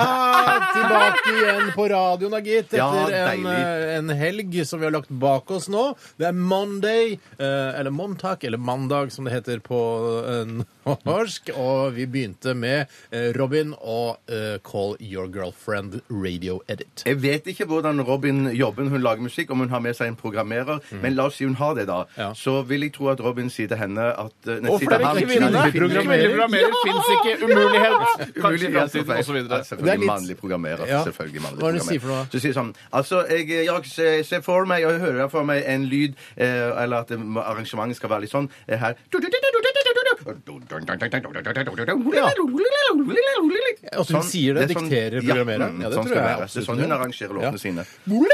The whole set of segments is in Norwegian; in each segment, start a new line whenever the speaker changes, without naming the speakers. Tilbake igjen på radioen, da, gitt.
Ja,
Etter en,
deilig.
eh, en helg som vi har lagt bak oss nå. Det er Monday, eh, eller Montak, eller Mandag, som det heter på eh, norsk. Og vi begynte med eh, Robin og eh, Call Your Girlfriend Radio Edit.
Jeg vet ikke hvordan Robin jobber når hun lager musikk, om hun har med seg en programmerer, men la oss si hun har det, da.
Ja.
Så vil jeg tro at Robin sier til henne at eh, nei,
Å,
sier
for det er
til han-
kvinne-
sier
kvinnelig
til kvinne-
Kvinnelig programmerer finnes ikke. Umulighet. Kanskje i
Umulig, altså,
framtiden,
feil.
osv.
Ja,
Det er
Selvfølgelig
litt-
mannlig programmerer.
Ja.
Selvfølgelig mannlig
Hva er det du sier for
programmerer.
noe?
Så sier sånn Altså, jeg, jeg ser- ser for meg, og jeg hører for meg en lyd, eh, eller at det må- arrangementet skal være litt sånn eh, her
Og
sånn-
hun sier det, dikterer programmerer.
Ja, mm, sånn skal det være. Det er sånn hun arrangerer låtene sine.
sine.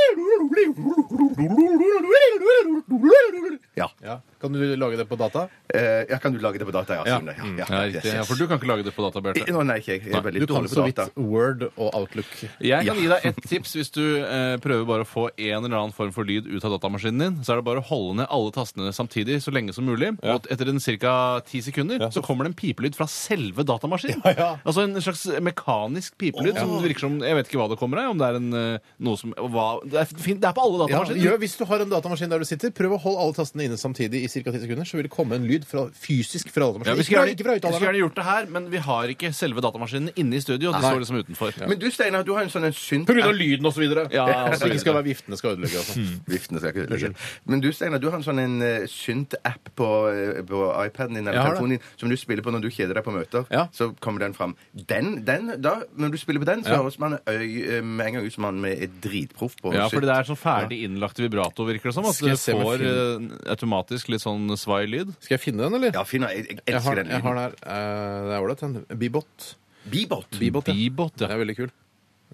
Ja.
Ja. Kan du lage det på data?
Eh, ja, kan du lage det på data? Ja,
Ja.
Sune.
Mm. Ja, riktig. Ja, for du kan ikke lage det på data,
Eh,
Bjarte.
Nå, nei, ikke jeg. Jeg er veldig
Du kan
dårlig
så
på
vidt
data.
Word og Outlook.
Jeg kan gi deg et tips hvis du eh, prøver bare å få en eller annen form for lyd ut av datamaskinen din. Så er det bare å holde ned alle tastene samtidig så lenge som mulig. Og etter en ca. ti sekunder så kommer det en pipelyd fra selve datamaskinen.
ja.
Altså en slags mekanisk pipelyd som virker som Jeg vet ikke hva det kommer av. Om det er en eh, noe som hva, det, er, fint- det er på alle
Ja,
datamaskiner.
gjør, hvis du har en datamaskin der du sitter, prøv å holde alle tastene inne samtidig i ca. 10 sekunder, så vil det komme en lyd fra, fysisk fra
Ja,
datamaskinen.
vi skulle
Ikke fra-
gjerne,
ikke fra
vi skulle
utholderen.
gjerne gjort det her, men vi har ikke selve datamaskinen inne i studio. De står liksom utenfor.
Men du, Steinar, du har en sånn en synt...
lyden osv.
Ja,
Så
altså,
ikke skal være viftene skal ødelegge. Altså.
Hmm.
Viftene skal jeg ikke ødelegge. Men du, Steinar, du har en sånn en eh, synt-app på, eh, på iPaden din
Jeg
eller
har
telefonen din som du spiller på når du kjeder deg på møter.
Ja.
Så kommer den fram. Den, den, da, når du spiller på den, så høres man øy, eh, med en gang ut som man er dritproff på
Ja, fordi
synt.
det er sånn ferdig innlagt vibrato, virker det som. At
Skal jeg
det
se om jeg
får eh, automatisk litt sånn svai lyd.
Skal jeg finne den, eller?
Ja, Finn, jeg, jeg
jeg, har,
elsker den
jeg har
lyden.
den her. Eh, det er ålreit, den. Bebot.
Bebot.
Bebot, ja.
Bebot,
Det
ja.
er veldig kul.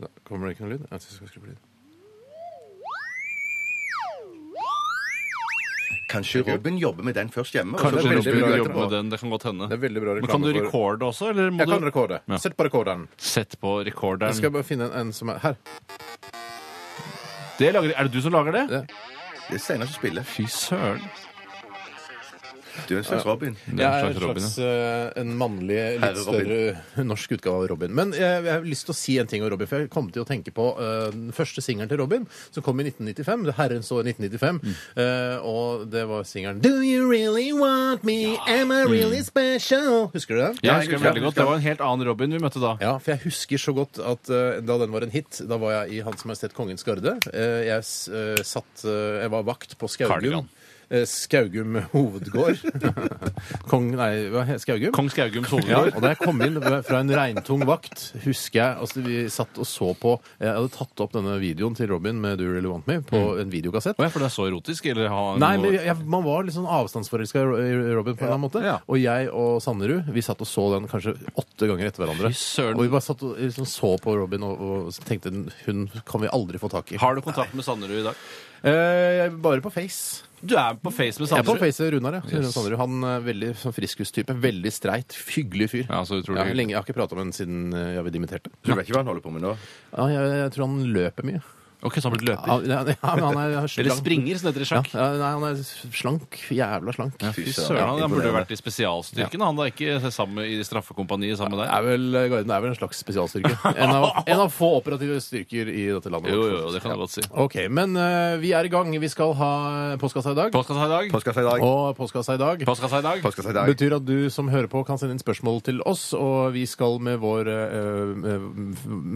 Da kommer det ikke noe lyd? Jeg skal skru på lyd.
Kanskje Robin jobber med den først hjemme? og så
Kanskje
spiller
veldig
Robin
bra
du
vil
reklame
jobbe
etterpå.
med den. Det kan godt hende.
Det er veldig bra
Men kan du
reklame for-
recorde også, eller må
Jeg kan
du
rekorde.
Ja.
Sett på rekorderen.
sette på
Jeg
recorderen?
skal bare finne en, en som er Her.
Det lager... Er det du som lager det?
Ja.
Det er Steinar som spiller.
Fy søren.
Du er en slags Robin.
Det
Jeg
er
er
en slags Robin, ja.
eh, en mannlig, litt
Herre Robin.
større norsk utgave av Robin. Men jeg, jeg har lyst til å si en ting om Robin, for jeg kom til å tenke på eh, den første singelen til Robin, som kom i 1995. Det herrens år 1995.
Mm.
eh, og det var singelen Do you really want me? Am I
Mm.
really special? Husker du den?
Jeg
jeg
husker det
husker-
veldig godt. Det var en helt annen Robin vi møtte da.
Ja, for jeg husker så godt at eh, da den var en hit, da var jeg i Hans Majestet Kongens Garde. Eh, jeg s- eh, satt eh, Jeg var vakt på Skaugum.
Cardigan.
Eh, Skaugum hovedgård. Kong Nei, hva heter Skaugum?
Kong Skaugums
Ja,
hovedgård.
og da jeg kom inn fra en regntung vakt, husker jeg altså Vi satt og så på Jeg hadde tatt opp denne videoen til Robin med Do You Really Want Me på en videokassett.
Mm. Å ja, for det er så erotisk? Eller ha
Nei, men jeg, man var litt sånn avstandsforelska i Ro- i Robin på en eller annen måte.
Ja.
Og jeg og Sannerud vi satt og så den kanskje åtte ganger etter hverandre.
Fy søren.
Og vi bare satt og liksom så på Robin og, og tenkte hun kan vi aldri få tak i.
Har du kontakt med Sanderud i dag?
Eh, bare på Face.
Du er på Face med
Jeg er på
Sanderud.
Face Runar, ja. Runar Sannerud. Han er veldig sånn friskustype. Veldig streit. Hyggelig fyr.
Ja, så utrolig
Ja,
hyggelig.
lenge, jeg har ikke prata med ham siden eh, jeg ble dimittert.
Du vet ikke hva han holder på med nå?
Ja, jeg, jeg tror han løper mye.
Ok, så han har blitt
Ja,
løper?
ja, men han er slank.
Eller springer, som det heter i
Ja,
sjakk?
ja, nei, han er slank. Jævla slank.
Fy
Fy
søren,
søren, han- han burde jo
imponerende.
vært i spesialstyrken. Han da, ikke sammen i straffekompaniet sammen med deg.
Er vel, Garden er vel en slags spesialstyrke. En av, en av få operative styrker i dette landet.
Jo, jo, jo, det kan jeg godt si.
Ok, men eh, vi er i gang. Vi skal ha postkassa i dag.
Postkassa i dag.
Postkassa i dag.
Og postkassa i dag
Postkassa i dag.
Postkassa i dag.
betyr at du som hører på, kan sende inn spørsmål til oss, og vi skal med, vår, eh, med,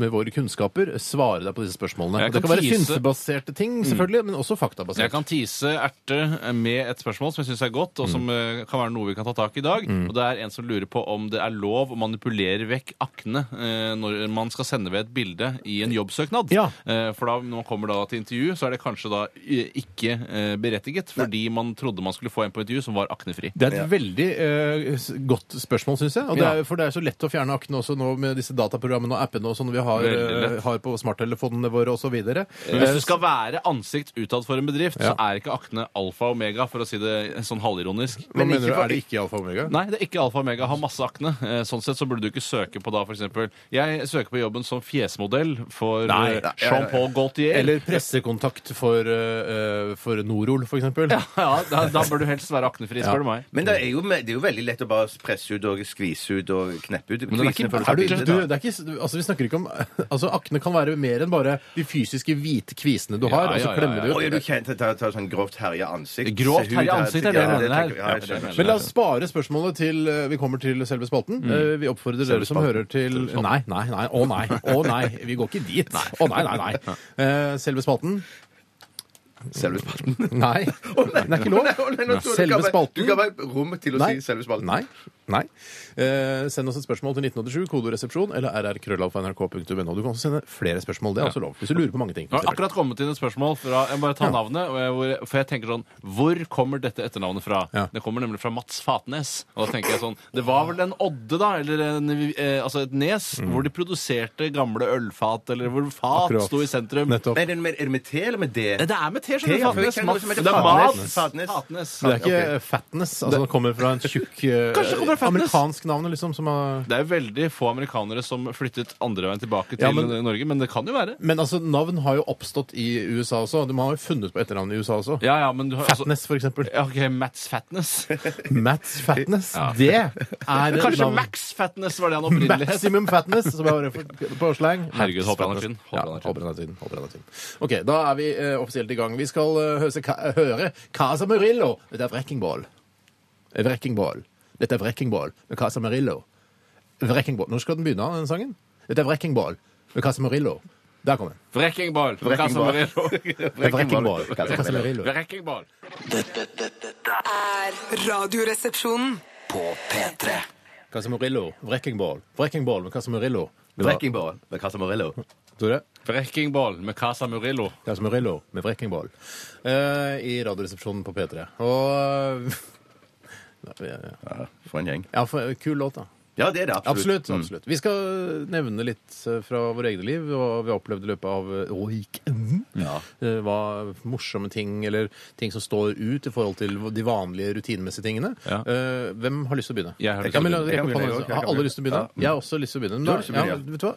med våre eh, kunnskaper svare deg på disse spørsmålene.
Jeg
Det
kan
kan være
tease- Mm.
synsebaserte ting, selvfølgelig, men også
Jeg
faktabaserte.
kan tease erte med et spørsmål som jeg syns er godt, og som eh, kan være noe vi kan ta tak i i dag. Og det er en som lurer på om det er lov å manipulere vekk akne eh, når man skal sende ved et bilde i en jobbsøknad.
Ja.
Eh, for da, når man kommer da til intervju, så er det kanskje da eh, ikke eh, berettiget, fordi man trodde man skulle få en på intervju som var aknefri.
Det er et veldig eh, s- godt spørsmål, syns jeg. Og det er, for det er så lett å fjerne akne også nå med disse dataprogrammene og appene og sånn vi har,
Veldig
eh, har på smarttelefonene våre osv.
Men hvis du skal være ansikt utad for en bedrift,
Eh, Ja.
så er ikke akne alfa og omega, for å si det sånn halvironisk.
Hva mener
ikke
du,
for-
er det ikke alfa og omega?
Nei, det er ikke alfa og omega. Har masse akne. Eh, Sånn sett så burde du ikke søke på da, for eksempel Jeg søker på jobben som fjesmodell for
Nei,
eh,
nei,
Jean-Paul Gaultier.
Eller pressekontakt for, eh, eh, for Norol, for eksempel.
Ja, da, da bør du helst være aknefri, spør du meg.
Men det er, jo, det er jo veldig lett å bare presse ut og skvise ut og kneppe ut.
Men det er ikke-
Kvisene før
Er
tar
du, du,
bildet,
det
da.
er ikke, altså vi snakker ikke om altså Akne kan være mer enn bare de fysiske hvite kvisene du har.
Ja,
og så
ja, ja,
klemmer
ja.
du ut.
Å, ja, du kjente ta, ta sånn grovt herja ansikt.
Grovt herja
Hud er-
ansikt er det jeg
ja,
mener
tenker- Ja, jeg
her. Ja, det er det jeg
skjønner.
mener.
Men la oss spare spørsmålet til eh, vi kommer til selve spalten. Eh, Vi oppfordrer dere som hører til Nei, nei, nei. Å nei. Å nei. Vi går ikke dit. Å nei, nei, nei. Eh, Selve spalten?
Selve spalten.
Nei. Det er ikke lov.
Å, nei, nå tror jeg du
Selve
ga meg- Du
spalten?
ga meg rom til å si selve spalten.
Nei. Nei. Eh, send oss et spørsmål til 1987, kodoresepsjon eller rrkrøllalfa.nrk.no. Du kan også sende flere spørsmål. Det er også lov. Hvis du lurer på mange ting.
Det har akkurat kommet inn et spørsmål fra Jeg må bare ta navnet. Og jeg, hvor- for jeg tenker sånn Hvor kommer dette etternavnet fra?
Ja.
Det kommer nemlig fra Mats Fatnes. Og da tenker jeg sånn Det var vel en odde, da? Eller en, eh, altså et nes? Hvor de produserte gamle ølfat, eller hvor fat
Akkurat.
sto i sentrum.
Nettopp.
Men Er det med, er det med T eller med D?
Nei, Det er med T,
T, ja,
skjønner
for
du.
jeg
Fatnes.
kjenner det som heter
Det er Mats
Fatnes.
Fatnes.
Det er ikke fatness. altså Det kommer fra en tjukk eh,
Kanskje det kommer fra fatness?
amerikansk navn, liksom, som har
Det er veldig få amerikanere som flyttet andre veien tilbake til
Ja, men-
Norge, men det kan jo være.
Men altså, navn har jo oppstått i USA også. Man har jo funnet på etternavn i USA også.
Ja, ja, men du har altså-
Fatness, for eksempel.
Ja, ok, Mats Fatness.
Mats Fatness.
Ja.
Det er
Kanskje
navn.
Max Fatness var det han opprinnelig het.
Maximum fatness, som jeg har for- på slang. Max
Herregud, håper han er
fatness.
tynn. Håper
Ja,
han er tynn.
Håper han er tynn. Håper han er tynn. OK, da er vi eh, offisielt i gang. Vi skal eh, høse, ka, høre Casa Murillo. Dette er Wreckingball. Eh, Wreckingball. Dette er Wreckingball med Casa Murillo. Wreckingball. Når skal den begynne, den sangen? Dette er Wreckingball med Casa Murillo. Der kom den.
Wreckingball.
Wreckingball.
Det er Wreckingball. med Casa Murillo.
Wreckingball.
Dette, dette, dette er
Er Radioresepsjonen.
på P3.
Casa Murillo. Wreckingball. Wreckingball med Casa Murillo. Det var-
Wrecking Ball med Casa Morello.
Tror du det?
Wreckingball med Casa Murillo.
Casa Murillo med Wreckingball eh, i Radioresepsjonen på P3. Og eh,
Ja, for en gjeng.
Ja, for, kul låt, da.
Ja, det er det absolutt. Mm.
Absolutt. absolutt. Vi skal nevne litt eh, fra våre egne liv og hva vi har opplevd i løpet av eh, weekenden.
Ja.
Eh, Hva morsomme ting eller ting som står ut i forhold til de vanlige rutinemessige tingene.
Ja.
Eh, Hvem har lyst til å begynne?
Jeg har lyst
Ja,
til å
men,
begynne.
jeg kan
Jeg kan
begynne.
begynne, jeg kan
Har alle lyst til å begynne?
begynne.
Jeg har også lyst til å begynne.
Du har lyst til å begynne,
ja,
ja.
vet du hva?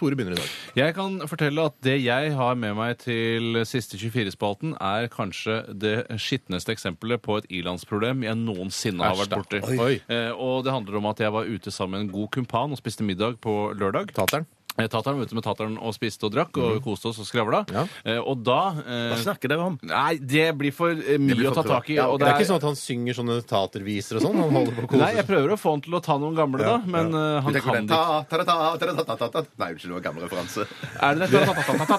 Tore begynner i dag.
Jeg kan fortelle at det jeg har med meg til siste 24-spalten, er kanskje det skitneste eksempelet på et ilandsproblem jeg noensinne har vært borti.
Oi. Oi.
Eh, og det handler om at jeg var ute sammen med en god kumpan og spiste middag på lørdag.
Tateren.
Eh, Tataren var ute med tateren og spiste og drakk og koste oss og skravla.
Ja.
Eh, og da eh,
Mhm. Hva snakker dere om?
Nei, det blir for eh, mye
blir
å
for
ta tak i.
privat. Ja,
og
Det er ikke sånn at han synger sånne taterviser og sånn? Han holder på å kose
Nei, jeg prøver å få han til å ta noen gamle, da, men eh, han
Du tenker på
kan
den
det ikke.
ta, ta, ta, ta, ta, ta, ta, ta, ta. Nei, unnskyld, det var gammel referanse.
Er det det
Hva
du
med-
mente?
Det
Ja,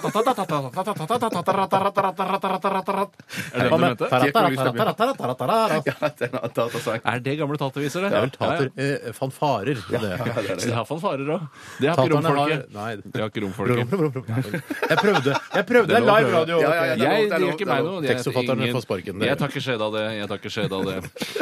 den har tatt og sagt.
Er det gamle taterviser, det?
er vel tater... eh, Fanfarer. det.
Så det har fanfarer òg. Det har ikke
Taterne har-
romfolket.
Nei.
Det har ikke
Blå,
romfolket.
blå, blå, blå, blå. Jeg prøvde. Jeg prøvde. Det er
lov å
live
prøve.
radio.
Ja, ja, ja,
ok.
det er
Jeg,
lov, det
det
er lov,
gjør
det
ikke meg
er
noe.
lov.
Jeg-
Tekstforfatterne
ingen-
får sparken, dere.
Jeg tar ikke skjed av det. Jeg tar ikke skjed av det.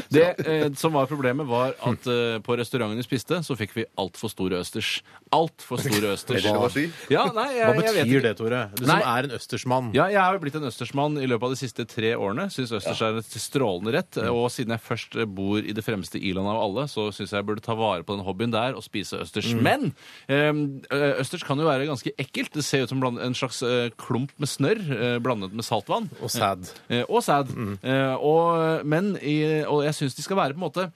Det eh, som var problemet, var at eh, på restauranten vi spiste, så fikk vi altfor store østers. Altfor store østers.
det lov å si?
Ja, nei, jeg,
Hva
jeg vet
betyr
ikke.
det, Tore? Du
Nei.
som er en østersmann.
Ja, jeg har jo blitt en østersmann i løpet av de siste tre årene. Syns østers er et strålende rett. Og siden jeg først bor i det fremste i-landet av alle, så syns jeg jeg burde ta vare på den hobbyen der og spise østers. Men em, ø, østers kan jo være ganske ekkelt. Det ser ut som bland- en slags ø, klump med snørr ø, blandet med saltvann.
Og sad.
Eh, og sæd. Eh, og, men i, og jeg syns de skal være på en måte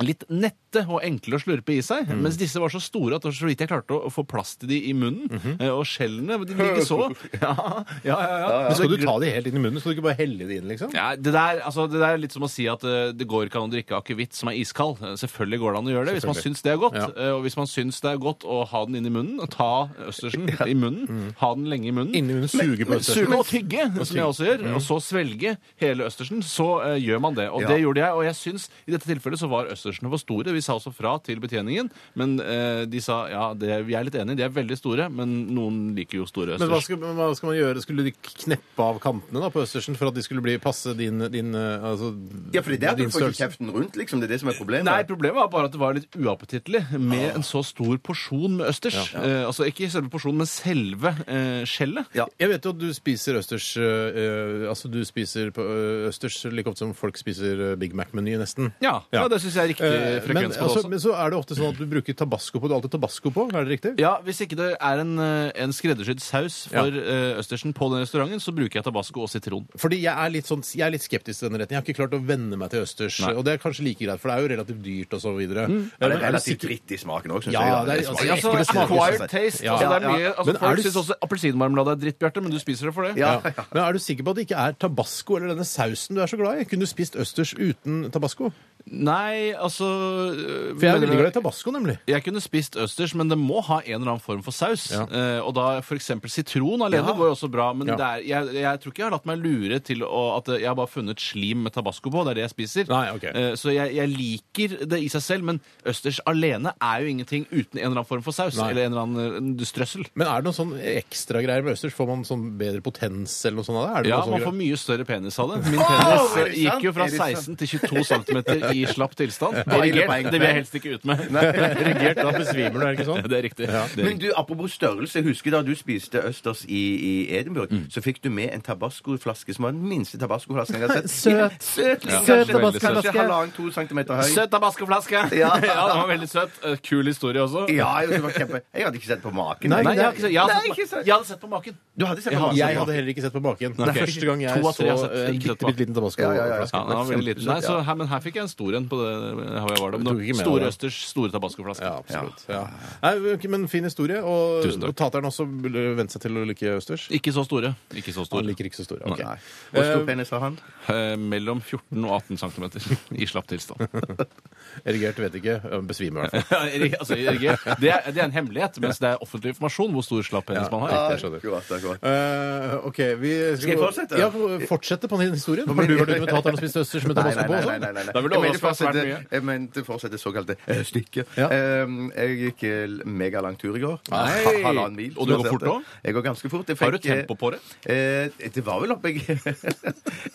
litt nette lette og enkle å slurpe i seg, mens disse var så store at det var så vidt jeg klarte å få plass til de i munnen. Eh, Og skjellene de ligger så ja, ja, ja, ja.
Men skal du ta det helt inn i munnen? Skal du ikke bare helle det inn, liksom?
Ja, det der, altså, det der er litt som å si at eh, det går ikke an å drikke akevitt som er iskald. Eh, Selvfølgelig går det an å gjøre det hvis man
Selvfølgelig.
syns det er godt.
Ja.
Eh, Og hvis man syns det er godt å ha den inn i munnen, og ta østersen i munnen, ha den lenge Mm. i munnen
Inni munnen suge på
men Suge
østersen.
og tygge, som jeg
Mm.
også gjør, og så svelge hele østersen, så eh, gjør man det. Og det gjorde jeg, og jeg syns i dette tilfellet så var østersene for store. Vi sa også fra til betjeningen, men eh, de sa ja, det, vi er litt enige, de er veldig store, men noen liker jo store
Men hva
østers.
skal, men hva skal man gjøre? Skulle de kneppe av kantene da på østersen for at de skulle bli passe din, din eh, altså,
Ja, fordi det er at du
din
får ikke
størrelse?
kjeften rundt, liksom. Det er det som er problemet.
Nei, problemet var bare at det var litt uappetittlig med en så stor porsjon med østers. Eh, altså ikke selve porsjonen, men selve eh, skjellet.
Ja.
Jeg vet jo at du spiser østers eh, eh, Altså du spiser på, eh, østers like ofte som folk spiser eh, Big Mac-meny, nesten.
Ja, ja. det syns jeg er riktig
Eh, men,
frekvens på det
altså,
også.
men så er det ofte sånn at du bruker tabasco på det. Alltid tabasco på, er det riktig?
Ja, Hvis ikke det er en, eh, en skreddersydd saus for eh, østersen på den restauranten, så bruker jeg tabasco og sitron.
Fordi jeg er, litt sånn, jeg er litt skeptisk til denne retten. Jeg har ikke klart å venne meg til østers.
Nei. Mm.
Og det er kanskje like greit, for det er jo relativt dyrt og så videre. Eh,
Ja, det
men
er
er det
relativt
sikkert-
dritt i smaken òg, syns
Ja,
jeg. da.
det er-
Det smaker
altså,
ikke det smaker
acquired
seg.
taste.
Ja.
altså, det er mye, altså,
Men er
folk
du-
syns også appelsinmarmelade er dritt, Bjarte, men du spiser det for det.
Ja,
Ja. Men er du sikker på at det ikke er tabasco eller denne sausen du er så glad i? Kunne du spist østers uten tabasco?
Nei, altså eh,
For jeg er
mener
veldig
du-
glad i tabasco, nemlig.
Jeg kunne spist østers, men det må ha en eller annen form for saus.
Ja.
Eh, og da f.eks. sitron alene går jo også bra, men
Ja.
det er, jeg, jeg tror ikke jeg har latt meg lure til å, at jeg har bare funnet slim med tabasco på. Det er det jeg spiser.
Nei, ok.
Eh, så jeg, jeg liker det i seg selv, men østers alene er jo ingenting uten en eller annen form for saus.
Nei.
Eller en eller annen eh, strøssel.
Men er det noen sånn ekstragreier med østers? Får man sånn bedre potens eller noe sånt av det? Er det
Ja,
noe sånn
man får
greier?
mye større penis av det. Min penis eh,
er det sant?
gikk jo fra
Er det sant?
16 til 22 cm i slapp tilstand.
Bare i løpet av en
Erigert, det vil
kveld.
jeg helst ikke ut med.
Erigert, da besvimer du, er det ikke sånn?
Det er riktig. Det er
Men du, apropos størrelse, jeg husker da du spiste østers i, i Edinburgh, så fikk du med en tabascoflaske som var den minste tabascoflasken jeg har sett.
Søt.
Søt,
Ja.
kanskje-
Søt tabascoflaske.
Kanskje halvannen, to centimeter høy.
Søt tabascoflaske! Ja.
Ja.
den var veldig søt. Eh, Kul historie også.
Ja, jo, det var kjempe... Jeg hadde ikke sett på maken.
Nei,
Nei, jeg, har ikke sett- jeg, hadde
Nei,
sett,
ikke sant.
jeg hadde sett på maken.
Du hadde sett
Jeg
på
har-
maken.
Jeg hadde heller ikke sett på baken. Det
Ok.
er første gang jeg
To av tre
så
har sett-
eh, en
ikke sett
bitte
på
bitte liten tabasco.
Ja, ja, ja.
Ja, den var veldig liten. Nei,
Ja.
så her, men her fikk jeg en stor en på det. her hvor jeg var da. Men
Du tok ikke med
Store
deg.
østers, store tabascoflaske.
Ja, absolutt. Ja. Nei, ok, men fin historie. Og,
Tusen takk.
og tateren også burde vente seg til å like østers.
Ikke så store. Ikke så
Han
store.
liker ikke så store. ok.
Nei. Hvor stor penis har han?
Eh, mellom 14 og 18 cm i slapp tilstand.
Erigert vet ikke. øh, Besvimer i hvert fall.
Ja, Erik, altså, Erik, det, er, det er en hemmelighet, mens det er offentlig informasjon hvor stor slapp penis man har.
Jeg skjønner.
Akkurat, akkurat.
Eh, ok, vi
Skal jeg fortsette?
Ja, fortsette på din historie. For du var ute med tateren og spiste østers med
Nei,
tabasco på.
nei,
og
nei,
sånn.
nei, nei, nei.
Da vil du
Jeg mente
overraske oss svært
fortsette-
mye.
Jeg mente fortsette såkalte eh, stykket.
Ja.
Eh, Jeg gikk eh, megalang tur i går.
Nei.
Ha- Halvannen mil.
Og du
som
går
jeg sa
fort
til.
nå?
Jeg går ganske fort. Jeg
Har du
fikk, eh,
tempo på det?
Eh, det var vel oppe jeg,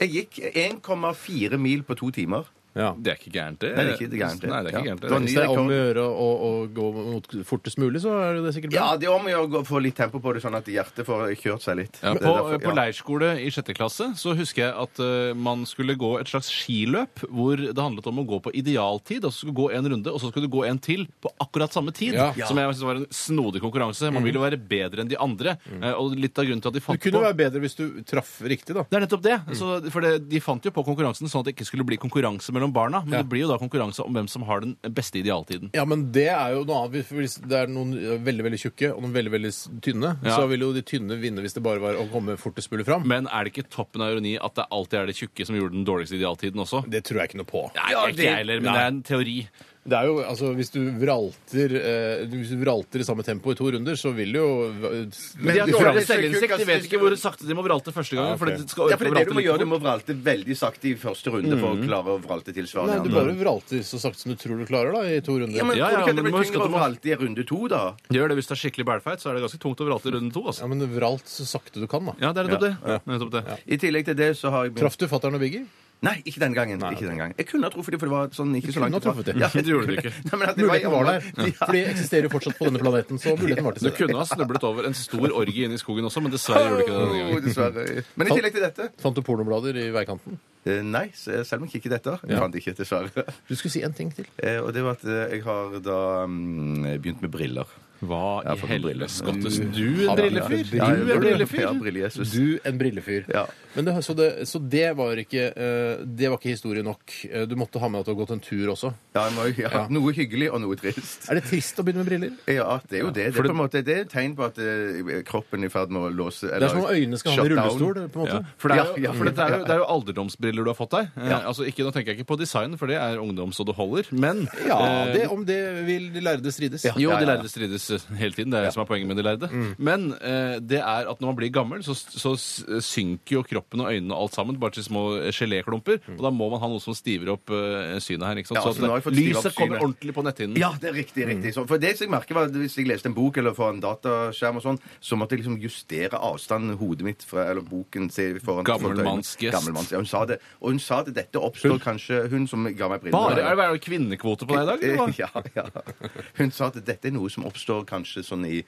jeg gikk 1,4 mil på to timer.
Ja.
Det er ikke gærent, det.
Nei, det er ikke gærent, det.
Nei, det er ikke
Ja.
gærent,
Det var
det.
ny-
Hvis det er om å gjøre å å gå mot fortest mulig, så er det sikkert bra.
Ja, det er om å gjøre å få litt tempo på det, sånn at hjertet får kjørt seg litt.
Ja,
Det er
på, eh,
derfor-
på
ja.
leirskole i sjette klasse så husker jeg at eh, man skulle gå et slags skiløp hvor det handlet om å gå på idealtid. Altså skulle du gå en runde, og så skulle du gå en til på akkurat samme tid.
Ja.
Som jeg synes var en snodig konkurranse.
Mm.
Man ville være bedre enn de andre. eh, Og litt av grunnen til at de
Du
fant
kunne
på
være bedre hvis du traff riktig, da.
det er nettopp det. Så, for det, De fant jo på konkurransen sånn at det ikke skulle bli konkurranse mellom barna. Men
Ja.
det blir jo da konkurranse om hvem som har den beste idealtiden.
Ja, men det er jo noe annet. Hvis det er noen eh, veldig veldig tjukke og noen veldig veldig s- tynne,
Ja.
så vil jo de tynne vinne hvis det bare var å komme fortest mulig fram.
Men er det ikke toppen av ironi at det alltid er det tjukke som gjorde den dårligste idealtiden også?
Det tror jeg ikke noe på.
Nei,
Ja,
ikke jeg heller, men
nei.
det er en teori.
Det er jo, altså, Hvis du vralter, eh, hvis du vralter i samme tempo i to runder, så vil jo eh,
Men
De har
dårlig
dårligere
differansen-
selvinnsikt. De vet ikke hvor sakte de må vralte første gangen.
Ja, ok.
for det skal
Ja,
orke
for det er det
å vralte
du må
like
gjøre. Du
fort.
må vralte veldig sakte i første runde for
Mhm.
å klare å vralte tilsvarende.
Nei, du bare vralter så sakte som du tror du klarer, da, i to runder.
Ja, men
Ja, ja,
tror du ikke
men
det
du må
blir
huske at
tyngre
du
å
må-
vralte i runde to, da?
Gjør det hvis det er skikkelig bælfeit, så er det ganske tungt å vralte i runde to. altså.
vralt så sakte du kan, da.
Ja, det er nettopp det. Det er nettopp det.
I tillegg til det så har jeg begynt-
Traff du fatter'n og Biggie?
Nei, ikke den gangen. ikke den gangen. Jeg kunne ha truffet dem, for det var sånn ikke så langt
kunne ha truffet dem.
Ja,
Det gjorde du ikke.
Nei, men at de
Muligheten var
var
der. For de eksisterer jo fortsatt på denne planeten, så muligheten var til
Du
stede.
kunne ha snublet over en stor orgie inne i skogen også, men dessverre gjorde du ikke det denne
Oh,
gangen.
dessverre. Men i tillegg til dette
Fant du pornoblader i veikanten?
eh, Nei, s- selv om jeg kikket etter. Jeg fant ikke, dessverre.
Du skulle si en ting til.
Eh, Og det var at eh, jeg har da mm, begynt med briller.
Hva
Jeg har fått
i
noen briller.
helvete, Skottesen?
Mm.
Du en
Han er-
brillefyr?
Ja, ja,
Du en
Ja,
brillefyr?
brillejesus.
Du en brillefyr.
Ja.
Men det, så, det, så det var ikke eh, Det var ikke historie nok. Eh, Du måtte ha med at du har gått en tur også.
Ja, jeg må jo- ja,
Ja.
Noe hyggelig og noe trist.
Er det trist å begynne med briller?
Ja, det er jo det. Det er, på en måte, det er et tegn på at eh, kroppen er i ferd med å låse
Det er som om øynene skal ha med rullestol. på en måte.
Ja, for det er,
Ja, ja,
jo, for dette er, jo,
ja.
det er jo alderdomsbriller du har fått deg. Eh, altså ikke, Nå tenker jeg ikke på design, for det er ungdom så det holder. Men
Ja,
eh,
det, Om det vil de lærde strides.
ja,
Jo,
ja,
de
ja.
lærde strides eh, hele tiden. Det er det som er poenget med de lærde. Men eh, det er at når man blir gammel, så, så s- synker jo kroppen og øynene og alt sammen bare til små eh, geléklumper. Og da må man ha noe som stiver opp eh, synet her. ikke sant?
Ja,
så
så nå har
at
jeg fått
det,
stivet opp
lyset kommer
synet.
ordentlig på netthinnen.
Ja, det er riktig.
Mm.
riktig. Så, for det som jeg merker var, at Hvis jeg leste en bok eller foran dataskjerm, og sånn, så måtte jeg liksom justere avstanden hodet mitt fra eller boken til foran
Gammelmannsgest.
Gammelmanns, ja, hun sa det. Og hun sa at dette oppstår kanskje Hun som ga meg briller.
Bare, er det, er det kvinnekvote på deg i dag? eller hva?
ja, ja. Hun sa at dette er noe som oppstår kanskje sånn i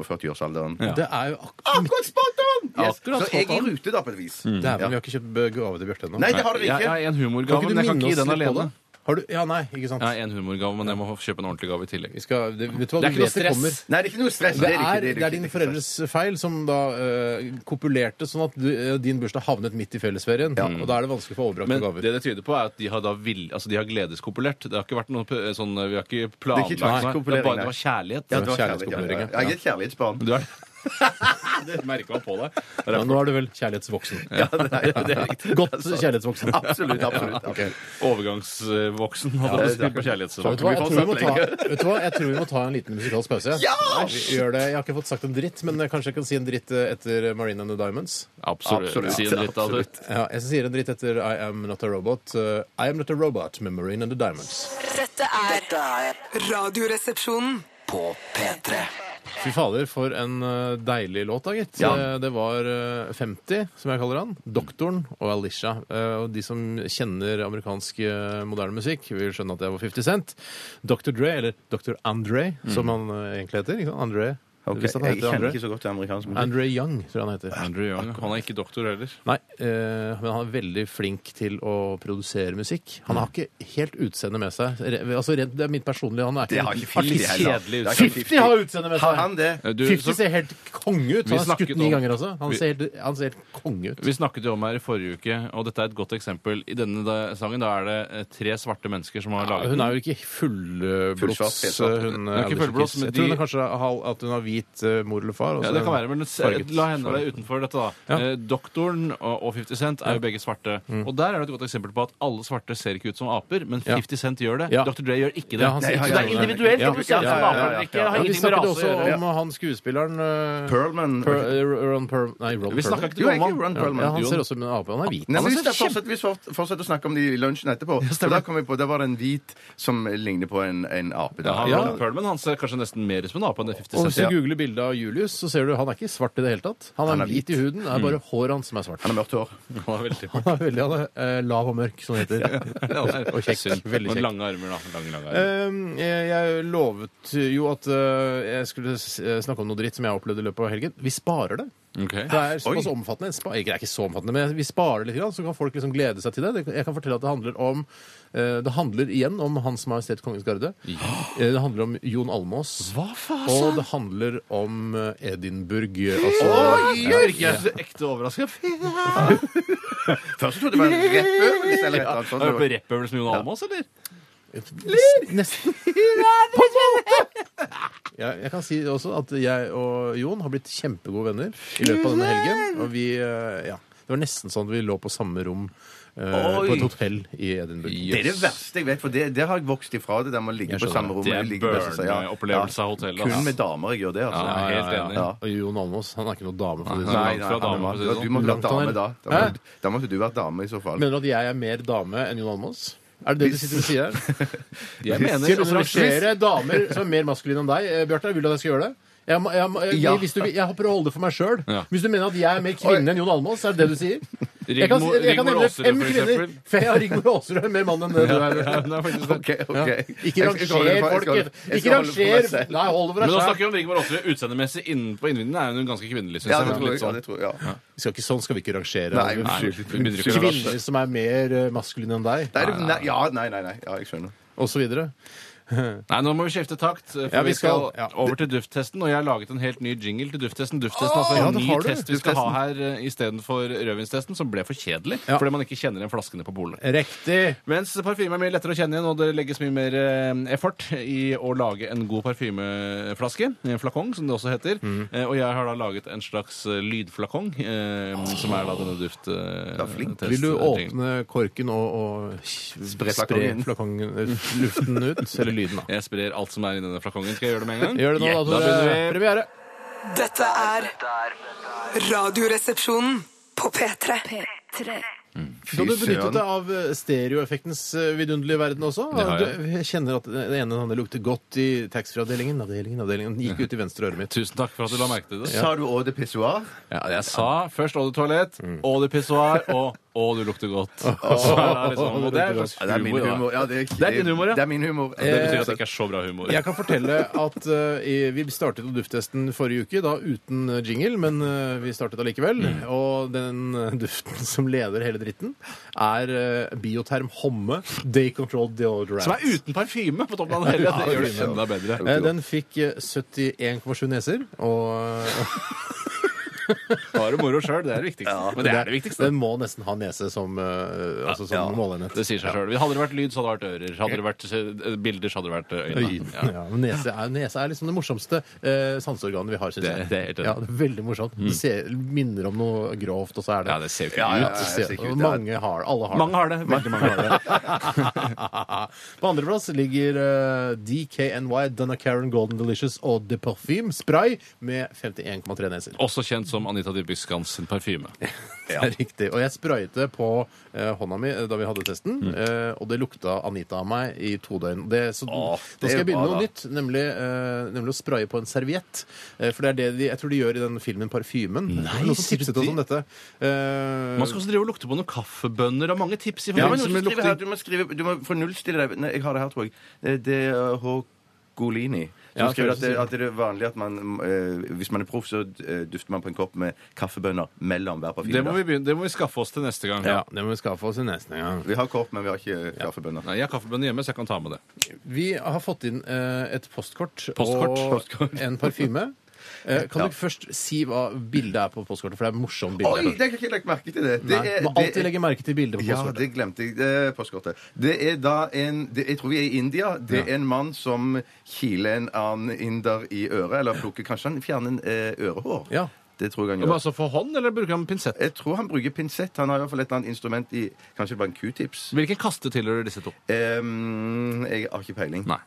45-årsalderen.
Det er jo ak
Akkurat spot on! Yes.
Akkurat
Så jeg
spot
er i
on. Mm.
rute, da, på et vis.
Dæven, vi
Ja.
har ikke kjøpt eh, gave til Bjarte ennå.
Nei, det har dere
Jeg, jeg
ikke.
har en
Kan
humorgave,
ikke du
men jeg kan
minne
ikke gi
oss
den
litt på
alene.
det? Har du, ja, nei, ikke sant.
Jeg har en humorgave, men jeg må kjøpe en ordentlig gave i tillegg.
Vi skal, det, vet du hva, du
Det er
vet
ikke noe
det
stress.
kommer.
Nei, det er ikke noe stress.
Det er,
ikke,
det
ikke,
er
ikke,
dine
ikke stress.
foreldres feil som da eh, kopulerte sånn at du, eh, din bursdag havnet midt i fellesferien. Og da er det vanskelig å få overbrakte
Men
gaver.
det det tyder på, er at de har, da vill, altså de har gledeskopulert. Det har ikke vært noe p- sånn Vi har ikke planlagt
Det er ikke
noe. Det, er
tvangskopulering, nei.
bare, det var kjærlighet.
Ja, det var kjærlighet,
kjærlighetskopulering,
ja. Jeg er et kjærlighetsbarn.
Du er, det merker man på deg.
Ja, nå er du vel kjærlighetsvoksen.
Ja, det er, det er riktig. Altså,
Godt kjærlighetsvoksen.
Absolutt. absolutt.
Overgangsvoksen hadde
det
ja,
er
spilt på
akkurat-
kjærlighetssak.
Vet du, hva? Jeg tror vi må ta, vet du hva, jeg tror vi må ta en liten musikalsk pause.
Ja!
Vi Gjør det. Jeg har ikke fått sagt en dritt, men kanskje jeg kan si en dritt eh, etter Marine and the Diamonds.
Absolutt.
Absolutt.
Si en dritt av det.
Ja, jeg sier en dritt etter I Am Not A Robot. Eh, I Am Not A Robot med Marine and the Diamonds.
Dette er
Dette er
Radioresepsjonen.
på P3.
Fy fader, for en eh, deilig låt, da, gitt.
Ja.
Eh, Det var eh, 50, som jeg kaller han. Doktoren og Alicia. Eh, Og de som kjenner amerikansk eh, moderne musikk, vil skjønne at det var 50 Cent. Dr. Dre, eller Dr. Andre, som han eh, egentlig heter. Ikke sant? Andre.
Mm. Ok,
Hvis han
Jeg
heter
kjenner ikke
Andre.
så godt til amerikansk musikk.
Andre Young, tror jeg han heter.
Andrew Young. Han er ikke doktor heller.
Nei, eh, men han er veldig flink til å produsere musikk. Han
Mm.
har ikke helt utseende med seg. Re, altså, rent- det er mitt personlige. Han er
Det
ikke,
har ikke 50
artist.
heller.
Kjedelig
Det har ikke
50 har utseende med
Har
seg!
han det?
Eh, Du,
Fifty
så-
ser helt konge ut.
Vi
Han har
snakket
skutt ni
om-
ganger også. Han
vi-
ser helt, han ser helt konge ut.
Vi snakket jo om her i forrige uke, og dette er et godt eksempel. I denne da- sangen da er det eh, tre svarte mennesker som har
Ja,
laget
hun
den.
er jo ikke fullblods, eh,
Fullsvart, helt sant.
hun
er ikke
Alicia
fullblods,
Keys.
men
Jeg tror
de-
hun kanskje har, at hun har hvit eh, mor eller far. og
Ja,
så
det
er
kan
hun
være, men se,
farget.
La henne
Farget.
være utenfor dette, da.
Ja. Mm.
Eh, Doktoren og og 50 Cent er jo begge svarte. Og der er det et godt eksempel på at alle svarte ser ikke ut som aper, men
Ja.
50 Cent gjør det.
Ja.
Dr. Dre gjør ikke det.
Ja, han sier
Så
ikke
det
det.
er individuelt
Ja.
om du ser ut
Ja,
som
ja,
aper
ja,
eller
ja,
ikke. Det har
Ja, vi
ingenting med
snakket
rase å
også
gjøre.
om han skuespilleren eh,
Perlman
Per, eh, Ron Perl... Nei, Ron
Vi
Perlman.
Jo,
snakket ikke
jeg
om
er
han.
Ron Perlman.
Ja, han
Jo.
ser også men ape. Han er hvit.
Nei,
Han
men
er
vi
så
skal fortsette, vi fortsetter fortsetter å snakke om det i lunsjen etterpå. For da kom vi på, det var det en hvit som ligner på en, en ape.
Ja,
Der.
han, Ron Perlman han ser kanskje nesten mer ut som en ape enn 50
Og hvis
Cent.
du
Ja.
googler bildet av Julius, så ser du han er ikke svart i det hele tatt. Han er,
Han er
hvit i huden. Det er bare håret hans som er svart.
Han har mørkt hår.
Han er veldig
Han er veldig han er, eh, lav og mørk, som det heter.
Og
Og kjekk. Veldig kjekk.
Lange armer, da. Lange, lange armer.
Ehm, Jeg jeg lovet jo at eh, jeg skulle s- eh, snakke om noe dritt som jeg opplevde i løpet av helgen. Vi sparer det.
Ok.
Det er såpass omfattende. En Spa, ikke, det er ikke så omfattende, men vi sparer litt, grann, så kan folk liksom glede seg til det. det. Jeg kan fortelle at det handler om eh, Det handler igjen om Hans Majestet Kongens Garde. Eh, Det handler om Jon Almås.
Hva faen?
Og det handler om eh, Edinburgh. Altså,
Jørgen! Jeg er så ekte overraska.
Først trodde jeg det var en rappøvelse eller et eller annet
Har du hørt på
sånt.
rappøvelsen med Jon Almaas, eller?
Nesten. Jeg, jeg kan si også at jeg og Jon har blitt kjempegode venner i løpet av denne helgen. Og vi, eh, ja, det var nesten sånn at vi lå på samme rom eh,
Oi.
på et hotell i Edinburgh.
Det er det verste jeg vet, for det, det har jeg vokst ifra. Det der med å ligge
Jeg
på
skjønner
samme rom.
Det er
og ligge best og si, ja.
burn-opplevelse av hotellet,
Kun
altså.
med damer jeg gjør det, altså.
Ja, jeg er helt
Ja,
enig.
ja.
Og Jon Almaas han er ikke noe dame. for å si det
Nei,
sånn.
langt fra
han
dame,
var-
for å si det
Du
sånn.
måtte
Langt
vært
han er.
dame da. Da
Hæ?
må- Da måtte du vært dame i så fall.
Mener du at jeg er mer dame enn Jon Almaas? Er det det du sitter og sier her?
Jeg mener
Skal du
altså,
rangere damer som er mer maskuline enn deg? Eh, Bjarte, vil du at jeg skal gjøre det? Jeg, må- jeg, må- jeg,
Ja.
hvis du, vil- jeg håper å holde det for meg sjøl.
Ja.
Hvis du mener at jeg er mer kvinne enn Jon Almaas, er det det du sier? Jeg kan,
Rigmor-
jeg kan
Rigmor
nevne
Aasrud,
fem
for
kvinner.
eksempel.
For jeg har Rigmor Aasrud er mer mann enn det du er.
Ja, det er faktisk det.
Ok, ok.
Ja. Ikke
Jeg skal- jeg skal holde
ranger
det for- jeg
folk.
skal- jeg
Ikke
skal holde det for meg
ranger
selv.
Nei, hold det for
Men
deg
nå
selv.
snakker vi om Rigmor Aasrud. Utseendemessig innen på innvinden er hun ganske kvinnelig, syns
Ja,
jeg.
det tror jeg.
Litt
Ja,
sånn.
det tror jeg. Ja.
Vi skal ikke, sånn skal vi ikke rangere.
Nei,
Arvid.
unnskyld.
vi begynner ikke å
Unnskyld.
være verst.
Kvinner som er mer eh, maskuline enn deg,
Nei, du- nei, ja, nei, nei, nei. Ja, jeg skjønner.
osv.
Nei, nå må vi skifte takt. eh, For
Ja, vi
vi skal,
skal, ja.
over til dufttesten. Og jeg har laget en helt ny jingle til dufttesten. Dufttesten er altså
Ja,
en
det
ny
har du,
test vi skal ha
dufttesten.
her eh, istedenfor rødvinstesten, som ble for kjedelig
Ja.
fordi man ikke kjenner igjen flaskene på polet.
Riktig!
Mens parfyme er mye lettere å kjenne igjen, og det legges mye mer eh, effort i å lage en god parfymeflaske. En flakong, som det også heter.
Mhm.
Eh, og jeg har da laget en slags eh, lydflakong, eh, som er da denne duft... eh,
Ja, flink.
test-
Vil du
tingen.
åpne korken og, og spre
flakongen.
flakongen, eh, luften ut? Eller lyden, da.
Jeg sprer alt som er inni denne flakongen. Skal jeg gjøre det med en gang?
Gjør det nå, da, Tore.
begynner vi.
Premiere.
Dette er Radioresepsjonen på P3.
Skal du benytte deg av eh, stereoeffektens eh, vidunderlige verden også?
Det har jeg.
Du- Jeg kjenner at det ene og andre lukter godt i taxfree-avdelingen. Avdelingen, avdelingen. Den Gikk ut i venstre øret mitt.
Tusen takk for at du la merke til det.
Sa du òg det pissoar?
Ja, jeg sa først å, du toalett, å, du pissoar, og å, du lukter godt. Så er det liksom, og det er en slags
Ja, det er min
humor. da.
humor. Ja, det,
Det er din humor, ja.
Det er min humor.
Det betyr at det ikke er så bra humor.
Jeg kan fortelle at eh, i- vi startet jo dufttesten forrige uke, da uten eh, jingle, men eh, vi startet allikevel.
Mm.
Og den eh, duften som leder hele dritten, er eh, bioterm Homme Day Control Deodorant.
Som er uten parfyme på toppen av det hele.
Ja,
Det gjør det
parfyme,
enda bedre.
Eh, Den fikk eh, 71,7 neser, og eh,
Bare moro sjøl, det er det viktigste. Men det er det viktigste.
den må nesten ha nese som, eh, altså, som måleenhet.
Det sier seg sjøl. Hadde det vært lyd, så hadde det vært ører. Hadde det vært eh, bilder, så hadde det vært øyne.
Ja. men nese, er, nese er liksom det morsomste eh, sanseorganet vi har, syns
Det-
jeg.
det er helt enig.
ja, det er veldig morsomt. Det ser, minner om noe grovt, og så er det
Ja, det ser jo ikke
Ja, ja,
ut.
ja,
ser-
jeg ser ikke ut.
og Mange har Alle har
Mange har det. Veldig mange har det.
På andreplass ligger eh, DKNY, Donnacaren Golden Delicious og The Perfume Spray med 51,3 neser.
Også kjent som Anita Dybvik Skans sin parfyme.
Det er riktig. Og jeg sprayte på eh, hånda mi eh, da vi hadde testen,
Mm.
eh, og det lukta Anita av meg i to døgn. Det, så,
Åh,
da
det
skal jeg begynne
var
noe
da.
nytt, nemlig, eh, nemlig å spraye på en serviett. Eh, for det er det de, jeg tror de gjør i den filmen Parfymen.
Nei,
Noen som
sier du
tipset oss om
det?
dette. Eh,
Man skal også drive og lukte på noen kaffebønner og mange tips i
Ja, men
forbindelse med
skriv her,
lukting.
du må skrive Du må få nullstille deg. Nei, jeg har det her, tror jeg. Eh, Det er Hågolini. Som
Ja,
skriver
føles
at det,
som-
at det er vanlig at man eh, Hvis man er proff, så eh, dufter man på en kopp med kaffebønner mellom hver parfyme.
Det må vi, begynne, det må vi skaffe oss til neste gang.
ja, det må vi skaffe oss i neste gang.
Vi har kopp, men vi har ikke kaffebønner.
Nei, jeg har kaffebønner hjemme, så jeg kan ta med det.
Vi har fått inn eh, et postkort,
Postkort.
og
Postkort.
en parfyme. Eh, kan du først si hva bildet er på postkortet? For det er et morsomt bilde.
Oi, det har jeg ikke lagt merke til det. det
Nei,
er-
må
det
alltid
er-
legge merke til bildet på
Ja,
postkortet.
det glemte jeg. Det, postkortet. Det er da en det, Jeg tror vi er i India. Det er en mann som kiler en annen inder i øret. Eller plukker kanskje han fjerner en eh, ørehår.
Ja.
Det tror jeg han
Men
gjør.
altså For hånd, eller bruker han pinsett?
Jeg tror han bruker pinsett. Han har i hvert fall et eller annet instrument i Kanskje det var en q-tips?
Hvilken kaste tilhører disse to?
Ehm, jeg har ikke peiling.
Nei.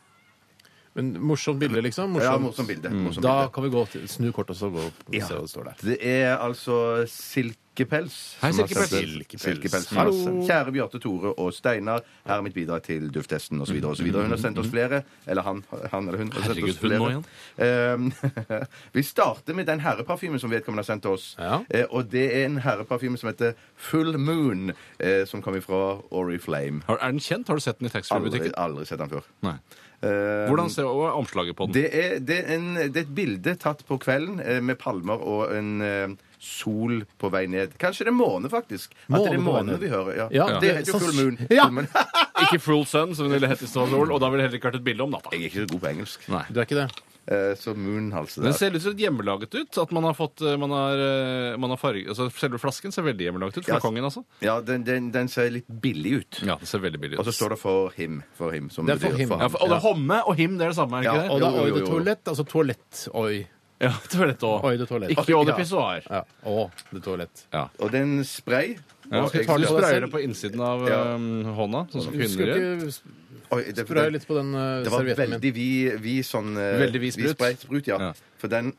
Men morsomt bilde, liksom.
Ja, morsomt bilde.
Mm.
Morsomt
Da
bilde.
kan vi gå til, snu kortet og så gå opp og
Ja.
se hva det står der.
Det er altså Silkepels.
Hei,
som har
Silkepels.
sendt det.
Silkepels.
Silkepels.
Hallo.
Kjære Bjarte, Tore og Steinar. Her er mitt bidrag til dufttesten osv. osv. Hun har sendt oss flere. Eller han, han eller hun. Har sendt
Mm. Herregud,
oss
hun
flere.
nå igjen.
Ehm, vi starter med den herreparfymen som vedkommende har sendt oss.
Ja.
Eh, og det er en herreparfyme som heter Full Moon, eh, som kommer fra Oriflame.
Har, er den kjent? Har du sett den i
Aldri,
taxfree-butikken?
aldri sett den før.
Nei.
Ehm,
Hvordan ser hva er omslaget på den?
det er, det, er en, det er et bilde tatt på kvelden eh, med palmer og en eh, sol på vei ned. Kanskje det er måne, faktisk. At det
Måne
er
på vei ned.
månen vi hører. Ja.
Ja,
Det
det-
heter jo
så-
full moon.
Ja.
Full moon.
Ikke Full Sun, som det ville hett i Stavanger, og da ville det heller ikke vært et bilde om natta.
Jeg er ikke så god på engelsk,
Nei.
Du er ikke det?
Eh, så moon halser
Den
der.
ser litt så laget ut. At man har fått eh, man har, eh, man har farge, altså Selve flasken ser veldig hjemmelaget ut.
Ja.
Flakongen, altså.
Ja, den, den, den ser litt billig ut.
Ja, det ser veldig billig ut.
Og så står det for him. For him som
Det er for
betyr
him.
ja, for, og det er Homme og Him, det er det samme, er det
Ja,
ikke
Og da
Jo, jo,
Oi de
jo.
Toilett. Altså toalett-oi.
det? Ja, toalett òg.
Oi de toalett.
Ikke Eau de
Ja.
Pissoir.
Ja. Å, det toalett.
Ja.
Og det er en spray.
Ja,
Og
du
jeg-
det på deg
sprayer
selv?
det på innsiden av
Ja.
eh, hånda, sånn som
Du
kvinner
skal
gjør.
ikke
Oi, det,
sprøye
det,
litt på den eh,
det var
servietten min.
veldig vid, vid sånn eh,
Veldig vid sprut.
spray- sprut, ja.
Ja.
For den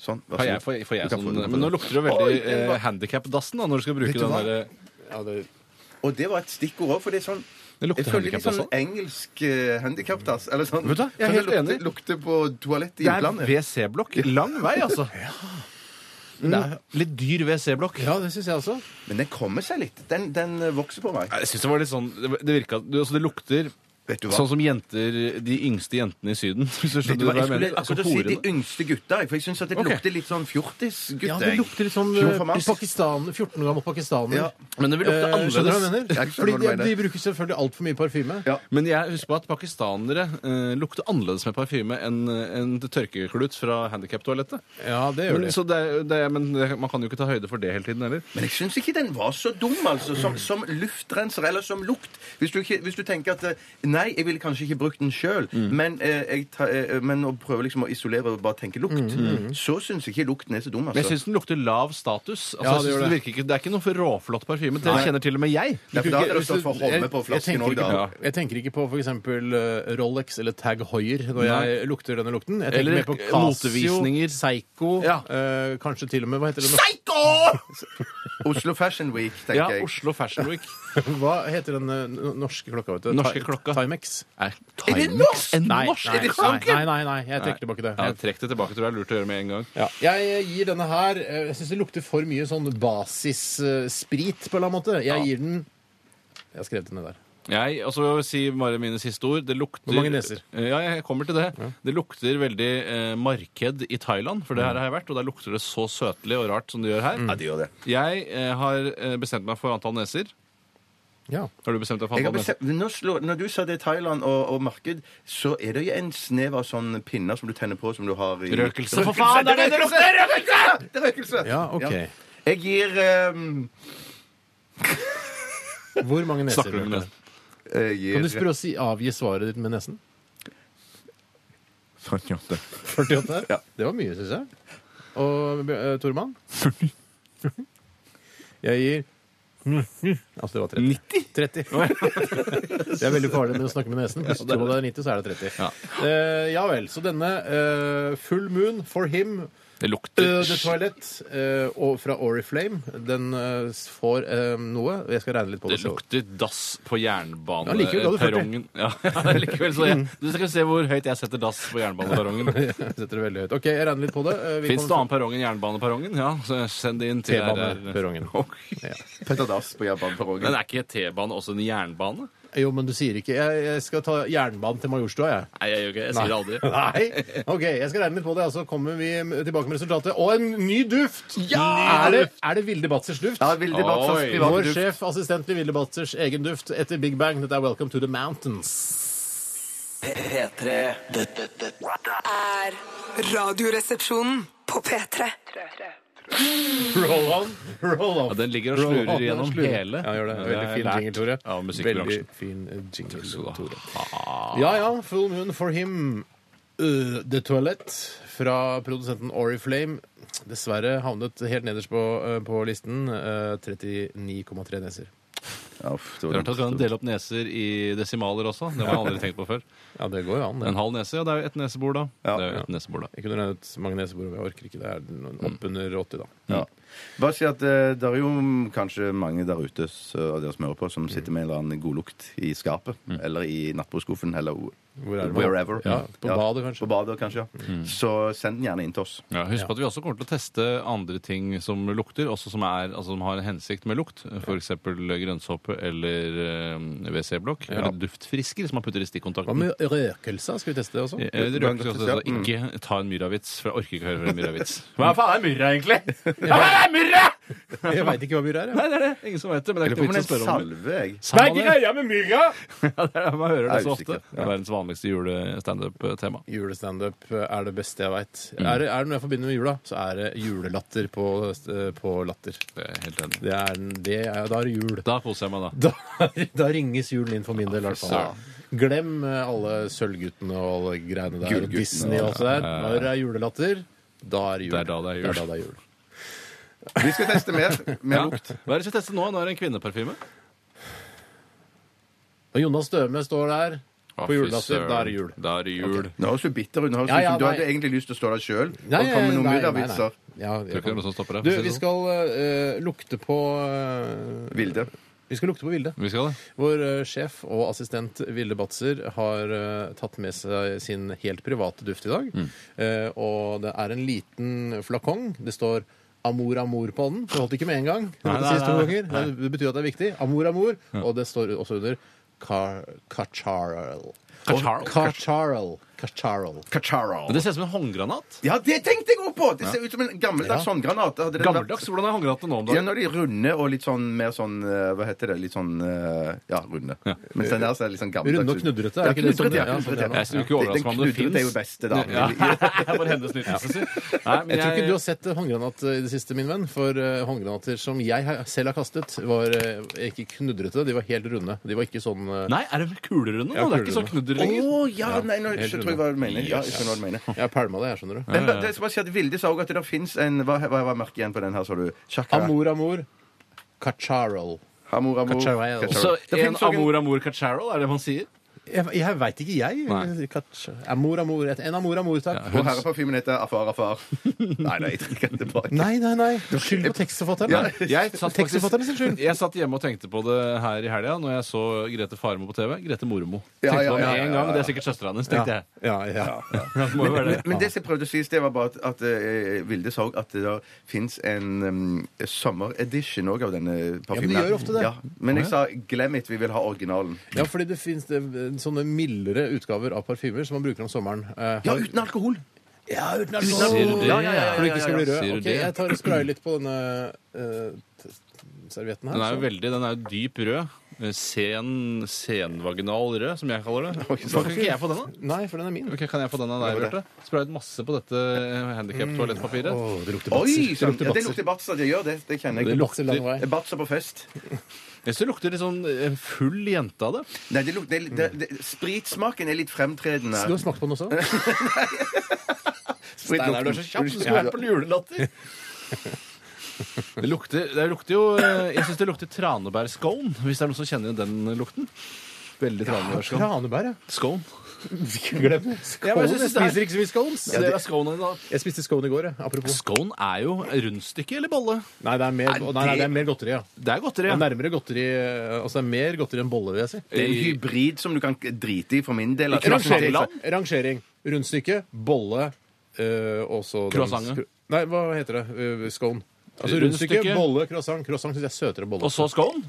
Sånn. Vær
Har
så
jeg,
god.
får, får jeg
Du kan få
sånn,
den, du kan få
men nå
den.
lukter det
Oi,
veldig
den
eh,
var-
handikap-dassen da, når du skal bruke
Vet du
den eh,
hva?
derre
Ja, det,
Og det var et stikkord òg, for det er sånn
Det lukter
Jeg føler litt
handicap
sånn
også.
engelsk uh, handikapdass. Eller sånn.
Vet du hva? Jeg
Sånn
er helt
det lukter,
enig.
Lukter på toalettet i
Det er
utlandet.
WC-blokk. Lang vei, altså. Mm. Litt dyr WC-blokk.
ja, det syns jeg også.
Men den kommer seg litt. Den, den eh, vokser på meg.
Jeg synes Det var litt sånn, det det virka, du- altså det lukter
Vet du hva?
Sånn som jenter, de yngste jentene i Syden. Hvis du
Vet du
skjønner
hva,
hva
jeg
jeg
skulle
mener.
akkurat
Altså,
si de
horene.
yngste gutta, jeg, for jeg syns at det
Ok.
lukter litt sånn fjortisgutt.
Ja, det lukter litt sånn
Sure
eh,
for mass.
Pakistan, 14 år gammel pakistaner.
Ja.
Men det vil
Eh, skjønner du hva jeg
lukte annerledes.
mener?
Jeg skjønner
Fordi
hva du
de,
mener.
de bruker selvfølgelig altfor mye parfyme.
Ja.
Men jeg husker på at pakistanere eh, lukter annerledes med parfyme enn en tørkeklut fra handikaptoalettet.
Ja, det gjør
Men,
de.
så det, er- det, er- men det, man kan jo ikke ta høyde for det hele tiden heller.
Men jeg syns ikke den var så dum, altså. Som, som luftrenser eller som lukt. Hvis du, ikke, hvis du tenker at eh, Nei, jeg ville kanskje ikke brukt den sjøl,
Mm.
men, eh, jeg ta- eh, men å prøve liksom å isolere og bare tenke lukt, så syns jeg ikke lukten er så dum,
Men Mm, jeg
altså.
syns den lukter lav status.
Ja,
Altså,
det
jeg synes
gjør
det,
det.
virker ikke, det er ikke noe for råflott parfyme. Det kjenner til og med jeg.
Ja, for da hadde det
Hvis du-
stått for Holme på
jeg
flasken
tenker
òg, da.
ikke på- Jeg tenker ikke på f.eks. Rolex eller Tag Hoier når jeg lukter denne lukten. Jeg tenker
Eller
mer
eh,
på
motevisninger.
Casio, Psycho,
Ja.
eh, kanskje til og med Hva heter det nå?
Psycho! Oslo Fashion Week, tenker
Ja,
jeg.
Oslo Fashion Week.
Hva heter den eh, no- norske klokka? Vet du? Ti-
Norske klokka.
Timex?
Er
det
Timex
norsk?
en
Nei,
norsk?
nei,
Er det
nei,
sant?
nei, nei, nei, jeg trekker tilbake det.
Ja, trekk det tilbake, tror jeg er lurt å gjøre med en gang.
Ja. Jeg gir denne her eh, Jeg syns det lukter for mye sånn basissprit, på en eller annen måte. Jeg
Ja.
gir den Jeg har skrevet den ned der.
Jeg, altså jeg vil si bare mine siste ord. Det lukter
Hvor mange neser?
Ja, jeg kommer til det. Det lukter veldig eh, marked i Thailand, for det her har jeg vært, og der lukter det så søtlig og rart som det gjør her.
Ja, det gjør det.
Jeg eh, har eh, bestemt meg for antall neser.
Ja.
Har du bestemt deg for
Jeg har
antall neser?
bestemt, når, slår, når du sa det er Thailand og, og marked, så er det jo en snev av sånne pinner som du tenner på som du har i
Røkelse, for faen! Det er det det lukter!
Røkelse! Det er røkelse!
Ja, ok.
Jeg gir ehm,
Hvor mange neser?
Snakker du med
Bjarte?
nesen?
eh, Jeg gir
Kan du spørre oss i avgi svaret ditt med nesen?
48.
48? Det var mye, syns jeg. Og uh, Tormann? Jeg gir Altså, det var 30. 30. det er veldig farlig med å snakke med nesen. Hvis du tror det er 90, så er det 30. Ja, ja vel. Så denne eh, Full Moon for Him
Det
Uh,
lukter
The Toilet eh, og fra Oriflame. Den eh, får eh, noe. Jeg skal regne litt på
Det
det. selv.
lukter dass på
Ja, likevel ga du Mm. 40.
jernbaneperrongen. Ja, ja, likevel. Så jeg, du skal se hvor høyt jeg setter dass på jernbaneperrongen.
Jeg setter det veldig høyt. OK, jeg regner litt på det. Eh, vi
Fins det
kommer-
annen perrong enn jernbaneperrongen? Ja, så send det inn til
T-baneperrongen.
Petter Dass på
Men
jernbaneperrongen.
er ikke T-bane også en jernbane?
Jo, men du sier ikke Jeg, jeg skal ta jernbanen til Majorstua, jeg.
Nei, jeg gjør ikke det. Jeg sier det aldri.
Nei? OK, jeg skal regne litt på det, og så kommer vi tilbake med resultatet. Og en ny duft! Er det, er det Vilde Batzers duft?
Ja, Vilde Batzers
Oi.
private
Vår
duft.
sjef, assistent til Vilde Batzers egen duft etter Big Bang. Dette er Welcome to the Mountains.
P3. Dette, dette
er Radioresepsjonen på P3.
Roll on, roll off.
Ja, den ligger og
Roll
slurer
off, den
gjennom
slurer.
hele.
Ja, gjør det. Veldig
er
fin
lært
jingle, Tore.
av musikkbransjen.
Veldig fin eh, jingle,
skal du ha.
Tore. Ja ja, Full Moon for Him. Uh, The Toilet fra produsenten Oriflame. Dessverre havnet helt nederst på, uh, på listen. Uh, 39,3 neser.
Ja, uff, det var
Rart at vi kan
dumt.
dele opp neser i desimaler også. Det har jeg aldri tenkt på før.
Ja, det går jo an. det.
En halv nese, ja, det er jo ett nesebor, da.
Ja.
det er jo ett nesebor, da.
Jeg kunne regnet ut mange nesebor, men jeg orker ikke. Det er noen oppunder 80, da.
Ja. Bare si at eh, det er jo kanskje mange der ute så- av dere som hører på, som sitter med en eller annen godlukt i skapet eller i nattbordskuffen eller
Hvor er det?
wherever.
Ja, på badet, kanskje.
På badet, kanskje, ja. Så send den gjerne inn til oss.
Ja, husk på at vi også kommer til å teste andre ting som lukter, også som, er, altså, som har en hensikt med lukt. F.eks. grønnsåpe eller eh, WC-blokk. Eller duftfrisker, som man putter i
Hva
stikkontakten.
med røkelse? Skal vi teste det også?
Eh, det røker seg også, så Ikke ta en myrravits, for jeg orker ikke å høre en myrravits. Mm. Hva faen er myrra, egentlig? Hva er myrra?!
Jeg veit ikke hva myrra er. jeg.
Nei, det er det. Ingen som vet det. Men det er
Eller
ikke noe
kommer det
vits å
en
spørre om det.
salve, jeg?
Veit ikke greia med mygga! ja, det er, man hører det
Jeg er
så ofte.
usikker,
Det er verdens vanligste jule-standup-tema.
Julestandup er det beste jeg veit.
Mm.
Er, det- er det noe jeg forbinder med jula, så er det julelatter på, eh, på latter.
Det er jeg Helt enig.
Det er, den- det er, da er det jul.
Da koser jeg meg, da.
Da, da ringes julen inn for min del. i hvert fall. Glem eh, alle Sølvguttene og alle greiene der. og
Gullguttene,
Disney og alt det der. Når det er julelatter, da er det jul.
Det er da det er jul.
da det er jul.
Vi skal teste mer. mer
Ja.
lukt.
Hva er det vi skal teste nå? Nå er det en kvinneparfyme.
Og Jonas Døme står der på julelatter. Da er det jul.
Da er det jul.
Nå høres du bitter ut. Nå høres
Ja,
det ut
ja,
som du
nei.
hadde egentlig lyst til å stå der sjøl og
Nei,
komme med noen
nei, nei,
middagsvitser.
nei, nei. Ja,
Tror ikke det er noe som stopper deg,
Du,
for å si det
vi
sånn.
skal eh, lukte på eh,
Vilde.
Vi skal lukte på Vilde.
Vi skal det.
Vår eh, sjef og assistent Vilde Batzer har eh, tatt med seg sin helt private duft i dag.
Mm.
Eh, og det er en liten flakong. Det står Amor Amor på den. Det holdt ikke med en gang. Det, måtte
nei,
sies to
nei,
ganger. det betyr at det er viktig. Amor Amor. Og det står også under Car Cacharel.
Cacharel?
Cacharel. Cacharel.
Kacharo.
Men det ser ut som en håndgranat.
Ja, det tenkte jeg òg på! Det ser ut som en gammeldags
Ja.
håndgranat. Hadde den vært-
Gammeldags. Hvordan er håndgranatene nå om
Ja,
dagen?
når de er runde og litt sånn mer sånn eh, Hva heter det? Litt sånn eh, Ja, runde. Mens den der så er litt sånn gammeldags.
Runde og knudrete, er
Ja,
ikke det sånn
knudrete,
det er?
ja, knudrete,
Ja,
ja.
Jeg skulle ikke overraske meg om det
Den knudrete er jo
fins.
beste, da.
Ja. Bare hennes nytelse, si. Nei, men
Jeg tror ikke du har sett eh, håndgranat eh, i det siste, min venn. For eh, håndgranater som jeg har- selv har kastet, var eh, ikke knudrete. De var helt runde. De var ikke sånn eh,
Nei, er det kulerunde? nå?
Ja,
det er
kulerunde.
ikke sånn knudder
Å
lenger.
ja! Nei, nå
helt
jeg tror jeg hva du mener. Ja, jeg skjønner hva du mener.
Jeg har pælma det, jeg, skjønner du.
Men ba- det skal bare si at Vilde sa også at det fins en Hva hva var merket igjen på den her, sa du? Chakra.
Amor, amor. Cacharel.
Amor, amor.
Cacharel.
Cacharel.
Så
Det
en
finnes
sånn-
også en-
amor amor cacharol, er det man sier?
Jeg, jeg veit ikke,
Nei.
jeg. Cacha- Amor, amor. Et- En amor, amor, takk.
Og herreparfymen heter Afar Afar. Nei, nei, jeg trekker den tilbake.
Nei, nei, nei. Skyld på tekstforfatteren. da.
Jeg satt,
Tekstforfatteren sin skyld.
faktisk, jeg satt hjemme og tenkte på det her i helga når jeg så Grete Farmo på TV. Grete Mormo.
Ja, ja,
Tenkte på
ja,
det med
ja,
en
ja,
gang,
ja.
Det er sikkert søstera hennes, tenkte jeg.
Ja, ja.
Det må jo være det.
Men det som jeg prøvde å si, det var bare at, at eh, Vilde sa også at det fins en um, sommeredition òg av denne
Ja, men
parfymen.
de gjør ofte det.
Ja, men jeg sa 'glem it, vi vil ha originalen'.
ja fordi det fins sånne mildere utgaver av parfymer som man bruker om sommeren. Eh,
Ja, uten alkohol!
Ja, uten
alkohol. Sier du det?
Ja, ja, ja, ja, For du ikke skal bli
Sier
rød.
du
Ok,
det?
jeg tar og sprayer litt på denne eh, t- servietten her.
Den er jo
så.
veldig, den er jo dyp rød. Eh, Sen, senvaginal rød, som jeg kaller det. Kan ikke jeg få den, da?
Nei, for den er min.
Ok, Kan jeg få den av deg, Bjarte? Sprayet masse på dette eh, Mm. handikap-toalettpapiret.
Åh, det lukter
Oi!
batser.
Sånn.
Det
Ja,
lukter
det
batser.
lukter batser, det gjør det. Det kjenner
Det
jeg.
lukter lang vei.
Det er Batser på fest.
Jeg syns det lukter litt sånn eh, full jente av det.
Nei, det lukter, det, det, det, spritsmaken er litt fremtredende.
Du har smakt på den også?
Sprit
Steinar, du er så kjapp, så skulle vært på julelatter. Det lukter, det lukter jo eh, Jeg syns det lukter tranebærscone, hvis det er noen som kjenner den lukten. Veldig tranebærscone.
Tranebær, ja.
Scone.
Glem det.
Ja, men
Scones.
jeg synes
Jeg
det er-
spiser ikke så mye scones.
Ja, det er scone da.
Jeg spiste scone i går, jeg. Apropos.
Scone er jo rundstykke eller bolle.
Nei, det er mer, nei, nei, det er mer godteri, ja.
Det er godteri.
Det er
Ja.
nærmere godteri eh, Altså det er mer godteri enn bolle, vil jeg si.
Det er en hybrid som du kan drite i for min del. Altså,
Rangering.
Rangering. Rangering. Rundstykke, bolle eh, og så den-
Croissantet.
Nei, hva heter det? Eh, Scone. Altså
Rundstykke.
rundstykke, bolle, croissant. Croissant syns jeg er søtere enn bolle.
Og så scone.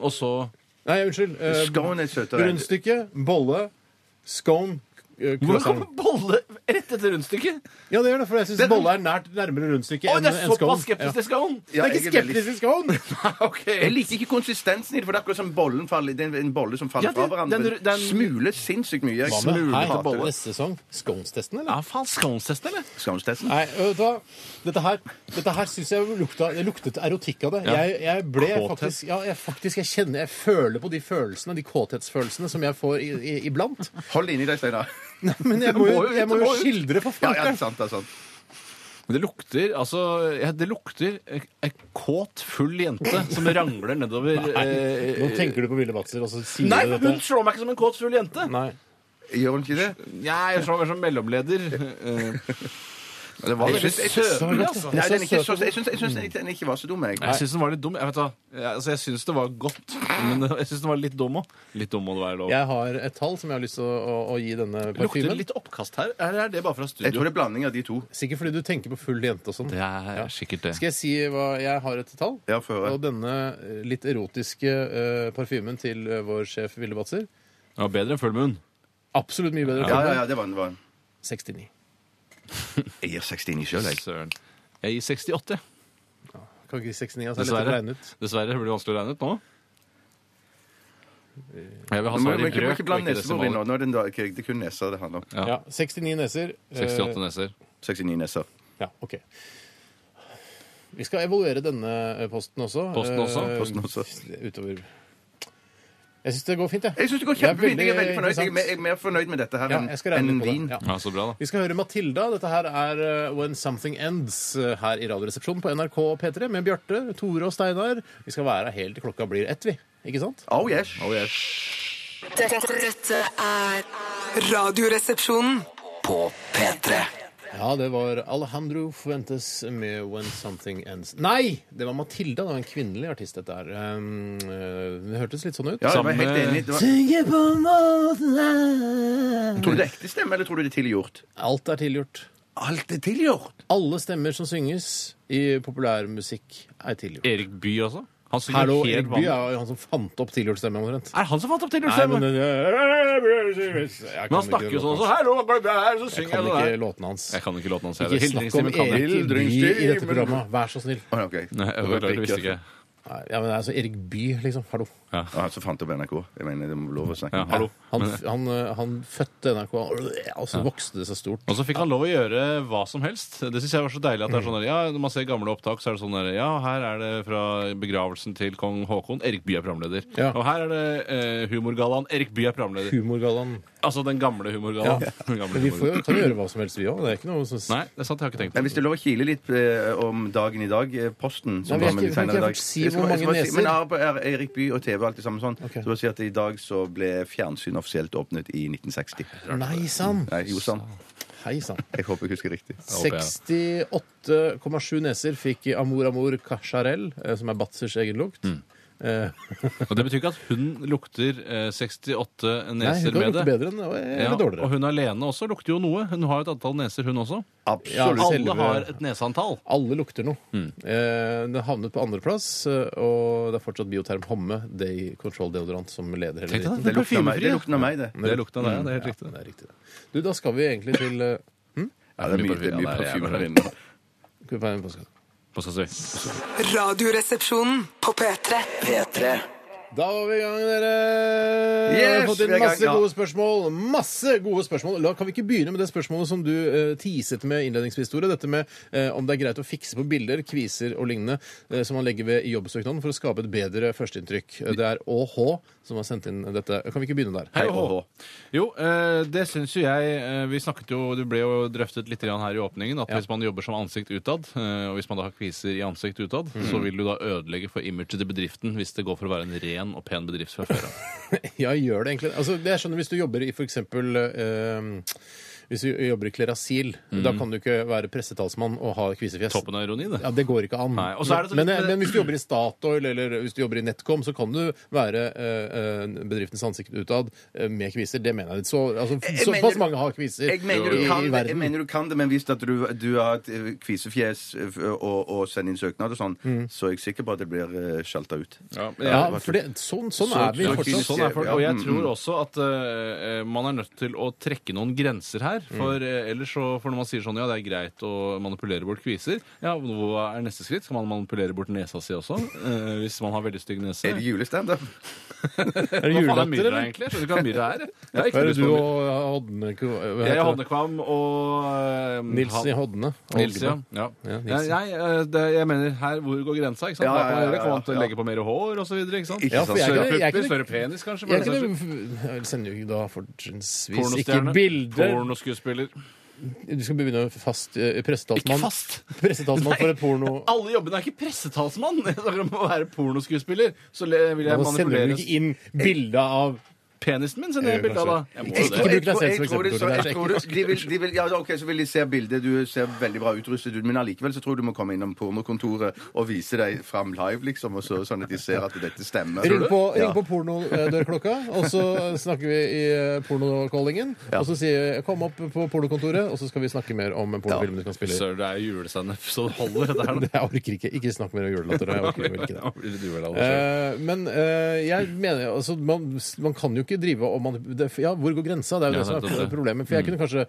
Og så
Nei, unnskyld. eh,
Scone er søtere.
rundstykke, bolle, scone, eh,
Hvor
croissant.
kommer bolle rett etter rundstykket?
Ja, det gjør det, for jeg syns
Det-
bolle er nært nærmere rundstykke
Oi,
enn
det er
enn scone.
såpass skeptisk til scone!
Ja.
Ja,
det er
jeg
ikke
er veldig-
skeptisk til scone!
Ok.
Jeg liker ikke konsistensen i det, for det er akkurat som bollen faller, det er en- en bolle som faller
Ja, det-
fra hverandre.
den- den-
Smuler sinnssykt mye. Jeg
Hva med
smuler
her?
hater
bolle
det.
neste sesong? Scones-testen, eller?
Ja, faen, scones-testen, eller?
Skamstesten?
Nei, vet du hva? Dette her, dette her syns jeg lukta, det luktet erotikk av det. Jeg, jeg ble
Kåthet.
faktisk Ja, jeg faktisk, jeg kjenner Jeg føler på de følelsene, de kåthetsfølelsene, som jeg får i, i, iblant.
Hold det inni deg, Steinar.
Nei, men jeg må jo,
Det må jo ut,
jeg må
det
jo
må ut.
skildre, for
Ja, ja, det er
faen!
sant, det er sant.
Men Det lukter altså ja, Det lukter ei kåt, full jente som rangler nedover eh,
Nå tenker du på Ville Batzer, og så sier
Nei,
du
for
dette.
hun slår meg ikke som en kåt, full jente!
Nei.
Gjør hun ikke det?
Nei, jeg slår meg som mellomleder. Eh,
Men det var
Jeg
veldig
syns- jeg
søt.
syns-
godt,
altså.
Nei, den er ikke
Så søt og
så, jeg syns- jeg syns den ikke- den ikke var så dum, jeg.
Jeg syns den var litt dum. Jeg, vet, da, jeg, altså, jeg syns det var godt, men jeg syns den var litt dum òg. Litt dum må det være lov.
Jeg har et tall som jeg har lyst til å, å, å gi denne
Lukter det
parfymen.
litt oppkast her, eller er det bare fra
Jeg tror
studio?
det er blanding av de to.
Sikkert fordi du tenker på full jente og sånn.
Det er sikkert det.
Skal jeg si hva jeg har et tall?
Ja, få høre.
Og denne eh, litt erotiske eh, parfymen til eh, vår sjef Ville Batzer
Ja, bedre enn full munn.
Absolutt mye bedre.
Ja, ja, ja, det var den. var den.
69.
Jeg gir 69 sjøl, jeg.
Søren. Jeg gir 68.
Kan ikke 69, altså. Det er lett å
Dessverre.
regne ut.
Dessverre blir det vanskelig å regne ut nå. Jeg vil ha
Nå må må
svar i
ikke, må ikke
brøk og
blande
ikke
nesebor inn nå.
desimaler.
Nå er det en dag- Det er kun neser det handler om.
Ja.
Ja, 69 neser. eh,
68 neser.
69 neser.
Ja, ok. Vi skal evaluere denne eh, posten også.
Posten også?
eh,
Posten også.
Utover Jeg syns det går fint, jeg.
Jeg syns det går
Det er
kjempefint. Jeg er
veldig
veldig fornøyd. Jeg er mer,
interessant.
jeg er mer fornøyd med dette her
Ja,
enn
jeg skal regne
enn
litt på
vin.
det. Ja.
Ja, så bra, da.
Vi skal høre Matilda. Dette her er eh, When Something Ends eh, her i Radioresepsjonen på NRK P3 med Bjarte, Tore og Steinar. Vi skal være her helt til klokka blir ett, vi. Ikke sant?
Oh yes.
Oh, yes.
Dette, dette er Radioresepsjonen.
På P3.
Ja, det var Alejandro Fuentes med When Something Ends. Nei! Det var Matilda. Det var en kvinnelig artist, dette her. Um, eh, det hørtes litt sånn ut.
Ja, jeg var
Samme-
helt enig. Det var,
Tenker på måten
tror du det er ekte stemme, eller tror du det er tilgjort?
Alt er tilgjort.
Eh, Alt er tilgjort!
Alle stemmer som synges i populærmusikk, er tilgjort.
Erik Bye også. Han synger
Hallo
helt
Egby
vanlig.
er jo han som fant opp tilhjulsstemme, omtrent.
Er det han som fant opp
Nei,
tilhjulsstemmen?
men, eh,
Men, men han snakker jo sånn også. Hallo, går det bra her? Så
Jeg
synger
kan
jeg det
ikke
der.
låtene hans.
Jeg kan ikke låten hans.
Ikke snakk om
kan jeg.
Erik By i dette programmet, vær så snill.
Å, ok.
Nei, jeg
Det var
beklager, visste ikke.
Nei, Ja, men altså, Erik By, liksom. Hallo.
Og han som fant opp NRK. Jeg mener, det må lov å snakke
Ja,
om.
hallo.
Han,
Men-
han, eh, han fødte NRK, og så vokste det seg stort.
Og så fikk han lov å gjøre hva som helst. Det syns jeg var så deilig. at det
Mm.
er sånn der, ja, Når man ser gamle opptak, så er det sånn der, ja, her er det fra begravelsen til kong Haakon. Erik Bye er programleder.
Ja.
Og her er det eh, humorgallaen. Erik Bye er programleder.
Humorgallaen.
Altså den gamle humorgallaen. Den gamle
Men vi får
humorgallaen.
jo kan jo gjøre hva som helst, vi òg. Det er ikke noe som
Nei, det er sant. Jeg har ikke tenkt
Men
på
hvis
det.
det er lov å kile litt eh, om dagen i dag, eh, Posten
Nei,
som
vi er ikke-
var med litt
vi kan
senere i
ikke
dag.
si
Jeg skal
hvor mange
bare- jeg skal bare
neser.
si- Men Arbe- er- Erik Bye og TV og alt det samme sånn.
Ok.
Så bare si at i dag så ble fjernsyn offisielt åpnet i 1960.
Nei sann!
Nei, jo sann.
Hei sann.
Jeg håper jeg husker riktig.
håper jeg.
68,7 neser fikk i Amour Amour Cacharel, eh, som er Batzers egen lukt.
Mm.
Eh,
Og Det betyr ikke at hun lukter eh, 68
Nei, hun
neser
kan
med
lukte
det.
bedre enn, eller
Ja, og
dårligere.
hun alene også lukter jo noe. Hun har et antall neser, hun også.
Ja,
Absolutt.
Alle
selve-
har et neseantall.
Alle lukter noe.
Mm.
Eh, den havnet på andreplass, eh, og det er fortsatt Bioterm Homme Day Control Deodorant som leder hele
Tenk deg
dritten.
det.
Det lukter av meg, det.
Parfymefri,
Lukten av meg, det.
Det lukta det, det er helt riktig.
Ja, det er riktig. det. Du, da skal vi egentlig til eh,
Ja, det er mye, det er
Ja,
mye
det er
parfyme
jævla-
her inne.
skal vi på en påske?
Hva skal jeg si?
Radioresepsjonen på P3.
P3.
Da var vi i gang, dere! Vi har
Yes,
fått
vi
inn
er i gang,
masse
ja.
gode spørsmål. Masse gode spørsmål. La, kan vi ikke begynne med det spørsmålet som du eh, teaset med innledningsvis, Tore? Dette med eh, om det er greit å fikse på bilder, kviser og lignende eh, som man legger ved i jobbsøknaden for å skape et bedre førsteinntrykk. Eh, Det er ÅH som har sendt inn dette. Kan vi ikke begynne der?
Hei, Hå. Jo, eh, det syns jo jeg eh, Vi snakket jo, Det ble jo drøftet litt grann her i åpningen at hvis man jobber som ansikt utad, eh, og hvis man da har kviser i ansikt utad, så vil du da ødelegge for imaget til bedriften hvis det går for å være en ren og pen bedrift fra før av.
Ja, gjør det egentlig. Altså, jeg skjønner hvis du jobber i for eksempel eh, hvis du jobber i Klerasil,
Mm.
da kan du ikke være pressetalsmann og ha kvisefjes.
Toppen av ironi, det.
Ja, Det går ikke an.
Nei, og så er det så
men, eh,
litt-
men, men hvis du jobber i Statoil eller hvis du jobber i NetCom, så kan du være eh, eh, bedriftens ansikt utad eh, med kviser. Det mener jeg. Så, altså,
Jeg
såpass
mener-
mange har kviser
Jeg mener,
i,
du
i
kan, det, jeg
verden.
mener du kan det, men hvis at du, du har et eh, kvisefjes eh, og, og sender inn søknad og sånn, så er jeg sikker på at det blir eh, sjalta ut.
Ja,
Mm. ja, for det, sånn, sånn
Så-
er vi
ja,
fortsatt.
Sånn er folk, og
Ja,
jeg
mm,
tror også at eh, man er nødt til å trekke noen grenser her. For eh, ellers så, for når man sier sånn ja, det er greit å manipulere bort kviser, ja, hva er neste skritt? Skal man manipulere bort nesa si også? Eh, hvis man har veldig stygg nese?
Er det julestandup?
Er det
Hva faen er
julelatter,
myra,
eller?
egentlig? Jeg skjønner ikke hva myra er. jeg. Jeg har
Hva
ikke
er det
lyst
du
på myra.
og Hodne hva
Jeg er
heter det?
Hodnekvam og eh,
Nils
han-
i Hodne.
Nils, ja. ja.
Ja, Nils,
Nei,
ja.
nei, eh, det, jeg mener, her hvor går grensa? ikke sant?
Ja,
Hva kan man
ja,
gjøre?
ja,
Kan man
ja.
legge på mer hår osv.?
Ikke Ja, for sant? jeg
Større
kunne- jeg
pupper,
kunne-
større penis, kanskje? for
Jeg
den saks skyld.
kunne- jeg sender jo da fortrinnsvis ikke
Pornostjerne.
bilder.
Pornoskuespiller.
Du skal begynne fast eh,
Ikke
pressetalsmann.
fast!
Pressetalsmann for et porno...
Alle jobbene er ikke pressetalsmann! Jeg snakker om å være pornoskuespiller. Så le- vil jeg
Da sender du
manipulere
ikke inn bilde av
penisen min, sender jeg
Eh,
bilde av da.
kanskje.
Jeg må
Ikke
jo det.
bruk deg selv som
Jeg tror
eksempel,
det-
Tore. Det er så
jeg tror det- de vil- de vil- Ja, OK, så vil de se bildet. Du ser veldig bra utrustet ut, men allikevel så tror jeg du må komme innom pornokontoret og vise deg fram live, liksom, og så, sånn at de ser at dette stemmer.
Ring på,
Ja.
ring på pornodørklokka, og så snakker vi i eh, pornokallingen. Og så sier jeg 'kom opp på pornokontoret', og så skal vi snakke mer om pornofilmen du kan spille. i.
Sir, det er jo julestandup, så det holder, dette her. da.
Jeg orker ikke. Ikke snakk mer om julelatter. Jeg orker vel ikke det.
Du vil aldri se.
Eh, men eh, jeg mener jo, altså, man, man kan jo ikke drive og man, det, Ja, hvor går grensa? Det er jo
Ja,
det som
nettopp
er
det. Mm.
problemet. For jeg kunne kanskje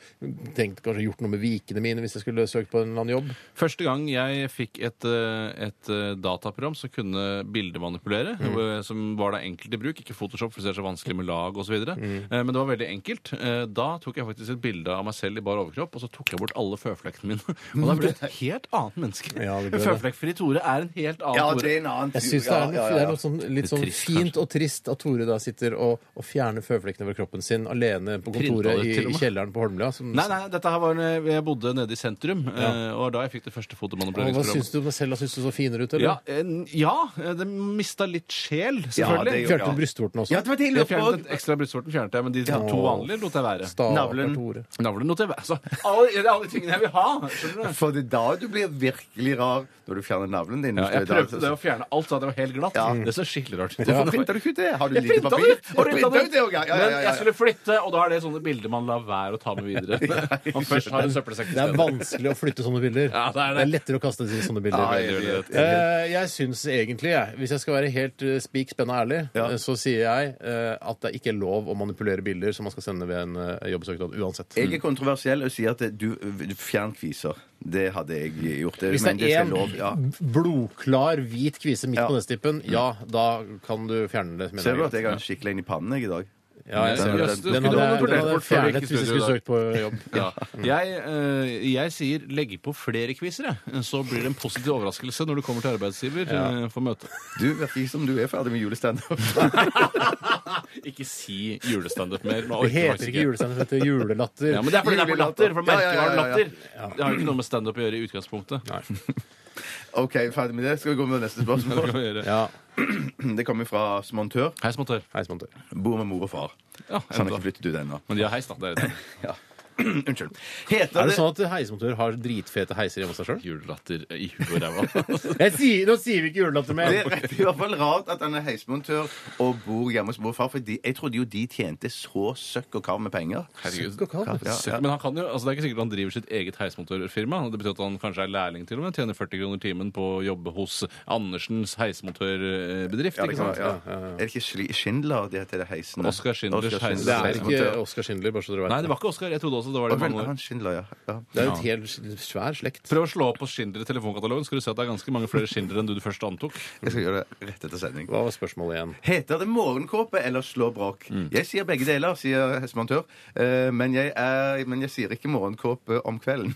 tenkt kanskje gjort noe med vikene mine hvis jeg skulle søkt på en eller annen jobb.
Første gang jeg fikk et, eh, et eh, dataprogram som kunne bildemanipulere,
Mm.
eh, som var da enkelt i bruk, ikke Photoshop, for det er så vanskelig med lag osv., mm. men det var veldig enkelt. Eh, Da tok jeg faktisk et bilde av meg selv i bar overkropp, og så tok jeg bort alle føflekkene mine. Og da ble jeg et helt annet menneske.
Ja, det ble det.
Føflekkfri Tore er en helt annen
Ja, det
Tore.
er en annen
Jeg syns det er, noe, det er noe sånn, litt
Litt
sånn
trist,
fint
kanskje.
og trist at Tore da sitter og, og fjerner føflekkene fra kroppen sin alene på kontoret
Printa det
i,
til og
i
med.
kjelleren på Holmlia. Som,
Nei, nei, dette her var når jeg bodde nede i sentrum, eh, og da jeg fikk det første
Og hva
fotomanipuleringsprogrammet.
syns du om deg selv? da? Syns du så finere ut,
Ja,
eller?
en- ja, eh, det mista litt sjel, selvfølgelig.
det gjorde-
Fjernet du
ja.
brystvorten også?
Ja, det var det jeg
jeg
lurte på.
fjernet den ekstra brystvorten, fjernet jeg, men de to vanlige lot jeg være.
Stakkar
Navlen.
Tore.
Navlen lot jeg være. Altså, alle, det er alle tingene jeg vil ha. skjønner du?
For det er da du blir virkelig rar, når du fjerner navlen din.
Ja,
Hvis du er
jeg
da-
prøvde det å fjerne alt, så det var helt glatt. Det ser skikkelig rart ut.
Hvorfor printer du ikke ut det? Har du
Jeg
lite
printa det!
papir?
Og printa det
ut, det òg, ja. Ja, ja, ja, ja.
Men jeg skulle flytte, og da er det sånne bilder man lar være å ta med videre. Man først har en søppelsekk
Det er vanskelig å flytte sånne bilder.
Ja, det er det.
det er lettere å kaste i sånne bilder.
Ja, jeg vet,
Eh, jeg syns egentlig, jeg, hvis jeg skal være helt eh, spik spenna ærlig,
Ja.
eh, så sier jeg eh, at det ikke er lov å manipulere bilder som man skal sende ved en eh, jobbsøknad uansett.
Jeg er kontroversiell og sier at du du- fjern kviser. Det hadde jeg gjort.
Hvis
men
det er
skal lov, ja.
én blodklar hvit kvise midt
Ja.
på nestippen, ja, da kan du fjerne det. mener
Ser du at
jeg.
jeg har en skikkelig en i pannen jeg, i dag?
Ja, jeg ser det.
Jøss, du
Den
skulle
hadde jeg-
manipulert
den hadde jeg
bort før vi
fjernet
gikk i
hvis jeg
studio
skulle
i dag.
søkt på jobb.
Ja. Jeg, eh, jeg sier legg på flere quizer, jeg. så blir det en positiv overraskelse når du kommer til arbeidsgiver eh, for møte.
Du virker ikke som du er ferdig med julestandup.
Ikke si julestandup mer. Nå
Det
orker jeg
heter
faktisk
ikke julestemning, det heter julelatter.
Ja, men det er fordi det er på latter. For
Ja, ja, ja,
merkevaren
ja, ja.
latter. Det har jo ikke noe med standup å gjøre i utgangspunktet.
OK, ferdig med det. Skal vi gå med neste
Det kan
spørsmål?
vi gjøre.
Ja.
Det kommer fra Smontør.
Heis, montør.
Heis, montør.
Bor med mor og far.
Ja,
Så han har
enda.
ikke flyttet ut ennå.
Men de har heis, da. Det er det.
Unnskyld. Heter
Er det sånn at heismontører har dritfete heiser hjemme hos seg sjøl?
Julelatter i huet og ræva.
Nå sier vi ikke julelatter
Det
mer.
er i hvert fall rart at han er heismontør og bor hjemme hos mor og far. For de, jeg trodde jo de tjente så søkk og kar med penger.
Herregud.
Gå kald.
Ja, ja.
Men han kan jo, altså det er ikke sikkert han driver sitt eget heismontørfirma. Det betyr at han kanskje er lærling til og med. Tjener 40 kroner timen på å jobbe hos Andersens heismontørbedrift.
Ja, det
ikke
kan
sant?
være, ja. Er det ikke Schli- Schindler det heter det heisen?
Oskar Schindlers heis.
Det er ikke Oskar Schindler, bare så dere
Nei,
vet
det var ikke Oskar. Jeg trodde også det var det i mange år.
Han Schindler, ja. ja.
Det er jo et helt svær slekt.
Prøv å slå opp på Schindler i telefonkatalogen, skal du se at det er ganske mange flere Schindler enn du, du først antok.
Jeg skal gjøre det rett etter sending.
Hva var spørsmålet igjen?
Heter det morgenkåpe eller slå brok?
Mm.
Jeg sier begge deler, sier hestemontør. Eh, Men jeg, er, men jeg sier ikke morgenkåpe om kvelden.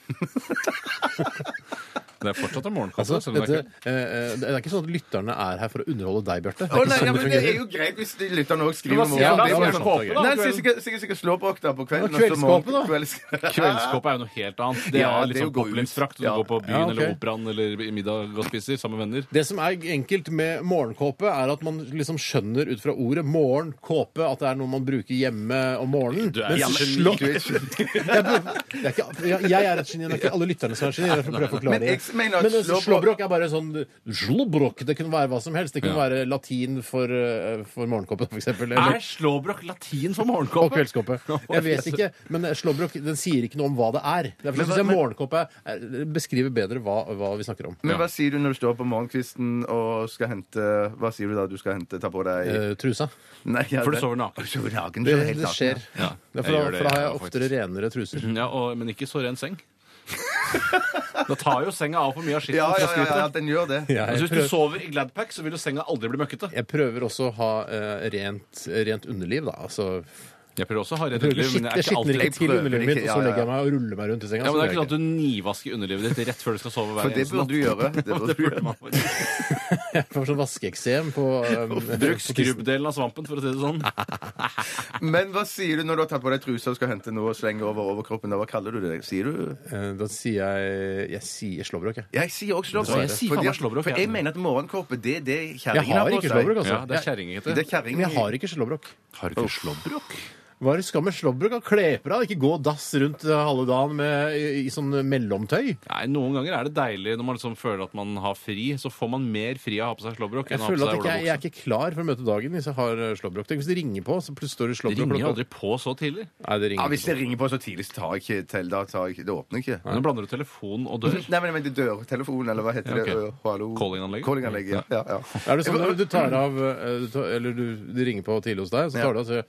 Det er fortsatt en morgenkåpe.
Altså,
selv om Sånn det er
dette,
kveld.
eh, eh, det er ikke sånn at lytterne er her for å underholde deg, Bjarte. Det
Å
er ikke
nei, ja,
sånn det
men Det er
fungerer.
jo greit hvis de lytterne òg
Ja,
skriver
ja,
da,
det var
sier
morgenkåpe.
han
morgenkåpe,
kåpe,
Nei,
da, kvelden.
så sikkert sikkert- sikkert slå brok da på kvelden.
Ja,
og så morgen-
kveldskåpe, da.
kvelds-
Kveldskåpe er jo noe helt annet. Det
Ja,
er
det
litt
er jo
sånn
gå ut.
opplevelsesfrakt. Du
Ja.
går på byen
Ja, ok.
eller operaen eller i middag og spiser sammen med venner.
Det som er enkelt med morgenkåpe, er at man liksom skjønner ut fra ordet morgen, kåpe, at det er noe man bruker hjemme om morgenen.
Du er
Men
hjemme-
slå-
Du er ikke-
Jeg bur- det er ikke, jeg- jeg er et geni, det er ikke alle lytterne som er genier. Jeg får prøve å forklare
Men jeg
det.
mener at
Men eh,
slåbrok-
slåbrok er bare sånn slåbrok. Det kunne være hva som helst. Det kunne
Ja.
være latin for, eh, for morgenkåpe, for eksempel. Eller-
Er slåbrok latin for
Og
morgenkåpe?
kveldskåpe. Jeg vet ikke, men slåbrok den sier ikke noe om hva det er. Derfor
Men hva-
syns jeg
men-
morgenkåpe er- beskriver bedre hva, hva vi snakker om.
Men hva sier du når du står på morgenkvisten og skal hente Hva sier du da du skal hente? Ta på deg
Eh, trusa.
Nei, ja,
For du
det-
sover naken.
Du sover naken. du
Det,
sover helt
det
naken,
skjer.
ja.
Ja,
Ja,
jeg
for, da,
gjør det,
for da har jeg
ja,
oftere
faktisk. Mm.
renere truser.
Ja, og, Men ikke så ren seng. Da tar jo senga av for mye av skitten
Ja,
fra
ja, ja, ja,
skrittet.
den gjør det.
Men
Jeg
Hvis du
prøver,
sover i Gladpack, så vil jo senga aldri bli møkkete.
jeg prøver også å ha eh, rent, rent underliv, da. Altså,
Jeg prøver også å ha rent
jeg
underliv, men jeg er ikke
skitner
alltid
ikke til
prøver
underlivet
ikke,
mitt, og
ja,
så
ja,
legger jeg
ja.
meg og ruller meg rundt i senga.
ja,
så gjør
men Det er ikke
jeg
sånn at du nivasker underlivet ditt rett før du skal
For
sove hver
det
eneste
burde
natt.
du gjøre. Det burde
Det
du
burde
gjøre.
man faktisk.
ikke. Jeg får sånn vaskeeksem på um,
Bruk skrubbdelen av svampen, for å si det sånn.
Men hva sier du når du har tatt på deg trusa og skal hente noe og slenge over overkroppen? da? Hva kaller du det? Sier du
Eh, Da sier jeg Jeg sier slåbrok, jeg.
Jeg sier også slåbrok.
Jeg sier faen
Fordi
meg
at-
slåbrok,
For
jeg.
jeg mener at morgenkåpe, det er det
Jeg
kjerringen
har ikke slåbrok, altså.
Ja, det er kjerringete.
Det er kjerring.
Men jeg har ikke slåbrok.
Har du ikke slåbrok?
Hva er det skal med slåbrok? og Kle på deg, ikke gå dass rundt eh, halve dagen med, i, i sånn mellomtøy.
Nei, Noen ganger er det deilig når man liksom føler at man har fri. Så får man mer fri av å ha på seg slåbrok.
Jeg
enn å ha på
føler at
seg
ikke, jeg, jeg
olabukse.
er ikke klar for å møte dagen hvis jeg har eh, slåbrok. Tenk Hvis det ringer på, så plutselig står det
Det
slåbrok.
ringer
klokka-
aldri på så tidlig.
Nei, det
Ja,
ringer
Hvis
ikke.
det ringer på så tidlig, så tar jeg ikke til. Da tar jeg ikke Det åpner ikke.
Nå blander du telefon og dør.
Nei, men, men det dør. Telefonen, eller hva heter
Ja, ok.
det? Ø, Hallo?
Callinganlegget?
Callinganlegget, ja. ja, ja.
Er det sånn at du tar av eh, du tar, Eller du, det ringer på tidlig hos deg, så
Ja.
tar du av og sier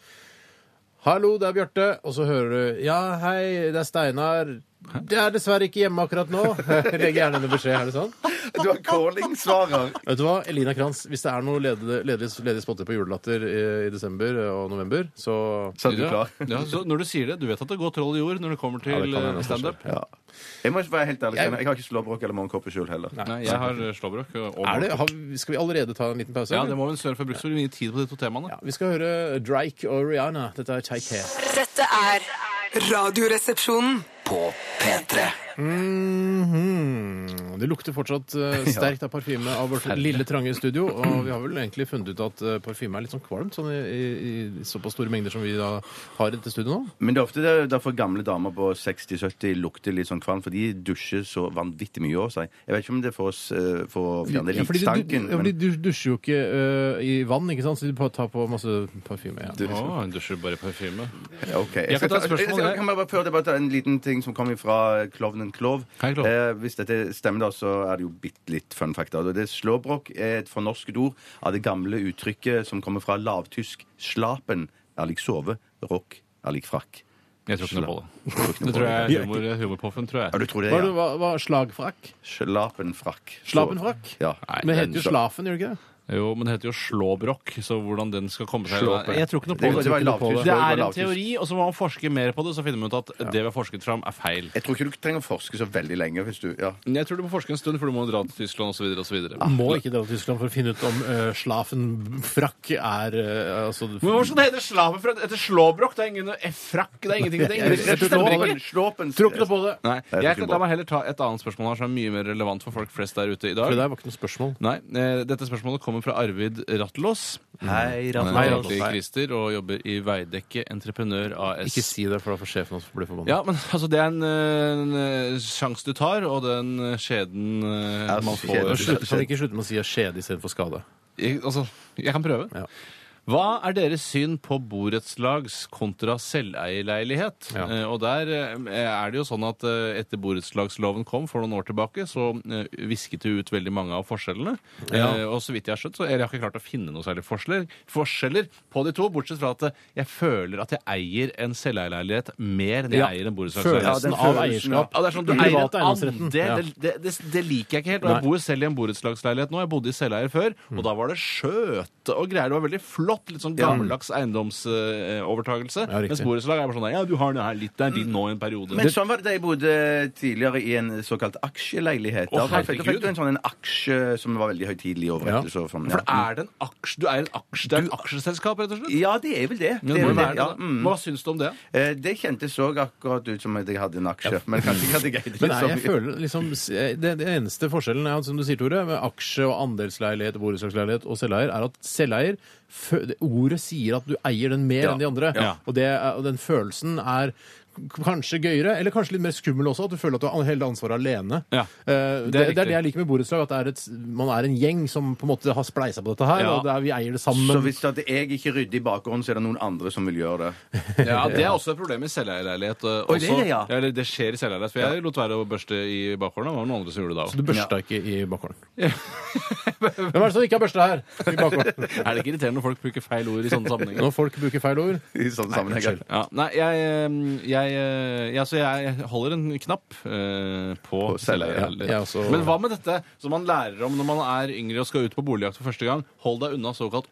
Hallo, det er Bjarte. Og så hører du Ja, hei, det er Steinar. Det er dessverre ikke hjemme akkurat nå. Legg gjerne en beskjed. Er det sånn?
Du har calling-svarer.
Vet du hva, Elina Kranz, hvis det er noen ledige, ledige, ledige spotter på julelatter i, i desember og november, så
Så er du
Ja,
klar.
ja, så når du sier det, du vet at det går troll i jord når det kommer
Ja,
til
det kan hende,
eh, standup?
kanskje. Ja.
Jeg må ikke være helt ærlig, Steinar. Jeg har ikke slåbrok eller morgenkåpe sjøl heller.
Nei, jeg har eh, slåbrok. Og og-
Er det, har, skal vi allerede ta en liten pause?
Ja,
eller?
det må vi søren få brukt så mye tid på de to temaene.
Ja, vi skal høre Drake og Rihanna. Dette er Take Care.
Dette er Radioresepsjonen.
På P3.
Mhm. Det lukter fortsatt eh, sterkt av parfyme av vårt lille, trange studio. Og vi har vel egentlig funnet ut at eh, parfyme er litt sånn kvalmt sånn i, i, i såpass store mengder som vi da har i dette studioet nå.
Men det er ofte der- derfor gamle damer på 60-70 lukter litt sånn kvalm, for de dusjer så vanvittig mye over seg. Jeg vet ikke om det er for, oss, eh, for å fjerne
Ja, fordi du, du,
likstanken.
ja, fordi
men-
du dusjer jo ikke eh, i vann, ikke sant? så du bare tar på masse parfyme. Ja.
Å, hun dusjer bare i parfyme.
Ja, ok.
Jeg kan ta et
skal- Jeg,
spørsmål, jeg.
jeg kan bare, før det bare ta en liten ting som kommer fra klovnen Klov.
Hei, Klov.
Eh, hvis dette stemmer, da, så er det jo bitte litt fun fact. da. Det Slåbrok er et fornorsket ord av det gamle uttrykket som kommer fra lavtysk 'slapen' er lik sove, 'rock' er lik frakk.
Jeg tror ikke noe på det.
Tror ikke
Det
noe
tror
på
jeg er humor, humorpoffen, tror
Ja,
jeg.
du tror det,
Hva, er det-
ja.
hva, hva slagfrakk?
Slapen frakk.
Slapen frakk?
Ja.
Men det heter jo
Sla-
slafen, gjør det ikke det?
Jo, men det heter jo slåbrok, så hvordan den skal komme seg
Slåbrok.
Jeg tror ikke noe
Det
på
var-
det.
det var lavtysk.
Det
var
er en
lavtysk.
teori, og så må man forske mer på det, så finner man ut at det vi har forsket fram, er feil.
Jeg tror ikke du trenger å forske så veldig lenge. hvis du... Ja.
Jeg tror du må forske en stund, for du må dra til Tyskland osv. osv.
Må ikke dra til Tyskland for å finne ut om eh, slafen frakk er eh, altså,
Men Hvorfor skal det hete slaver fra- etter slåbrok? Det er ingen eh, frakk, det er ingenting. Det er
Jeg
ingenting. Det stemmer ikke.
Slåpen, slåpen
Tror ikke noe på det.
Nei,
tror
jeg
ikke på
kan, La
det.
meg heller ta et annet spørsmål her som er mye mer relevant for folk flest der ute i
For
dag.
det der var ikke noe spørsmål.
Nei, eh, Dette spørsmålet kommer fra Arvid Rattlås.
Hei,
Han
Hei,
er
Rattlås.
egentlig krister og jobber i Veidekke Entreprenør AS.
Ikke si det, for da får sjefen oss bli forbanna.
Ja, men altså, Det er en, eh, en eh, sjanse du tar, og den eh, skjeden eh,
Ja,
man
skjeden.
får
Slutt, kan vi ikke slutte med å si skjede istedenfor skade?
jeg, Altså, jeg kan prøve.
Ja.
Hva er deres syn på borettslags kontra selveierleilighet?
Ja.
Eh, og der eh, er det jo sånn at eh, etter borettslagsloven kom for noen år tilbake, så eh, visket det ut veldig mange av forskjellene. Eh, og så vidt jeg har skjønt, så eller jeg har ikke klart å finne noen særlig forskjeller, forskjeller på de to, bortsett fra at eh, jeg føler at jeg eier en selveierleilighet mer enn jeg
Ja.
eier en borettslagsleilighet.
Følelsen
Ja, den
av
følelsen, ja.
eierskap.
Ja, det er sånn, du
Privat
eier en
eiendomsretten.
andel.
Ja.
Det, det, det, det liker jeg ikke helt. Og jeg
Nei.
bor selv i en borettslagsleilighet nå. Jeg bodde i selveie før, og da var det skjøte og greier. Det var veldig flott. Litt sånn gammeldags eiendomsovertagelse.
Ja, riktig.
Mens borettslag er bare sånn Ja, du har den her litt, det er din nå i en periode.
Men sånn var det da jeg bodde tidligere i en såkalt aksjeleilighet.
Å,
Da fikk da fikk
herregud.
du en sånn en aksje som var veldig høytidelig overrettelse. og sånn,
For det er det en aksje, du eier en aksje, det er et aksjeselskap, rett og slett?
Mm. Ja, det er vel det.
Ja,
det, er
det
vel
må
det.
være det,
Ja,
da.
mm.
Hva syns du om det?
Eh, det kjentes òg akkurat ut som at jeg hadde en aksje. Men kanskje ikke hadde greid det.
Men nei, jeg
så mye.
føler liksom det, det eneste forskjellen er, at, som du sier, Tore, med aksje- og andelsleilighet, borettslagsleilighet og selveier, er at selveier fø- det- Ordet sier at du eier den mer
Ja.
enn de andre.
Ja.
Og, det, er- og den følelsen er k- Kanskje gøyere, eller kanskje litt mer skummel også, at du føler at du har hele ansvaret alene.
Ja.
Eh, det,
Det er
det, er
riktig.
det jeg liker med borettslag, at det er et, man er en gjeng som på en måte har spleisa på dette her,
Ja.
og det er, vi eier det sammen.
Så hvis at jeg ikke rydder i bakgrunnen, så er det noen andre som vil gjøre det.
Ja, Det er også et problem i selveierleilighet. eh,
Oi, det er
også.
det, ja.
Eller det skjer i selveierleilighet. For jeg lot være å børste i bakgården, og det var noen andre som gjorde det da.
Så du børsta ikke i bakgården? Hvem er det som ikke har børsta her? I bakgården?
Er det ikke irriterende når folk bruker feil ord i sånne sammenhenger?
Når folk bruker feil ord.
I sånn sånne sammenhenger.
Ja, nei, jeg, eh, jeg, eh, ja, så jeg holder en knapp eh, på,
På selveie, ja.
selveie.
Jeg også-
Men hva med dette som man lærer om når man er yngre og skal ut på boligjakt for første gang? Hold deg unna såkalt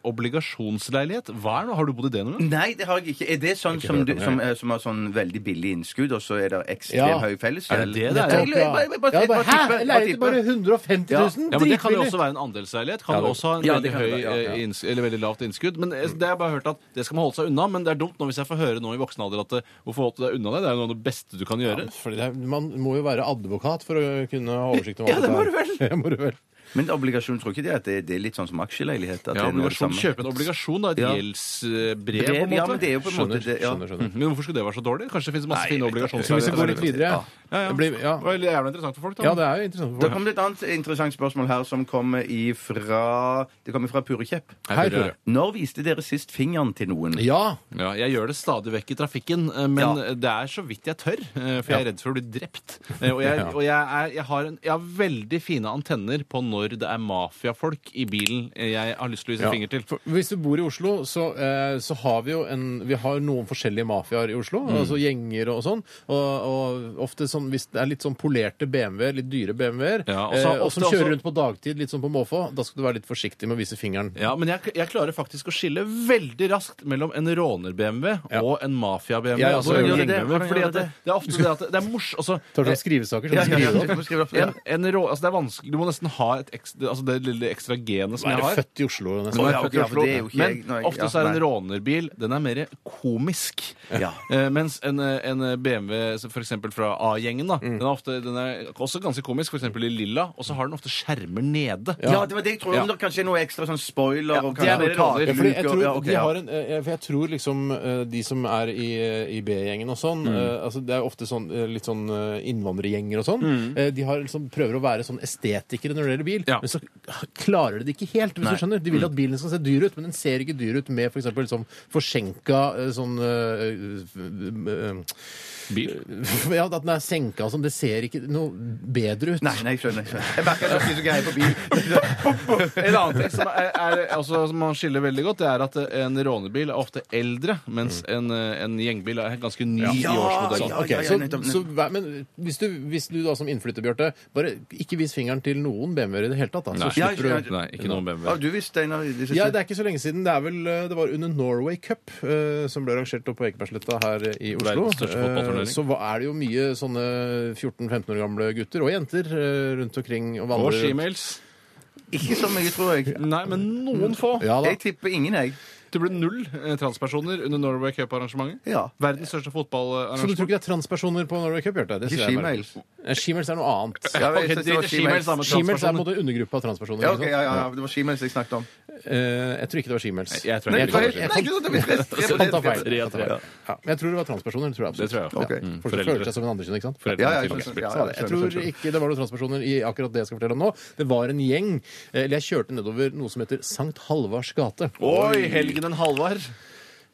obligasjonsleilighet. Hva er det? nå? Har du bodd i det noen gang?
Nei, det har jeg ikke. Er det sånn som,
hørt
du,
om det.
som, eh, som har sånn veldig billig innskudd, og så er det ekstremt
Ja.
høy fellesgjeld?
Er det det det er?
Jeg- jeg- jeg- jeg- bare-
Ja,
jeg bare
hæ?
tipper-
Jeg
bare
leier ikke
tipper.
bare 150 000?
Ja, men Det kan jo
Dritbillig.
også være en andelsleilighet. Kan
Ja,
du
det-
også ha en
Ja, det
veldig
kan det
høy,
være, ja, ja.
eh, inns- eller veldig lavt innskudd? Men eh, det har jeg bare hørt at det skal man holde seg unna. Men det er dumt når hvis jeg får høre nå i voksen alder at eh, hvorfor holdt du deg unna det? Det er jo noe av det beste du kan gjøre.
Fordi det er, man må jo være advokat for å kunne ha oversikt over
Ja, det må du vel.
Det må du vel.
Men obligasjon tror ikke det at det, det er litt sånn som aksjeleilighet? At
Ja,
det er noe av det
obligasjon,
samme?
Kjøpe en obligasjon, da. Et
Ja.
gjeldsbrev, på
Brev,
en måte.
ja, men det er jo på en måte
Skjønner.
det, ja.
skjønner, skjønner.
Mhm. Men hvorfor skulle det være så dårlig? Kanskje det finnes masse fine
Skal vi gå litt
obligasjonsleiligheter.
videre?
Ja, ja.
Det blir, ja.
Det var jævla interessant for folk, da.
ja, det er jo interessant. for
Da
folk.
kom det et annet interessant spørsmål her som kommer ifra Det kommer fra Pure Kjepp.
Hei, Tore.
Når viste dere sist fingeren til noen?
Ja.
Ja, jeg gjør det stadig vekk i trafikken, eh, men
Ja.
det er så vidt jeg tør. eh, For jeg er redd for å bli drept. Eh, Og jeg, og jeg, er, jeg, har, en, jeg har veldig fine antenner på når det er mafiafolk i bilen eh, jeg har lyst til å vise
Ja.
finger til.
For Hvis du bor i Oslo, så, eh, så har vi jo en, vi har noen forskjellige mafiaer i Oslo.
Mm.
Altså gjenger og sånn. Og, og ofte sånn, hvis det er litt sånn polerte BMW-er, litt dyre BMW-er,
Ja, og
eh,
så
og som
ofte også-
kjører rundt på dagtid litt sånn på måfå, da skal du være litt forsiktig med å vise fingeren.
Ja, Men jeg, jeg klarer faktisk å skille veldig raskt mellom en råner-BMW
Ja.
og en mafia-BMW.
Jeg også
Og en
gjør
det.
gjeng-BMW, fordi at det, det er ofte det at det er mors... Altså,
Tar du sånn skrivesaker?
Ja,
Sånn
ja, ja,
skriver du
du
opp.
får skrive opp, ja.
en, en rå, altså det er vanskelig Du må nesten ha et ekstra, altså det lille ekstra genet som jeg
Er
har.
du født i Oslo? Jonas?
Nå er jeg
Ja,
født i
ja, for
Oslo.
det er jo ikke
Men
jeg- når jeg-
ofte
ja,
så er en
nei.
rånerbil den er mer komisk.
Ja.
Eh, mens en, eh, en BMW for eksempel fra gjengen. da
Mm.
Den er ofte den er også ganske komisk, f.eks. i Lilla, og så har den ofte skjermer nede.
Ja, det var det jeg tror.
Ja.
Om det kanskje er noe ekstra sånn spoiler og
det er
kanskje
mer
noe
roller.
Ja, fordi jeg
takluker.
tror,
Ja, ok,
de
ja.
har en, eh, jeg, for jeg tror liksom eh, de som er i, eh, i B-gjengen og sånn eh, altså Det er ofte sånn, eh, litt sånn eh, innvandrergjenger og sånn. Eh, de har liksom, prøver å være sånn estetikere når det gjelder bil,
Ja.
men så klarer de det ikke helt. hvis
Nei.
du skjønner. De vil at bilen skal se dyr ut, men den ser ikke dyr ut med f.eks. For sånn forsenka eh, sånn eh,
Bil.
eh, Ja, at den er senka og sånn. Det ser ikke noe bedre ut.
Nei, nei, jeg skjønner. jeg skjønner. Jeg merker at dere er så greie på bil.
En annen ting som, er, er, altså, som man skiller veldig godt, det er at en rånebil er ofte eldre, mens en, eh, en gjengbil er ganske ny i årsmodell.
Mm. Ja,
Ok,
ja, ja,
så,
nettopp,
så, hver- men hvis du, hvis du da som innflytter, Bjarte, bare ikke vis fingeren til noen BMW-er i det hele tatt, da, så
Nei.
slipper
Ja, ja,
du
Nei, ikke noen
Har
BMW.
du visst, Steinar? i det siste?
ja, Det er ikke så lenge siden. Det, er vel, eh, det var under Norway Cup, eh, som ble arrangert oppe på Ekebergsletta her i Oslo.
Verdens største fotballturnering.
Eh, så hva- er det jo mye sånne 14-15 år gamle gutter og jenter eh, rundt omkring og
Og
vandrer. rundt.
skimails.
Ikke så mye, tror jeg.
Nei, men noen få.
Ja da.
Jeg tipper ingen, jeg.
Det ble null eh, transpersoner under Norway Cup-arrangementet.
Ja.
Verdens
Så du
største
tror
fotballarrangement.
ikke det er transpersoner på Norway Cup, Bjarte? Det synes
Ikke
jeg er merkelig.
skimails.
Eh, Skimails er noe annet.
Ja, jeg synes det
Ok,
var
drit i skimails, da,
skimails.
men
Skimails er på en
transpersoner.
måte undergruppa av transpersoner.
Ja,
ikke
ok,
sant?
ja, ja, ja, det var skimails jeg snakket om.
Eh, jeg tror ikke det var skimails.
Jeg tror ikke det var
Nei, ikke sant, det blir stress.
Han tar feil.
Tre av tre.
Ja, men jeg tror det var transpersoner. Det tror jeg absolutt.
Det tror jeg også.
Ja,
Ok.
Mm.
folk som
Foreldre.
føler seg som en andrekjønn, ikke sant?
Foreldrene
Ja, ja,
til
jeg
Max
skjønner. Ja, ja,
Brooks.
Jeg
skjønner, skjønner,
tror
skjønner.
ikke det var noen transpersoner i akkurat det jeg skal fortelle om nå. Det var en gjeng. eh, Eller jeg kjørte nedover noe som heter Sankt Halvards gate.
Oi, helgen en Halvard.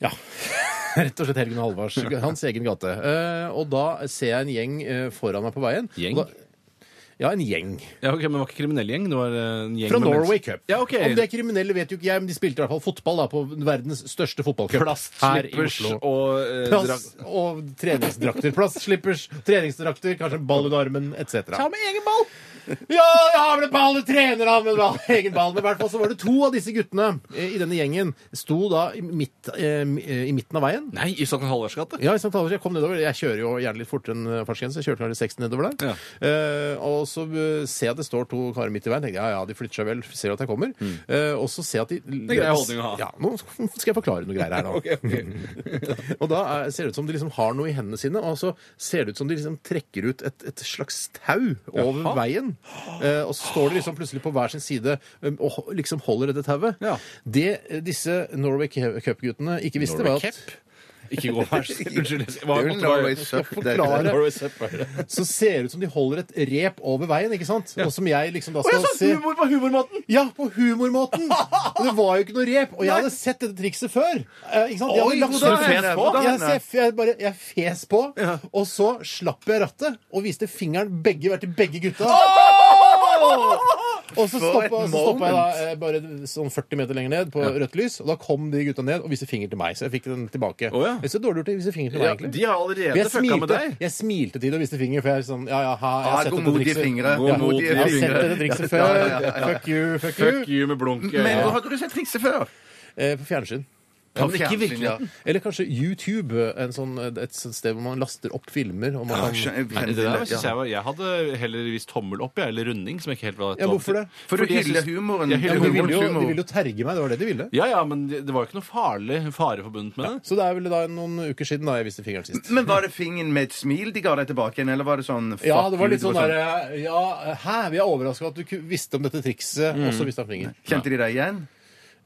Ja. Rett og slett Helgen Halvards. Hans egen gate. Eh, Og da ser jeg en gjeng eh, foran meg på veien.
Gjeng?
Og Da, ja, en gjeng.
Ja, ok, Men det var ikke kriminell gjeng? Det var eh, en gjeng
Fra
med
Norway
mennesker.
Cup.
Ja, ok.
Om det er kriminelle, vet jo ikke jeg, men de spilte i hvert fall fotball da, på verdens største fotballcup. her i
Plastslippers
Oslo.
og eh,
Plass og treningsdrakter. Plastslippers, treningsdrakter, kanskje en ball under armen, etc. Ta med egen ball! Ja, jeg har vel en ball! Jeg trener han med en ball, egen ball. Men i hvert fall så var det to av disse guttene eh, i denne gjengen sto da i, midt, eh, i midten av veien.
Nei, i Sankt Halvards gate?
Ja, i St. Halvors. Jeg kom nedover. Jeg kjører jo gjerne litt fortere enn fartsgrensen. så Jeg kjørte kanskje 60 nedover der. Eh, og så eh, ser jeg at det står to karer midt i veien. Tenkte jeg, ja, ja, de flytter seg vel. Ser at jeg kommer. Eh, og så ser jeg at de
Mm. er grei holdning å ha.
Ja, nå skal jeg forklare noe greier her nå. og da er, ser det ut som de liksom har noe i hendene sine, og så ser det ut som de liksom trekker ut et, et slags tau over veien. Eh, og så står de liksom plutselig på hver sin side eh, og ho- liksom holder dette tauet.
Ja.
Det eh, disse Norway Cu- Cup-guttene ikke visste, var at
Ikke gå her. Unnskyld. jeg-
Det
Hva,
er jo Norway Sup. det er-
forklare.
Norway Sup, er det?
så ser det ut som de holder et rep over veien, ikke sant? Og som jeg liksom da skal se
på humormåten!
Ja, på humormåten! Og det var jo ikke noe rep. Og jeg hadde sett dette trikset før. Eh, ikke sant? Jeg
Oi,
hadde lagt
god dag,
ut-
Henrik. God dag,
Jeg,
Henrik.
ser- jeg, bare, jeg fes på, og så slapp jeg rattet og viste fingeren begge hver til begge gutta. Og så
For et
stoppa, så stoppa jeg da
moment.
eh, bare sånn 40 meter lenger ned på rødt lys, og da kom de gutta ned og viste finger til meg. Så jeg fikk den tilbake.
Å, ja.
Jeg så dårlig gjort å vise finger til meg,
Ja,
egentlig.
de har
Men
allerede
jeg
fucka med
smilte,
deg.
jeg smilte til det og viste finger, for jeg er sånn Ja, ja, ha, jeg
Ah,
har sett dette
Godmodige
trikset.
fingre.
Ja.
Godmodige
Jeg har sett
fingre.
dette trikset før.
Ja, ja, ja, ja.
Fuck you, fuck you.
Fuck you med blunk. eh.
Men
ja.
hvor hadde du sett trikset før?
Eh, på fjernsyn.
Kan det ikke i
Fjernsyn, ja.
virkeligheten?
Eller kanskje YouTube, en sånn, et sånt sted hvor man laster opp filmer. Og man
Ja,
kan...
skjønner,
Nei, det der
fjernsyn,
synes
ja.
jeg, var, jeg hadde heller vist tommel opp, jeg, eller runding. som jeg ikke helt var
Ja, hvorfor det?
For du
Fordi jeg
hyller
synes-
humoren.
Jeg
Ja, men
hyller
de,
humoren.
ville jo,
humor.
de ville jo terge meg, det var det de ville.
Ja, ja, men det det var jo ikke noe farlig fare forbundet med det.
Så det er vel da noen uker siden da jeg viste fingeren sist.
Men var det fingeren med et smil de ga deg tilbake igjen, eller var det sånn fuck
Ja, det var
you,
litt sånn derre Ja, hæ? Vi er overraska at du ku- visste om dette trikset, og
Mm.
så visste han fingeren.
Kjente de deg igjen?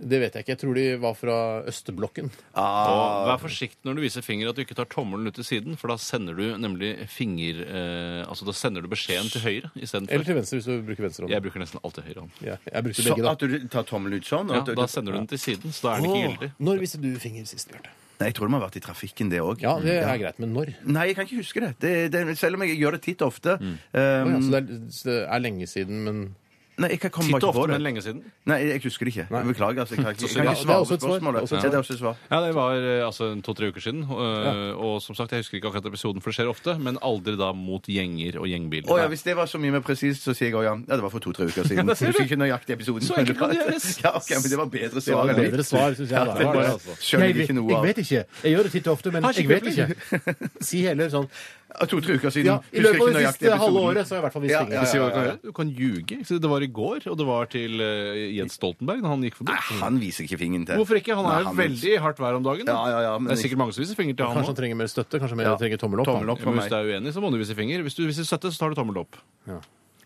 Det vet jeg ikke. Jeg tror de var fra østblokken.
Og vær forsiktig når du viser finger at du ikke tar tommelen ut til siden, for da sender du nemlig finger... Eh, altså da sender du beskjeden til høyre
Eller
istedenfor.
til venstre, hvis du bruker venstrehånd.
Jeg bruker nesten alltid høyre hånd.
Ja, jeg brukte
Så
begge, da.
at du tar tommelen ut sånn? og
Ja,
at du-
da sender du den til siden, så da er den ikke gyldig.
Åh, Når viste du finger sist, Bjarte?
Nei, jeg tror det må ha vært i trafikken, det òg.
Ja, det er greit, men når?
Nei, jeg kan ikke huske det. det, det selv om jeg gjør det titt og ofte.
Mm.
Å
Um,
ja, så, det er, så det er lenge siden, men
Nei, jeg kan komme
Titt
bare ikke
og
på
ofte, men
det.
lenge siden.
Nei, jeg husker det ikke. Jeg Beklager. altså. Jeg kan ikke, jeg
Ja,
kan ikke
det er også
svare på
et svar.
spørsmålet.
Også et
Ja, det er også et svar.
Ja, det var eh, altså en to-tre uker siden. Og, eh, og som sagt, jeg husker ikke akkurat episoden, for det skjer ofte, men aldri da mot gjenger og gjengbiler.
Å ja, Hvis det var så mye mer presist, så sier jeg òg ja. Ja, det var for to-tre uker siden.
Ja, det ser
Jeg
du.
husker ikke nøyaktig episoden.
Så enkelt kan det gjøres.
Ja, ok, men det var bedre
Det
svar.
var et
enn mitt.
bedre svar, syns jeg. Da.
det var det, altså. Skjønner
vet-
ikke noe av.
Jeg vet ikke. Jeg gjør det titt og ofte, men
Har ikke
jeg vet ikke. Si heller sånn
To-tre uker siden.
Ja, I
Husker
løpet av
ikke
det
nøyaktig
siste halve
episoden.
året så har jeg i hvert fall vist
Ja,
fingeren.
ja,
Si hva du kan gjøre. Du kan ljuge. Så Det var i går, og det var til eh, Jens Stoltenberg da han gikk forbi.
Nei, han viser ikke fingeren til.
Mm. Hvorfor ikke? Han
Nei,
er veldig hardt vær om dagen. da.
Ja, ja, ja, men
det er sikkert mange som viser finger til han
Kanskje han
òg.
trenger mer støtte? Kanskje mer trenger tommel opp? da.
Tommel opp. for
Hvis du er uenig, så må du vise finger. Hvis du viser støtte, så tar du tommel opp.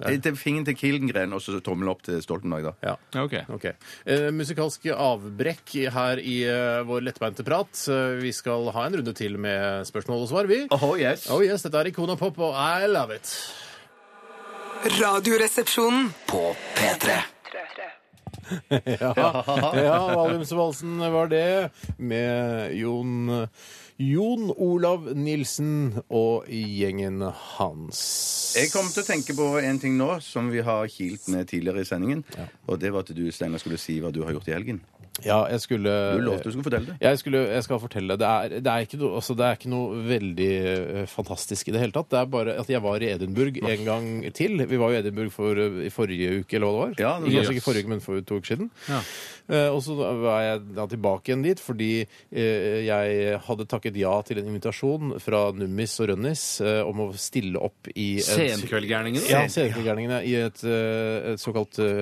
Eh, til Fingeren til Kildengren og så tommel opp til Stoltenberg, da.
Ja.
Ja, ok.
Ok. Eh, musikalske avbrekk her i eh, vår lettbeinte prat. Eh, vi skal ha en runde til med spørsmål og svar, vi.
Oh, yes.
Oh yes, dette er Ikona Pop, og I love it.
Radioresepsjonen.
På P3.
Ja, ja Valiumsvalsen var det, med Jon Jon Olav Nilsen og gjengen hans.
Jeg kom til å tenke på en ting nå som vi har kilt med tidligere i sendingen. Og det var at du, Steinar, skulle si hva du har gjort i helgen.
Ja, jeg skulle
Du lovte du skulle fortelle det.
Jeg, skulle, jeg skal fortelle. Det er, det, er ikke noe, altså, det er ikke noe veldig eh, fantastisk i det hele tatt. Det er bare at jeg var i Edinburgh en gang til. Vi var jo i Edinburgh for, eh, i forrige uke, eller hva det var.
Ja, det var-
Kanskje ikke forrige uke, men for to uker siden. Eh, og så var jeg da tilbake igjen dit fordi eh, jeg hadde takket ja til en invitasjon fra Nummis og Rønnis eh, om å stille opp i et
Senkveldgærningene.
ja, Senegallgjerningene i et, eh, et såkalt eh,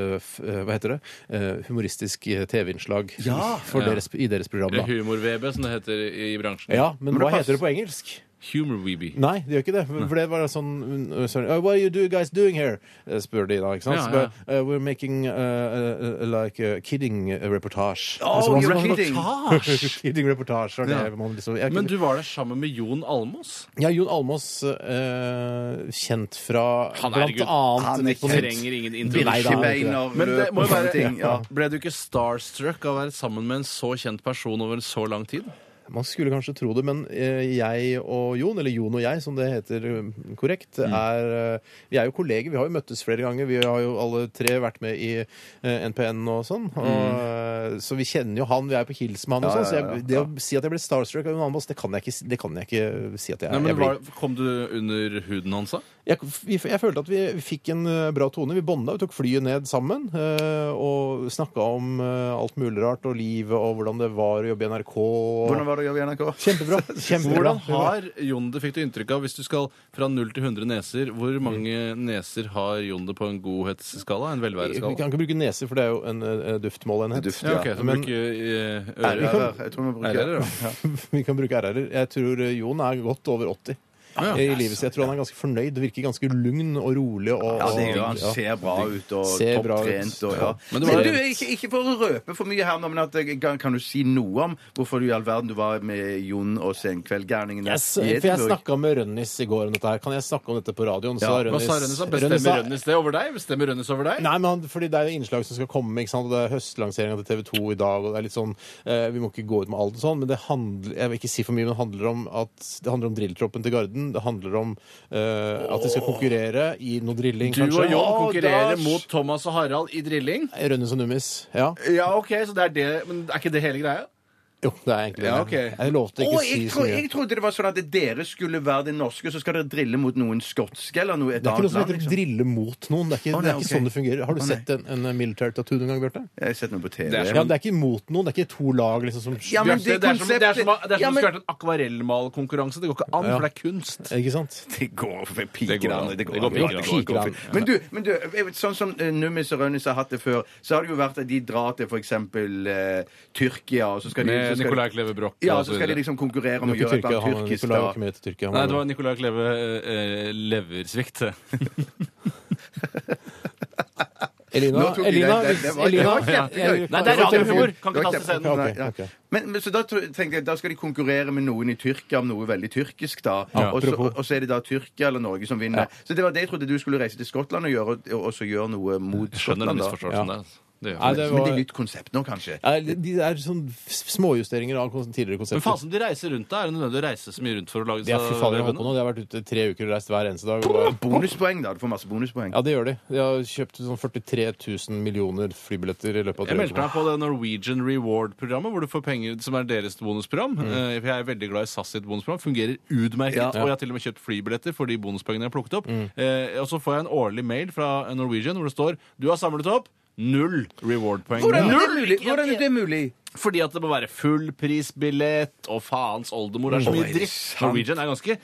eh, f- eh, Hva heter det? Eh, humoristisk eh, TV-innslag
Ja.
for Deres, i deres program. da.
Eller humor-VB, som det heter i bransjen.
Ja, men,
det
hva
pass-
heter det på engelsk?
Humor-VB.
Nei, det gjør ikke det. For det var sånn uh, sorry, uh, What are you do guys doing here? Eh, spør de da. ikke sant?
Ja,
Så bare, eh, we're making uh, uh, like a kidding reportage.
Oh,
Så man-
you're
man- man-
kidding.
kidding reportage. var
Ja.
Det, man liksom, jeg,
Men du var der sammen med Jon Almås.
ja, Jon Almås, eh, kjent fra
Han er
blant
gutt.
annet
Han er
Nytt på Nytt.
Trenger ingen
Nei, da.
introduksjon.
Beiner,
Men det
løp
må
og
jo
sånne
være,
ting. Ja.
Ble du ikke starstruck av å være sammen med en så kjent person over en så lang tid?
Man skulle kanskje tro det, men eh, jeg og Jon, eller Jon og jeg, som det heter eh, korrekt, er eh, Vi er jo kolleger. Vi har jo møttes flere ganger. Vi har jo alle tre vært med i eh, NPN og sånn. Og, eh, Så vi kjenner jo han. Vi er på hils med han og
Ja,
sånn. Så
ja, ja,
jeg, det å si at jeg ble starstruck av en annen boss, det kan jeg ikke, si- det kan jeg ikke si at jeg,
Nei, men
jeg blir.
var, Kom du under huden hans, da?
Jeg, vi, jeg følte at vi fikk en eh, bra tone. Vi bonda, vi tok flyet ned sammen eh, og snakka om eh, alt mulig rart og livet og hvordan det var å jobbe i NRK.
Hvordan var det å jobbe i NRK?
Kjempebra. kjempebra.
Hvordan har Jon det, fikk du inntrykk av, hvis du skal fra null til 100 neser, hvor
Mm.
mange neser har Jon det på en godhetsskala? En
Vi
velværeskala?
kan ikke bruke neser, for det er jo en eh, duftmålenhet.
Duft,
Ja, ok,
ja.
så
Men-
bruke eh,
Nei, vi
ører.
kan-
Ja, Jeg tror vi bruker
Ører,
det.
da.
Vi kan bruke RR-er. Jeg tror eh, Jon er godt over 80.
Ja.
I livet sitt. Jeg tror han er ganske fornøyd. Det virker ganske lugn og rolig. Og,
Ja, det gjør
og-
han.
ja.
Ser bra ut og
Ser bra ut.
topptrent. Og, ja.
Men
Men,
det var-
du, ikke, ikke for å røpe for mye her nå, men at, jeg- kan, kan du si noe om hvorfor du i all verden du var med Jon og Senkveldgærningene?
Yes, for jeg snakka med Rønnis i går om dette her. Kan jeg snakke om dette på radioen? Så har
Hva sa Rønnes? da?
Rønnis
Bestemmer
sa-
Rønnes det over deg? Bestemmer Rønnes over deg?
Nei, men han, fordi det er jo innslag som skal komme. ikke sant? Og Det er høstlanseringa til TV 2 i dag, og det er litt sånn eh, Vi må ikke gå ut med alt og sånn, men det handler Jeg vil ikke si for mye, men det handler om at det handler om drilltroppen til Garden. Det handler om eh, at de skal konkurrere i noe drilling,
Du og Jon
Å,
konkurrerer
Lars!
mot Thomas og Harald i drilling.
Rønnes og Nummis. Eh, Ja.
Ja, ok, så det er det, men er ikke det hele greia?
Jo, det er egentlig det.
Ja, ok.
Jeg lovte
Å,
ikke å si
jeg,
så
tro,
mye.
jeg trodde det var sånn at dere skulle være de norske, så skal dere drille mot noen skotske eller noe, et
Det er ikke noe
annet
som
land.
heter
Liksom.
'drille mot noen'. Det er ikke,
Å, nei,
det er ikke
ok.
sånn det fungerer. Har du
Å, nei.
sett en, en military tattoo noen gang, Bjørte?
Jeg har sett noe på TV.
Det er
Ja, men det er ikke mot noen. Det er ikke to lag liksom som
Ja, men
Bjarte,
det
det, er som, det er som, det er som,
konseptet- Ja,
om
men-
det skulle vært en akvarellmalkonkurranse. Det går ikke an,
Ja.
for det er kunst.
Ikke sant?
Det går for
Det går
piker
an.
an. Det går
Det går
an.
piker an.
Det går
Piker
an. Men du, men du jeg vet, sånn som eh, Nummis og Rønnis har hatt det før, så har det jo vært at de drar til f.eks. Eh, Tyrkia, og så skal de så skal
Med
de-
Nicolai Kleve Broch.
Ja,
og
så
så
skal de
videre.
liksom konkurrere om
Det
å
var ikke
gjøre et
Tyrkia.
eller
Han, Nicolai
annet tyrkisk.
var
da.
ikke med til Tyrkia. Han
Nei,
var-
det var Nicolai Kleve eh, leversvikt.
Elina,
Nå tok vi
Elina,
den.
hvis-
Det var- det
Elina
var
jeg- jeg-
Nei, det er radiohumor! Kan
Det
ikke
var
tas til scenen.
Ja, ok,
kjempe- Nei, ja.
ok.
Men, men, så da tro- tenkte jeg, da skal de konkurrere med noen i Tyrkia om noe veldig tyrkisk, da.
Ja.
Og, så,
Apropos.
og så er det da Tyrkia eller Norge som vinner. Så det var det jeg trodde du skulle reise til Skottland og gjøre, og, og så gjøre noe mot
Skjønner
Skottland,
den
da.
misforståelsen der. altså. Det gjør
Nei,
jeg.
det
Men det er
var...
nytt konsept nå, kanskje.
Nei, De er sånn småjusteringer av kon- tidligere
Men faen
konsepter.
som de reiser rundt da, er det nødvendig å reise så mye rundt for å lage
De er fy fader jeg holdt på
rødbønner?
nå. De har vært ute tre uker og reist hver eneste dag. Og...
Bonuspoeng, da. Du får masse bonuspoeng.
Ja, det gjør de. De har kjøpt sånn 43 000 millioner flybilletter i løpet av tre
Jeg meldte meg
uker.
på det Norwegian Reward-programmet, hvor du får penger som er deres bonusprogram. Eh, For jeg er veldig glad i SAS sitt bonusprogram. Fungerer
Mm. Ja.
utmerket.
Mm.
Og jeg har til og med kjøpt flybilletter for de bonuspoengene jeg har plukket opp. Eh, og så får jeg en årlig mail fra Norwegian hvor det står Du har samlet opp null reward-poeng.
Hvordan er
Null!
det mulig? Hvordan er det mulig?
Fordi at det må være fullprisbillett, og faens oldemor det er så mye
Oi,
dritt.
sant. Mm.
Norwegian er ganske,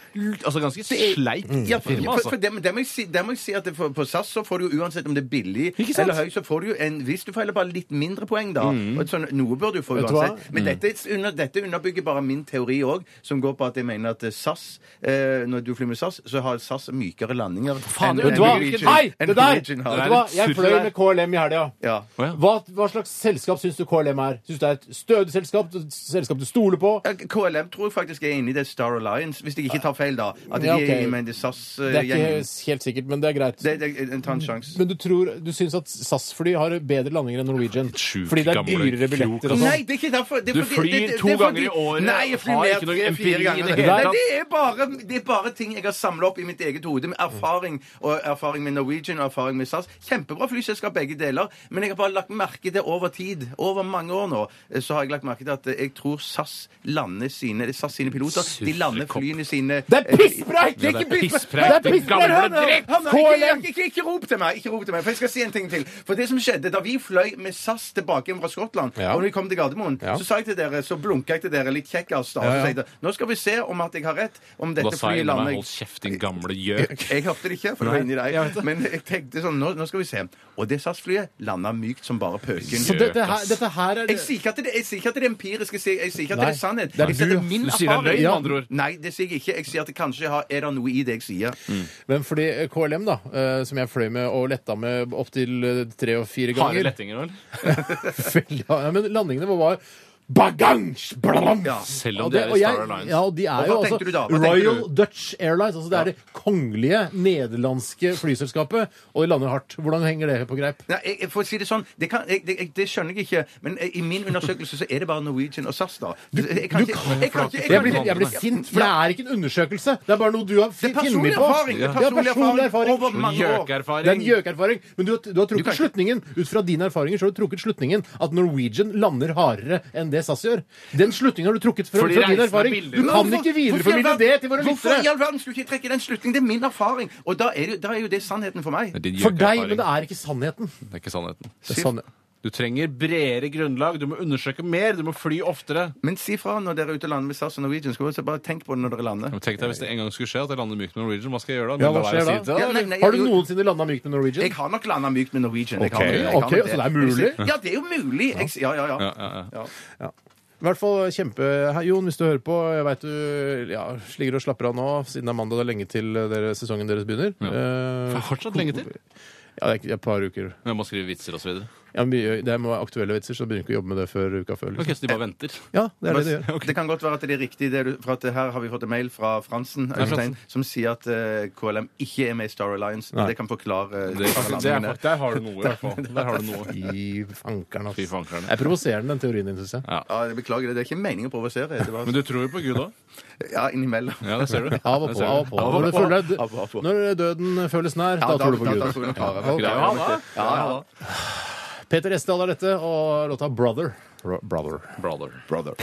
altså ganske sleipt firma,
For, for
altså.
det, det, må jeg si, det må jeg si at det, for, På SAS så får du jo uansett om det er billig
Ikke sant?
eller høy, så får du jo en Hvis du feiler bare litt mindre poeng, da. Og et sånn, noe bør du få
Mm. Vet du hva? Mm.
uansett. Men dette, er under, dette underbygger bare min teori òg, som går på at jeg mener at eh, SAS eh, Når du flyr med SAS, så har SAS mykere landinger
Faen,
enn-
vet
enn
du hva?
Norwegian-
Hei!
enn
Det der! Vet
Norwegian
du
har.
Det
hva? Jeg
surr
fløy
der.
med KLM i helga.
Ja.
Å, ja.
Hva, hva slags selskap syns du KLM er? Syns du det er et stødig selskap? Et selskap du stoler på?
Ja, KLM tror jeg faktisk er inne i det Star Alliance, hvis jeg ikke tar feil, da. At de
Ja, ok.
er i- men det er SAS
Det
eh,
er ikke
gjengen.
helt sikkert, men det er greit.
Det- det- jeg tar en sjanse.
Men du tror, du syns at SAS-fly har bedre landinger enn Norwegian?
Sjukt
Fordi det er
gamle
dyrere
krok,
billetter og
Nei,
sånn?
det er ikke derfor. Det er
Du
fordi-
flyr
det- det-
to
det er
ganger
fordi-
i året,
Nei, jeg flyr
har
mer
ikke noe
enn
empiri i
fire
det
ganger.
hele tatt.
Nei, det er bare, det er bare ting jeg har samla opp i mitt eget hode, med erfaring. Og erfaring med Norwegian og erfaring med SAS. Kjempebra flyselskap begge deler, men jeg har bare lagt merke til over tid, over mange år nå, eh, så har jeg lagt merke til at eh, jeg tror SAS lander sine SAS sine piloter. De lander
Surrekopp.
flyene sine eh,
Det er pisspreik!
Det er ikke
pisspreik.
pisspreik!
Det er gamle
Hør nå,
dritt!
hør nå, ikke-
KLM.
Ikke ikke- ikke rop til meg, ikke rop til meg, for jeg skal si en ting til. For det som skjedde da vi fløy med SAS tilbake hjem fra Skottland,
Ja.
og når vi kom til Gardermoen,
Ja.
så sa jeg til dere, så blunka jeg til dere litt kjekkas da,
Ja,
og så
ja.
sa jeg til- nå skal vi se om at jeg har rett, om
Da
dette
sa jeg
flyet
inni
lander
meg
jeg-
hold kjeft, din gamle gjøk.
jeg hørte det ikke, for det var inni deg. Men jeg tenkte sånn, nå, nå skal vi se. Og det SAS-flyet landa mykt som bare pøken.
Så dette her, dette her er
Jeg sier ikke at det, jeg sier ikke at det er empirisk, jeg sier, jeg sier ikke at det
Nei.
er sannhet.
Det er
jeg sier at det er
du-
min
Du sier det er løgn,
erfaring.
med andre ord.
Nei, det sier jeg ikke. Jeg sier at det kanskje har, er det noe i det jeg sier.
Men fordi eh, KLM, da, eh, som jeg fløy med og letta med opptil tre og fire
Harde
ganger
lettinger, vel?
Veldig hard. ja, Men landingene vår var Bagange! Blablabla!
Ja.
Selv om
Og
det
det-
er
og
i Star
jeg-
Alliance.
Ja, og de er
Og hva
jo
tenkte du da?
altså
Hva tenkte
Royal
du?
Dutch Airlines. altså Det er det kongelige nederlandske flyselskapet, og de lander hardt. Hvordan henger det på greip?
Nei, jeg, jeg får si Det sånn, det, kan, jeg, det, jeg, det skjønner jeg ikke, men eh, i min undersøkelse så er det bare Norwegian og SAS, da. Jeg kan
du
ikke-
kan-
jeg kan ikke- jeg
Jeg
kan
blir,
ikke-
jeg blir sint, for det er ikke en undersøkelse. Det er bare noe du har
Det er
fin-
personlig
funnet på.
erfaring! Det
Ja,
er personlig erfaring over mange år.
Det er en
Gjøkerfaring.
gjøkerfaring. Men du har, du har
Du
trukket
kan ikke-
slutningen ut fra dine erfaringer så har du trukket slutningen at Norwegian lander hardere enn det SAS gjør. Den slutningen har du trukket fra,
Fordi
fra din
reisen er
erfaring.
billigere.
Du kan
Hvorfor-
ikke
hvorfor i all
videreformidle
verden-
det til våre
Hvorfor i
lyttere.
all verden skulle du ikke trekke den slutningen? Det er min erfaring! Og da er, det, da er jo det sannheten for meg.
Din
For deg,
gjøkerfaring.
men det er ikke sannheten.
Det er ikke sannheten.
Det er sannheten.
Du trenger bredere grunnlag, du må undersøke mer, du må fly oftere.
Men si fra når dere er ute og lander med SAS og Norwegian. Skal dere bare tenk på det når dere lander.
Men Tenk deg hvis det en gang skulle skje at jeg lander mykt med Norwegian, hva skal jeg gjøre da?
Ja,
Men
hva
la være
skjer
å si det
da?
til deg.
Ja, nei, nei,
Har du
jo-
noensinne landa mykt med Norwegian?
Jeg har nok landa mykt med Norwegian. Jeg
Ok,
har nok det, jeg har
ok,
nok
så det er mulig?
Ja, det er jo mulig. Jeg, ja, ja, ja.
Ja, ja, ja.
ja.
Ja. I hvert fall kjempe... Hei, Jon, hvis du hører på, jeg veit du ja, ligger og slapper av nå, siden det er mandag, det er lenge til eh, dere, sesongen deres begynner.
Det
Eh,
er fortsatt lenge til.
ja, det er ikke- det er et par uker.
Jeg må skrive vitser og så videre.
Ja, mye, det må være aktuelle vitser, så du begynner ikke å jobbe med det før uka før.
Ok,
Liksom.
så de bare venter.
Ja, det er det de gjør.
Det kan godt være at det er riktig, det du, for at her har vi fått en mail fra Fransen, Øystein, som sier at eh, KLM ikke er med i Star Alliance.
Nei.
Det kan forklare eh,
Det,
Star
det er,
Alliance.
der har du noe, i hvert fall. Der har du noe.
I fankeren,
Fy
altså.
fankeren.
Det er provoserende, den teorien din, syns jeg.
Ja, jeg beklager det. Det er ikke meningen å provosere. Det var,
Men du tror jo på Gud òg?
ja, innimellom.
Ja, det ser du.
Av og
Det
på,
ser
av og
du.
på. Når, du føler,
av og på.
når døden føles nær, da tror du på
da tror
Gud.
jeg nok har det.
Ja, ja, da.
Ja, ja, da.
Peter Esdal er dette, og låta 'Brother'. Ro- Brother.
Brother.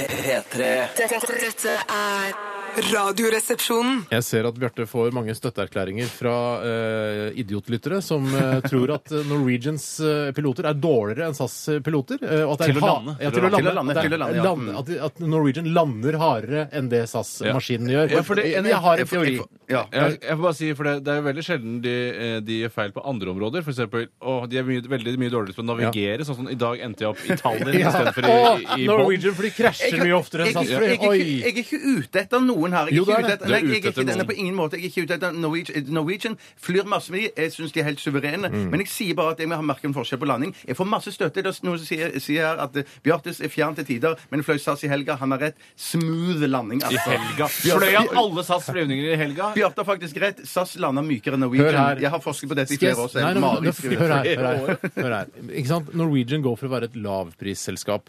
P3
Dette, dette er Radioresepsjonen.
Jeg ser at Bjarte får mange støtteerklæringer fra eh, idiotlyttere som eh, tror at eh, Norwegians eh, piloter er dårligere enn SAS-piloter. eh, og at det er
Til å
ha-
lande.
Ja, til å lande.
Til å
At det
lande,
er-
til å lande, ja.
land-
Mm.
At, at Norwegian lander hardere enn det SAS-maskinen gjør.
Ja, for det-
jeg, jeg har en
Jeg får-
teori.
jeg får- Ja.
Jeg, jeg får bare si, for det, det er jo veldig sjelden de, eh, de gjør feil på andre områder. For eksempel, å, de er mye, veldig mye dårligere til å navigere. Sånn som i dag endte jeg opp i Tallinn istedenfor i, i, i Bonn.
Norwegian-fly krasjer mye oftere enn
jeg, jeg,
SAS-fly.
jeg, jeg, jeg,
Oi!
er ikke ute etter noen her. Jeg
Jo,
er ikke
det er
ute
det.
etter,
Du er
nei, jeg
ute
er
etter
ikke, denne
noen.
på ingen måte. Jeg er ikke ute etter Norwegian. Norwegian flyr masse med de. Jeg syns de er helt suverene.
Mm.
Men jeg sier bare at jeg har merket en forskjell på landing. Jeg får masse støtte. Det er noen som sier, sier her at eh, Bjartes er fjern til tider, men fløy SAS i helga. Han har rett. Smooth landing,
I
altså.
helga. Fløy han alle SAS flyvninger i helga?
Bjarte har faktisk rett. SAS lander mykere enn
Hør her.
Norwegian. Jeg har forsket på dette i
Skal jeg-
flere år. så
Nei,
jeg
nei, men-
mareritt
hør, her, hør, her, hør her. Ikke sant? Norwegian går for å være et lavprisselskap.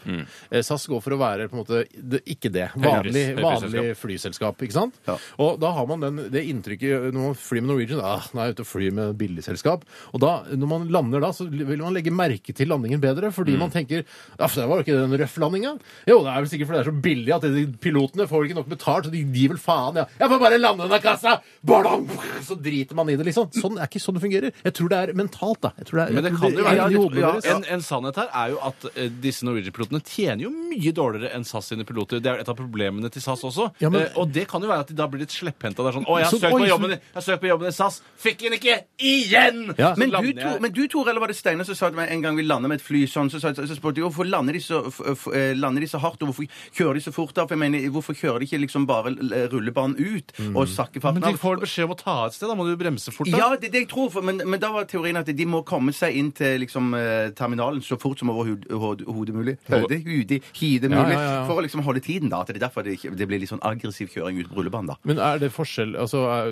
Eh, SAS går for å være på en måte det, ikke det. Vanlig,
Mm. Høypris- høyprisselskap.
vanlig flyselskap. selskap. ikke sant?
Ja.
Og da har man den, det inntrykket eh, når man flyr med Norwegian ah, Nå er jeg ute og flyr med billigselskap. Og da, når man lander da, så vil man legge merke til landingen bedre,
Mm.
fordi man tenker Aff, det var jo ikke den røff landinga. Jo, det er vel sikkert fordi det er så billig at de pilotene får ikke nok betalt, så de gir vel faen, ja. Jeg får bare lande denne kassa! Badang! Så driter man i det, liksom. Sånn er ikke sånn det fungerer. Jeg tror det er mentalt, da. Jeg tror det er,
Men det kan jo
i-
være
i hodene
ja,
deres.
en, en sannhet her er jo at eh, disse Norwegian-pilotene tjener jo mye dårligere enn SAS sine piloter. Det er et av problemene til SAS også.
Ja, men-
Eh, og det kan jo være at de da blir litt slepphendta. Det er sånn 'Å, jeg har
Så-
søkt på
oi, så-
jobben, i- jeg har søkt på jobben i SAS. Fikk den ikke igjen!'
Ja.
Så
Men
Altså, lander
du,
jeg-
Tor, men du, Tor, eller var det Steinar som sa til meg en gang vi lander med et fly sånn, så, sa jeg- så spurte jeg hvorfor lander de så, f, f, eh, lander de så hardt, og hvorfor kjører de så fort da? For jeg mener, hvorfor kjører de ikke liksom bare eh, rullebanen ut og sakker farten
Men de får beskjed om å ta et sted. Da må du bremse fort.
Ja,
Da.
det, er det jeg tror, for, men, men da var teorien at de må komme seg inn til liksom, eh, terminalen så fort som overhodet mulig. Høyde, hudi, hide mulig.
Ja, ja, ja.
For å liksom holde tiden, da. At det er derfor det, ikke, det blir litt sånn aggressiv kjøring ut på rullebanen, da.
Men er det forskjell Altså er,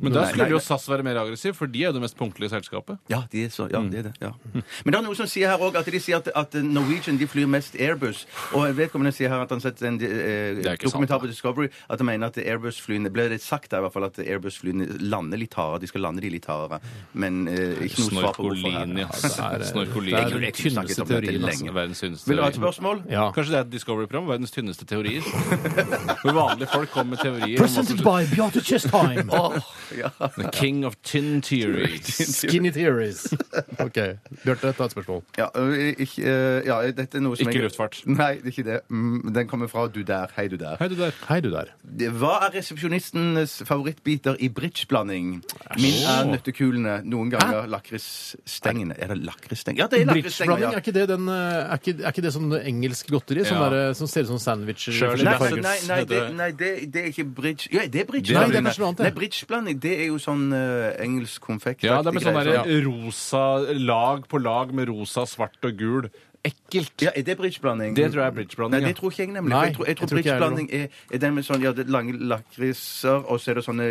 Men da
Nei,
skulle
nei,
jo
nei.
SAS være mer aggressiv, for de er jo det mest punktlige selskapet.
Ja, de er så, ja,
Mm.
det er det. Ja. Men det er noen som sier her også at de sier at, at Norwegian de flyr mest Airbus. Og vedkommende sier her at han har sett en eh,
Det er ikke sant,
dokumentar
da.
på Discovery at han mener at Airbus-flyene Ble det sagt der i hvert fall at Airbus-flyene lander litt hardere? De skal lande de litt hardere. Men eh, ikke noe svar på hvorfor.
Snorkolini,
her.
ass.
Ja, det er-
Snorkolini.
det
er den tynneste teorien, altså.
Verdens tynneste
Vil du ha et
teori.
spørsmål?
ja.
Kanskje det er et Discovery-program? Verdens tynneste teorier. Hvor vanlige folk kommer med teorier. om hva som
Presented by Beate Chestheim.
The king of tin theories.
Skinny theories. Ok, Bjarte, ta et spørsmål.
Ja, ø, ikke, ø, ja, dette er noe som
Ikke
jeg-
luftfart.
Nei, det er ikke det. Mm, Den kommer fra du der, hei du der.
Hei, du der. Hei, du der.
Det- Hva er resepsjonistens favorittbiter i bridgeblanding? Min er nøttekulene, noen ganger lakrisstengene. Er det lakrisstengene? Ja, det er lakrisstengene,
Bridgeblanding,
ja.
er ikke det, den, eh, er ikke, er ikke det sånn engelsk godteri som,
Ja.
er, eh, som ser ut som sandwicher? i forskjellige
Shirley
Nei,
Fergus,
farger?
altså, nei, nei,
heter det.
det, nei det, det er ikke bridge... Ja, det er
Nei, det er
bridgeblanding.
kanskje noe annet, det.
Nei, bridgeblanding, det er jo sånn ø, engelsk konfekt.
Ja, det er med sånn der rosa lag på lag med rosa, svart og gul. Ekkelt.
Ja, er det bridgeblanding?
Det tror jeg er bridgeblanding,
Nei,
ja.
det tror ikke jeg nemlig.
Nei,
for jeg tror, jeg tror
jeg tror ikke jeg heller.
bridgeblanding er, er den med sånn, ja, det er lange lakriser, og så er det sånne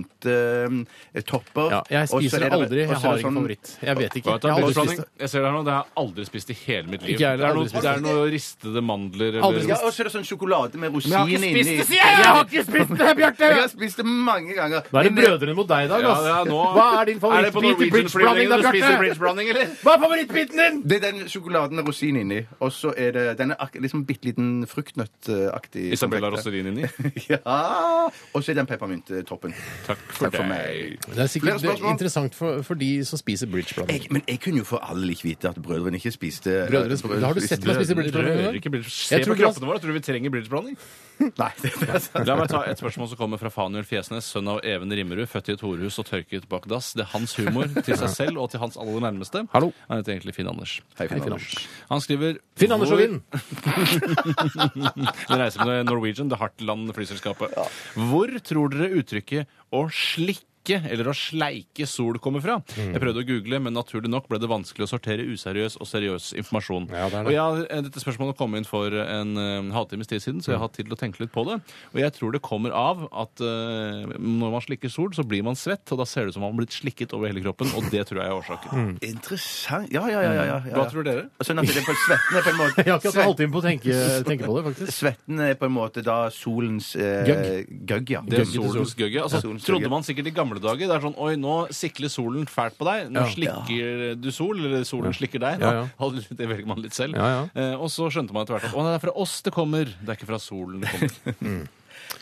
eh, peppermyntetopper.
Ja, jeg spiser det aldri. Jeg har
sånn
sånn-
ikke favoritt. Jeg vet ikke.
Vet du,
Jeg har aldri
bridgeblanding-
spist det.
jeg ser det her nå, det har jeg aldri spist i hele mitt liv.
Ikke jeg heller,
det, er
aldri
noe,
spist.
det er noe ristede mandler eller
Aldri
Ja, og så er det sånn sjokolade med
Men
rosiner
jeg har
inni.
ikke spist det, sier jeg! Jeg har ikke spist det, Bjarte!
Jeg har spist det mange ganger.
Da er det
Men det-
brødrene mot deg i dag,
Ja,
ass.
det er nå.
Hva er din
Er det på
favorittbit i
Norwegian-flyvningen
bridgeblanding, da,
du spiser
Bjarte?
bridgeblanding, eller?
Hva er favorittbiten din?
Det er den sjokoladen med rosin inni, og så er det den er ak- liksom bitte liten fruktnøttaktig.
Isabella
konfekt.
Rosselin inni.
Ja, og så er den peppermyntetoppen.
Takk for
Takk for
deg.
meg.
Det er
Flere
sikkert det er
spørsmål?
interessant for, for de som spiser bridgeblanding.
Jeg, men jeg kunne jo for all ikke vite at brødrene ikke spiste eh,
Brødrene spiser- Har du sett meg spise bridgeblanding?
Rører
i dag?
ikke bridge- Se
Jeg
på
tror ikke-
kroppene våre, tror du vi trenger bridgeblanding?
Nei, det er sant.
La meg ta et spørsmål som kommer fra Fanuel Fjesnes, sønn av Even Rimmerud, født i et horehus og tørket bak dass. Det er hans humor til seg selv og til hans aller nærmeste.
Hallo.
Han heter egentlig Finn Anders.
Hei, Finn
Finn
Anders.
Han skriver
Finn Anders og Vinn.
Den reiser med Norwegian, det Hartland flyselskapet. Hvor tror dere uttrykket 'å slikke' eller å sleike sol kommer fra. Jeg prøvde å google, men naturlig nok ble det vanskelig å sortere useriøs og seriøs informasjon.
Ja, det er det.
Og jeg har eh, dette spørsmålet kom inn for en eh, halvtimes tid siden, så jeg har hatt tid til å tenke litt på det. Og jeg tror det kommer av at eh, når man slikker sol, så blir man svett, og da ser det ut som om man har blitt slikket over hele kroppen, og det tror jeg er
Mm.
årsaken.
Interessant. Ja, ja, ja. ja, ja, ja.
Hva tror dere?
Sånn at det er på svetten er på en måte
Jeg har ikke hatt en halvtime på å tenke, tenke på det, faktisk.
Svetten er på en måte da solens eh,
Gøgg.
gøgg, ja.
Det er
Gøgge til sol.
solens gøgge.
Ja.
Altså,
Solens
trodde
gøgge.
man sikkert i gamle dager. Det er sånn Oi, nå sikler solen fælt på deg. Nå
Ja.
slikker du sol, eller solen slikker deg.
Ja, ja.
Da- Det velger man litt selv.
Ja,
Eh, og så skjønte man etter hvert at Å, nei, det er fra oss det kommer. Det er ikke fra solen det kommer.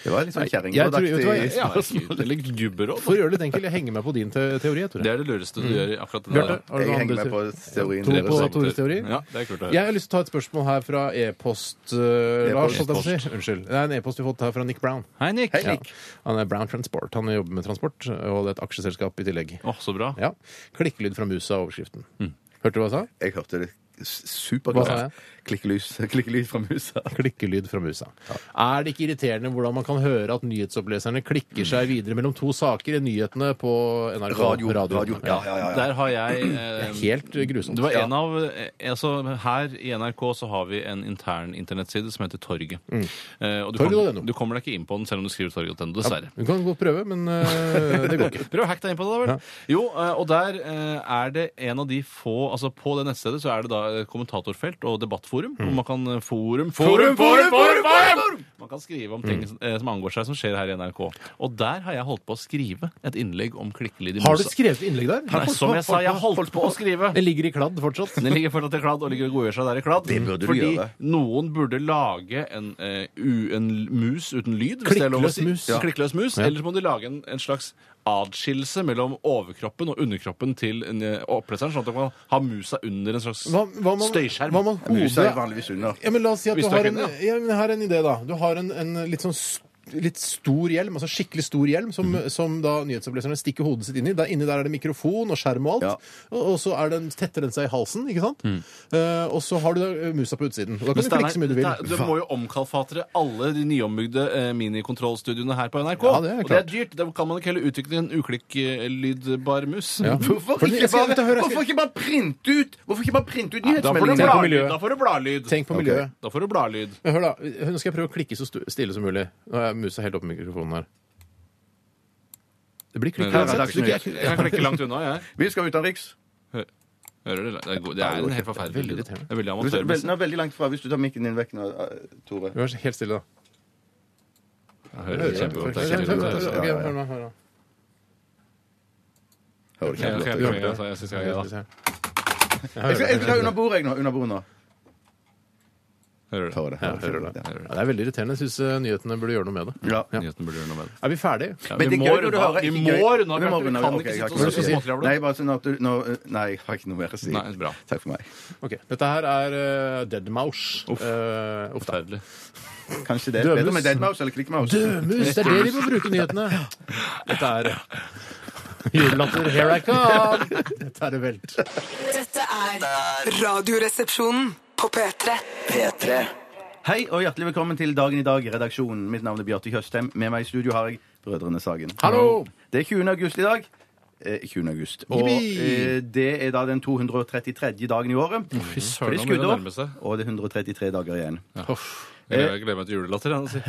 Det var litt sånn
Jeg tror- vet du hva,
kjerringrådaktig.
jeg-
Ja, eller gubberåd.
For å gjøre det litt enkelt, jeg henger meg på din te teori. Jeg, tror
Det
jeg.
er det lureste du gjør i akkurat det
Bjarte,
der.
har du
Jeg
noen
henger
andre
meg på
teorier?
teorien
To
deres.
på Tores teori?
Ja, det er kult å høre.
Jeg har lyst til å ta et spørsmål her fra e-post eh, Lars. holdt jeg på å
E-post.
si. Unnskyld. Det er en e-post vi har fått her fra Nick Brown.
Hei, Nick.
Hei,
Åh,
Nick.
Han er Brown Transport. Han jobber med transport, og det er et aksjeselskap i tillegg.
så bra.
Ja. Klikkelyd fra musa er overskriften.
Mm.
Hørte du hva jeg sa?
Jeg hørte det s-
Hva sa jeg?
superklart. Klikkelys, klikkelyd fra musa.
Klikkelyd fra musa. Er det ikke irriterende hvordan man kan høre at nyhetsoppleserne klikker seg videre mellom to saker i nyhetene på NRK
Radio. radio.
Ja.
Ja, ja, ja. ja.
Der har jeg eh,
Helt grusomt.
Det var en av, eh, altså Her i NRK så har vi en intern internettside som heter Torget.
Mm.
Eh, og du,
Torget.no.
kom, du kommer deg ikke inn på den selv om du skriver Torget.no, dessverre.
Du kan godt prøve, men eh, det går ikke.
Prøv å hacke deg inn på det, da vel. Jo, eh, og der eh, er det en av de få Altså, på det
Mm.
nettstedet så er det da eh, kommentatorfelt og debattforum, hvor man kan eh, forum, forum, forum, forum, forum, Man kan skrive om
Mm.
ting som- eh, som angår seg, som skjer her i NRK. Og der har jeg holdt på å skrive et innlegg om klikkelyd i
Har du
musa.
skrevet innlegg der?
Nei, som jeg sa, jeg holdt på å skrive.
Det ligger i kladd fortsatt.
Den ligger fortsatt i kladd og ligger og godgjør seg der i kladd.
Det burde du
fordi
gjøre.
noen burde lage en, eh, u, en l- mus uten lyd. hvis det er lov å
Klikkløs
si.
mus.
Ja. Klikkløs mus. Eller så må de lage en, en slags adskillelse mellom overkroppen og underkroppen til en, eh, oppleseren, sånn at man har musa under en slags
Hva, hva med,
støyskjerm.
Hva med
Musa er
hodet?
vanligvis under.
Ja, men la oss si at
Hvis
du
du er
har en,
kvinne,
ja, men jeg har en idé, da. Du har en, en litt sånn s- litt stor hjelm, altså skikkelig stor hjelm, som,
Mhm.
som da nyhetsoppleserne stikker hodet sitt inn i. Der, inni der er det mikrofon og skjerm og alt.
Ja.
Og, og så er den, tetter den seg i halsen, ikke sant? Eh, og så har du da eh, musa på utsiden. Og da kan
Mhm. Men
du
Steinar,
klikke så mye du vil.
dette- du må jo omkalfatre alle de nyombygde eh, minikontrollstudioene her på NRK.
Ja, det er
og det er
klart.
dyrt. Da kan man ikke heller utvikle en uklikk-lydbar mus.
Ja.
Hvorfor
For den-
ikke
jeg skal- vet du, hør,
bare,
jeg
hvorfor
skal-
ikke bare printe ut Hvorfor ikke bare printe ut
Da får du
Tenk på
nyhetsmeldingene?
bladlyd.
miljøet.
Da får du bladlyd.
Tenk på miljøet.
Da får du bladlyd.
Men Hør da, Nå skal jeg prøve å klikke så stu- stille som mulig. Nå er musa helt oppe i mikrofonen her. Det blir klikk
Nei, det er
uansett.
ikke så mye. Jeg kan klikke langt unna, jeg.
Vi skal utenriks.
Hører du? det? Det er, god, det er en helt forferdelig
Veldig
lyd.
irriterende.
Det er veldig
Hvis- vel-
amatørmessig.
Nå, veldig langt fra. Hvis du tar mikken din vekk nå, eh, Tore.
Vær helt stille, da.
Jeg hører det kjempegodt. Det er kjempegodt.
Ok, hør nå, hør nå.
Hører du
Ja, ok,
kjempegodt?
jeg prøver igjen, altså. Jeg synes jeg gjør det.
Jeg skal, jeg skal ta under bordet, jeg nå. Under bordet nå.
Hører du det?
Hører det. Hører det.
Ja, det er veldig irriterende. Jeg syns eh, nyhetene burde gjøre noe med det.
Ja.
Nyheten burde gjøre noe med det.
Er vi ferdige?
Ja,
Men
vi
det er
må
gøy når du
runde av.
hører-
Vi
ikke
må
gøy.
runde av.
Vi må
Bjarte.
runde
Vi
av.
kan
Ok,
ikke
jeg har ikke
sitte og se
noe å si.
småkravle.
Nei, bare sånn at du, nå, eh, nei, jeg har ikke noe mer å si.
Nei, bra.
Takk for meg.
Ok, Dette her er uh, Deadmau5.
Uff.
Eh, uff da.
Forferdelig.
Kanskje det er
Dødmus.
bedre med deadmouse eller klikkmouse.
Dødmus! Det er det de må bruke nyhetene. Dette er Julelatter, here I come! Dette er det velt.
Dette er Radioresepsjonen på P3.
P3.
Hei og hjertelig velkommen til Dagen i dag, redaksjonen. Mitt navn er Bjarte Tjøstheim. Med meg i studio har jeg Brødrene Sagen.
Hallo!
Det er 20. august i dag. Eh, 20. august. Og
Yippee!
eh, det er da den 233. dagen i året. Fy
søren, nå begynner det å nærme seg.
Og det er 133 dager igjen.
Jeg gleder meg til julelatter. jeg, altså.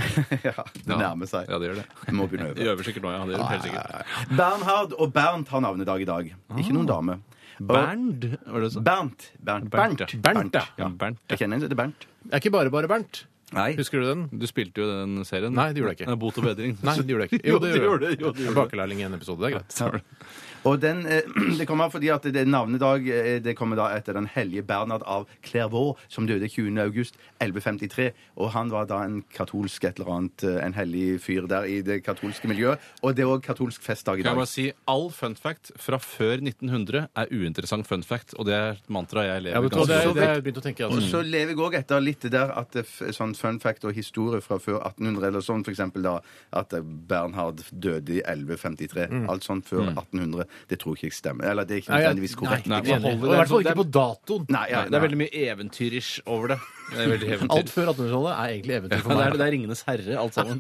Ja, det Eh. nærmer seg. Ah,
Ja, det gjør det.
Må begynne å øve.
Det gjør vi sikkert nå, ja. Det gjør vi helt sikkert.
Bernhard og Bernt har navnedag i dag. Ikke
Ah.
noen dame. Og-
Bernd, var det du sa?
Bernt. Bernt.
Bernt, ja.
Bernt, ja.
ja.
Bernt, ja.
Jeg kjenner en som heter Bernt.
Det er ikke bare bare Bernt.
Nei.
Husker du den?
Du spilte jo den serien.
Nei, det gjorde jeg ikke.
Eh, Bot og bedring.
Nei, det gjorde jeg ikke. Jo, det gjorde
jeg.
jeg.
Jo, det gjorde jeg.
Bakelærling i en episode. Det er greit.
Sorry.
Og den, eh, det kommer av fordi at det er navnedag eh, det kommer da etter den hellige Bernhard av Clairvaux, som døde 20. august 1153. Og han var da en katolsk et eller annet, eh, en hellig fyr der i det katolske miljøet. Og det er òg katolsk festdag i
Kan jeg
dag.
bare si All fun fact fra før 1900 er uinteressant fun fact, og det er et mantra jeg lever
Ja, vet du, hva, det,
ganske
er- det har jeg begynt å tenke.
Mm.
Og
Altså.
så lever jeg òg etter litt det der at det f- sånn fun fact og historie fra før 1800 eller sånn, for eksempel da at Bernhard døde i 1153. Alt sånn før 1800. Det tror ikke jeg stemmer. Eller det er ikke
Nei, jeg-
nødvendigvis korrekt.
Mm. Nei,
Nei,
man
jeg er enig. Og i
holder den
hvert fall
sånn.
ikke på datoen.
Nei, ja,
Nei, det er veldig mye eventyrish over det. Det er veldig
Alt
eventyr.
før 1800-tallet er egentlig eventyr
Ja,
for
det er,
meg.
det er Ringenes herre, alt sammen.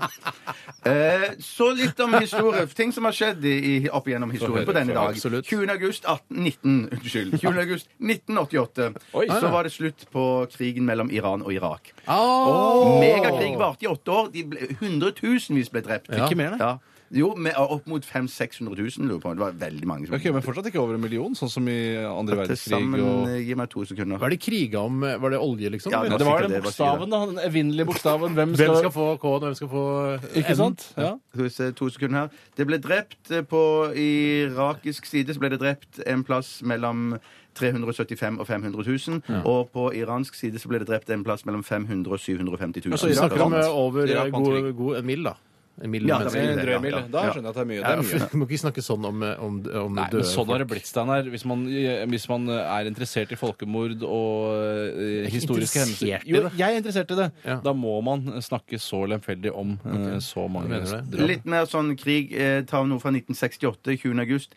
Eh, så litt om historie. Ting som har skjedd i, i, opp igjennom historien
Få høre,
på denne
få høre.
dag.
Absolutt.
20. august 18, 19, unnskyld, 20. august 1988
Oi.
så var det slutt på krigen mellom Iran og Irak.
Åh!
Megakrig varte i åtte år. De ble, hundretusenvis ble drept.
Ikke mer, nei.
Ja. Jo, med, opp mot 500 000-600 000. lurer på. Det var veldig mange. som-
Ok, Men fortsatt ikke over en million, sånn som i andre
Til
verdenskrig.
sammen,
Og...
eh, Gi meg to sekunder.
Hva er det kriga om? Var det olje, liksom?
Ja,
eller?
Nei, det var den bokstaven, da. Den evinnelige bokstaven. Hvem skal,
Hvem skal få K-en, og hvem skal få
Ikke sant? Ja.
Skal vi se, to sekunder her. Det ble drept eh, på irakisk side så ble det drept en plass mellom 375 og 500 000. Og på iransk side så ble det drept en plass mellom 500 og 750 000.
Altså,
Vi
Irak
snakker om
vant.
eh, over
Irak vant
god,
krig.
god, en mil, da. En mil
Ja,
mennesker.
det
En
blir
drøy mil.
ja.
Da
Ja.
skjønner jeg at det er mye. Det
Ja,
er mye.
Du må ikke snakke sånn om, eh, om, om
Nei, men
døde
sånn har det
folk.
blitt, Steinar. Hvis man, hvis man eh, er interessert i folkemord og eh,
ikke interessert
historiske hendelser
i
Jo,
det.
jeg er interessert i det.
Ja.
Da må man snakke så lemfeldig om eh, så mange
Mener du det?
drap.
Litt mer sånn krig. Eh, ta noe fra 1968, 20. august.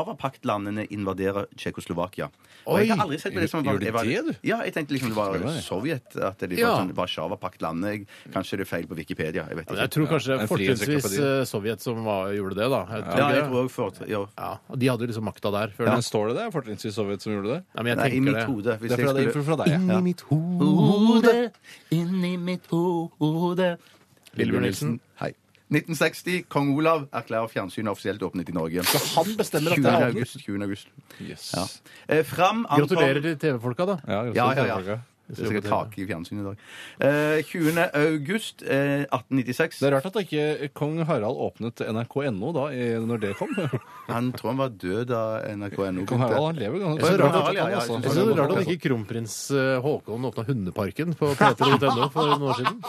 Warszawa-paktlandene invaderer Tsjekkoslovakia. Og jeg har aldri sett på det som
Gjorde de det, du?
Ja, jeg tenkte liksom det var
Spennende.
Sovjet. At det
Ja.
var sånn Warszawa-paktlandene. Jeg- Kanskje det er feil på Wikipedia. Jeg vet
Jeg
ikke.
tror kanskje det
En
er fortrinnsvis
frihetsencyklopedi.
eh, Sovjet som var, gjorde det, da. Jeg tror
Ja,
ikke
jeg
det.
tror også for, ja.
ja, og de hadde liksom makta der. Før
Men
det.
Står det det? Fortrinnsvis Sovjet som gjorde det?
Nei, men jeg
Nei, I
tenker
mitt
det.
hode. Hvis
Det er fra, det
jeg
er
skulle
fra deg, ja.
Inni mitt hode.
Hode, inni mitt hode
Lillebjørn Nilsen.
Hei. 1960. Kong Olav erklærer fjernsynet offisielt åpnet i Norge.
Han bestemmer at
20.
det er
august. 20. august.
Yes.
Ja. Eh, Fram ankom
Gratulerer til TV-folka, da.
Ja,
Ja, ja, ja. Det er sikkert kake i fjernsynet i dag. Eh, 20. august eh, 1896.
Det er rart at da ikke kong Harald åpnet nrk.no da, i- når det kom. Kong
Han tror han var død da NRK.no
Harald han lever ganske
Det er så rart at-
Harald, ja, altså. ja, jeg synes
Jeg synes det er rart at ikke kronprins eh, Haakon åpna Hundeparken på p3.no for noen år siden.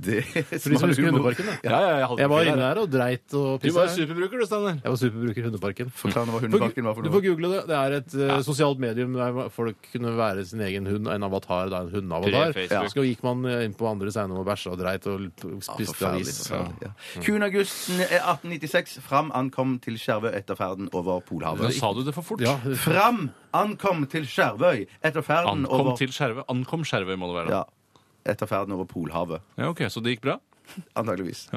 Det
For de som husker Hundeparken, da.
Ja, ja, jeg, hadde
Jeg var
ikke det.
inne her og dreit og
Du var
pissa. Jeg
superbruker, du, Steinar.
var superbruker i Hundeparken.
Forklar nå hva
Du
hundebakken var for
får
noe.
google det. Det er et eh, sosialt medium der folk kunne være sin egen hund. En avatar, da en hundeavatar.
Pre-Facebook.
Ja. Så gikk man eh, inn på andres eiendom og bæsja og dreit og l- spiste
Ah, Forferdelig,
avis.
forferdelig, ja. 20. august 1896. Fram ankom til Skjervøy etter ferden over
Nå
Polhavet.
sa du det for fort.
Ja,
Fram ankom til Skjervøy etter ferden
Ankom
over
til Skjervøy. Ankom Skjervøy, må det være.
Ja. Etter ferden over Polhavet.
Ja, ok, Så det gikk bra?
Antageligvis.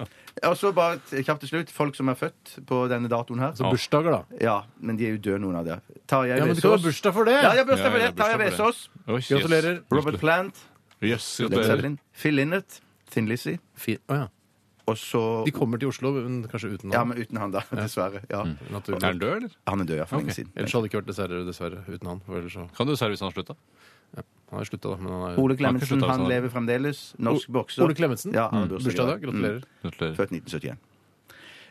Og så bare et- kjapt til slutt. Folk som er født på denne datoen her.
så bursdager, da.
Ja, men de er jo døde, noen av dem. Tarjei
Ja, men du kan ha bursdag for det!
Ja, jeg har bursdag for
Ja, jeg
det.
har
Tarjei
bursdag for
Vesaas.
Oi, yes.
Gratulerer.
Robert Plant.
Jøss,
Led
gratulerer.
Zeppelin. Phil Linnet. Thin Lizzie.
Fi- Å, ja.
Og så
De kommer til Oslo, men kanskje uten
Ja,
han.
men uten han, da. Dessverre. Ja.
Mm.
naturlig.
Er han død, eller?
Han er død ja, for lenge
Ok.
siden.
Ellers hadde det ikke vært dessverre, dessverre uten han. For ellers så
Kan du service han har slutta?
Han har jo slutta, da. Men han er
Ole
Han har ikke
Klemetsen,
sluttet,
han
altså.
lever fremdeles. Norsk bokser.
Ole Klemetsen.
Ja, han har bursdag i
Bursdag i
dag. Mm.
dag. Gratulerer.
Gratulerer.
Født 1971.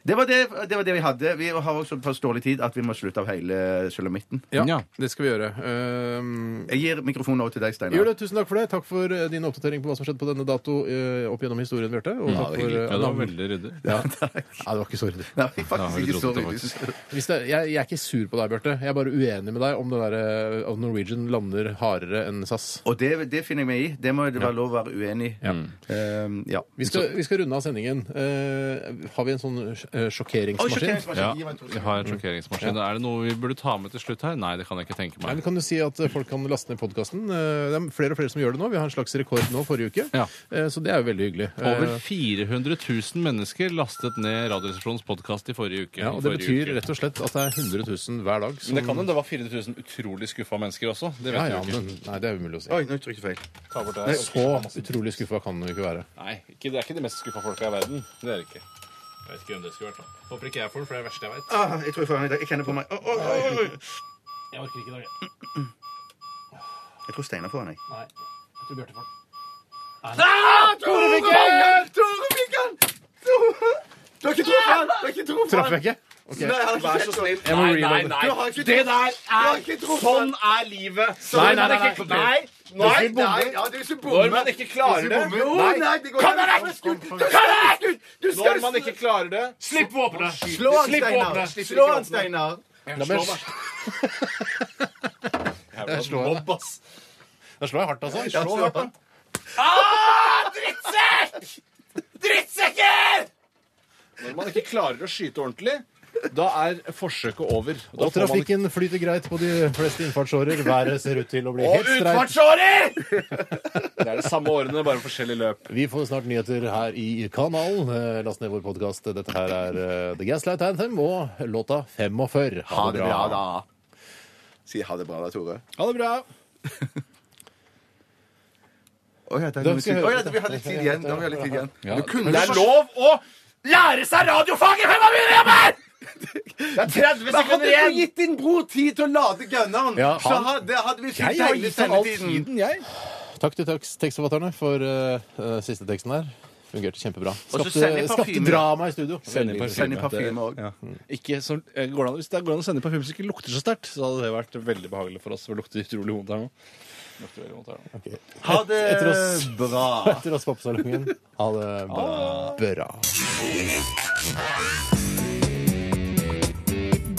Det var det, det var det vi hadde. Vi har også såpass dårlig tid at vi må slutte av hele sulamitten.
Ja,
Ja.
det skal vi gjøre. Ehm,
Jeg gir mikrofonen over til deg, Steinar.
gjør det, Tusen takk for det. Takk for eh, din oppdatering på hva som har skjedd på denne dato eh, opp gjennom historien, Bjarte. Og takk for eh,
Ja, det var
navn-
veldig ryddig.
ja. Nei, det var ikke så ryddig.
Nei, faktisk
Ja,
ikke så
det
ryddig.
Hvis det, jeg, jeg er ikke sur på deg, Bjarte. Jeg er bare uenig med deg om det der, eh, at Norwegian lander hardere enn SAS.
Og det, det finner jeg meg i. Det må det være lov å være uenig i. Ja. ja.
Vi skal, vi skal runde av sendingen. Eh, har vi en sånn eh,
Oi,
sjokkeringsmaskin?
sjokkeringsmaskin.
Ja,
Gi meg to
vi har en sjokkeringsmaskin. Er det noe vi burde ta med til slutt her? Nei, det kan jeg ikke tenke
Nei, men
meg.
kan du si at eh, folk kan laste ned podkasten? Det er flere og flere som gjør det nå. Vi har en slags rekord nå forrige uke,
Ja.
Eh, så det er jo veldig hyggelig.
Over
Eh,
400 000 mennesker lastet ned Radioresepsjonens podkast i forrige uke.
ja, og det betyr rett og slett at det er 100 000 hver dag som
Men det kan jo det var 400 000 utrolig skuffa mennesker også. Det vet
ja, ja,
du jo ikke.
men, Nei, det er umulig å si.
Oi, nå trykket jeg feil.
Ta bort det her.
Så utrolig skuffa kan du ikke være.
Nei, ikke, det er ikke de mest skuffa folka i verden. Det er det ikke. Jeg vet ikke hvem det skulle vært. da. Håper ikke jeg får den, for det er det verste jeg vet.
Ah, jeg tror jeg får den i dag. Jeg kjenner på meg. Oi, oi, oi, oi.
Jeg orker ikke i dag, jeg.
Jeg tror Steinar får den, jeg.
Nei. Jeg tror Bjarte får den.
Tore fikk han! Tore! Du har ikke tro på han! Du har ikke tro på
Traff jeg ikke? Ok.
Nei, han er ikke så snill.
Jeg må reloade.
Du har ikke
Det
tro på
der
har
er
ikke tro på
Sånn er livet.
Nei, nei, nei, nei.
nei. Når
Nei,
vi bommer-
nei, ja, du som bommer.
Når man ikke klarer det
Jo, nei, det går ikke. Du skal skutt! Du skal
Når man ikke klarer det Slipp våpenet!
Slå han, Steinar! Slå han, Steinar!
La meg- Jeg slår deg.
Mobb, ass.
Da slår jeg hardt, altså.
Ja, slå han.
Drittsekker! Når man ikke klarer å skyte ordentlig, da er forsøket over. Da
Og trafikken flyter greit på de fleste innfartsårer. Været ser ut til å bli
Og
helt streit.
utfartsårer! Det er det samme årene, bare forskjellig løp.
Vi får snart nyheter her i kanalen. Eh, Last ned vår podkast. Dette her er eh, The Gaslight Anthem og låta 45.
Ha det bra, da. Si ha det bra, da, Tore.
Ha det bra.
Oi, ja, det er
Da
noe
skal jeg
musikk. Oi,
høre.
ja, vi har litt tid igjen. Da har vi litt tid igjen.
Ja.
Du kunne
Det er lov å lære seg radiofaget før man begynner hjemme! Det er 30
Men hadde
sekunder
du
igjen!
gitt din bror tid til å lade gunneren,
Ja,
så
han-
hadde, hadde vi
Jeg
fått
har
hele
gitt all
sendetiden.
tiden, jeg.
Takk til tekst- tekstforfatterne for eh, eh, siste teksten der. Fungerte kjempebra.
Og så
Skapte,
send i parfyme.
skapte drama i studio.
Send i parfyme.
Send i parfyme òg.
Ikke så, eh, går det an, hvis det går an å sende parfyme som ikke lukter så sterkt, så hadde det vært veldig behagelig for oss. For det lukter utrolig vondt her nå. Det lukter veldig vondt her nå.
Ha det
Etter oss-
bra.
Etter oss popsalongen. Ha det bra. bra.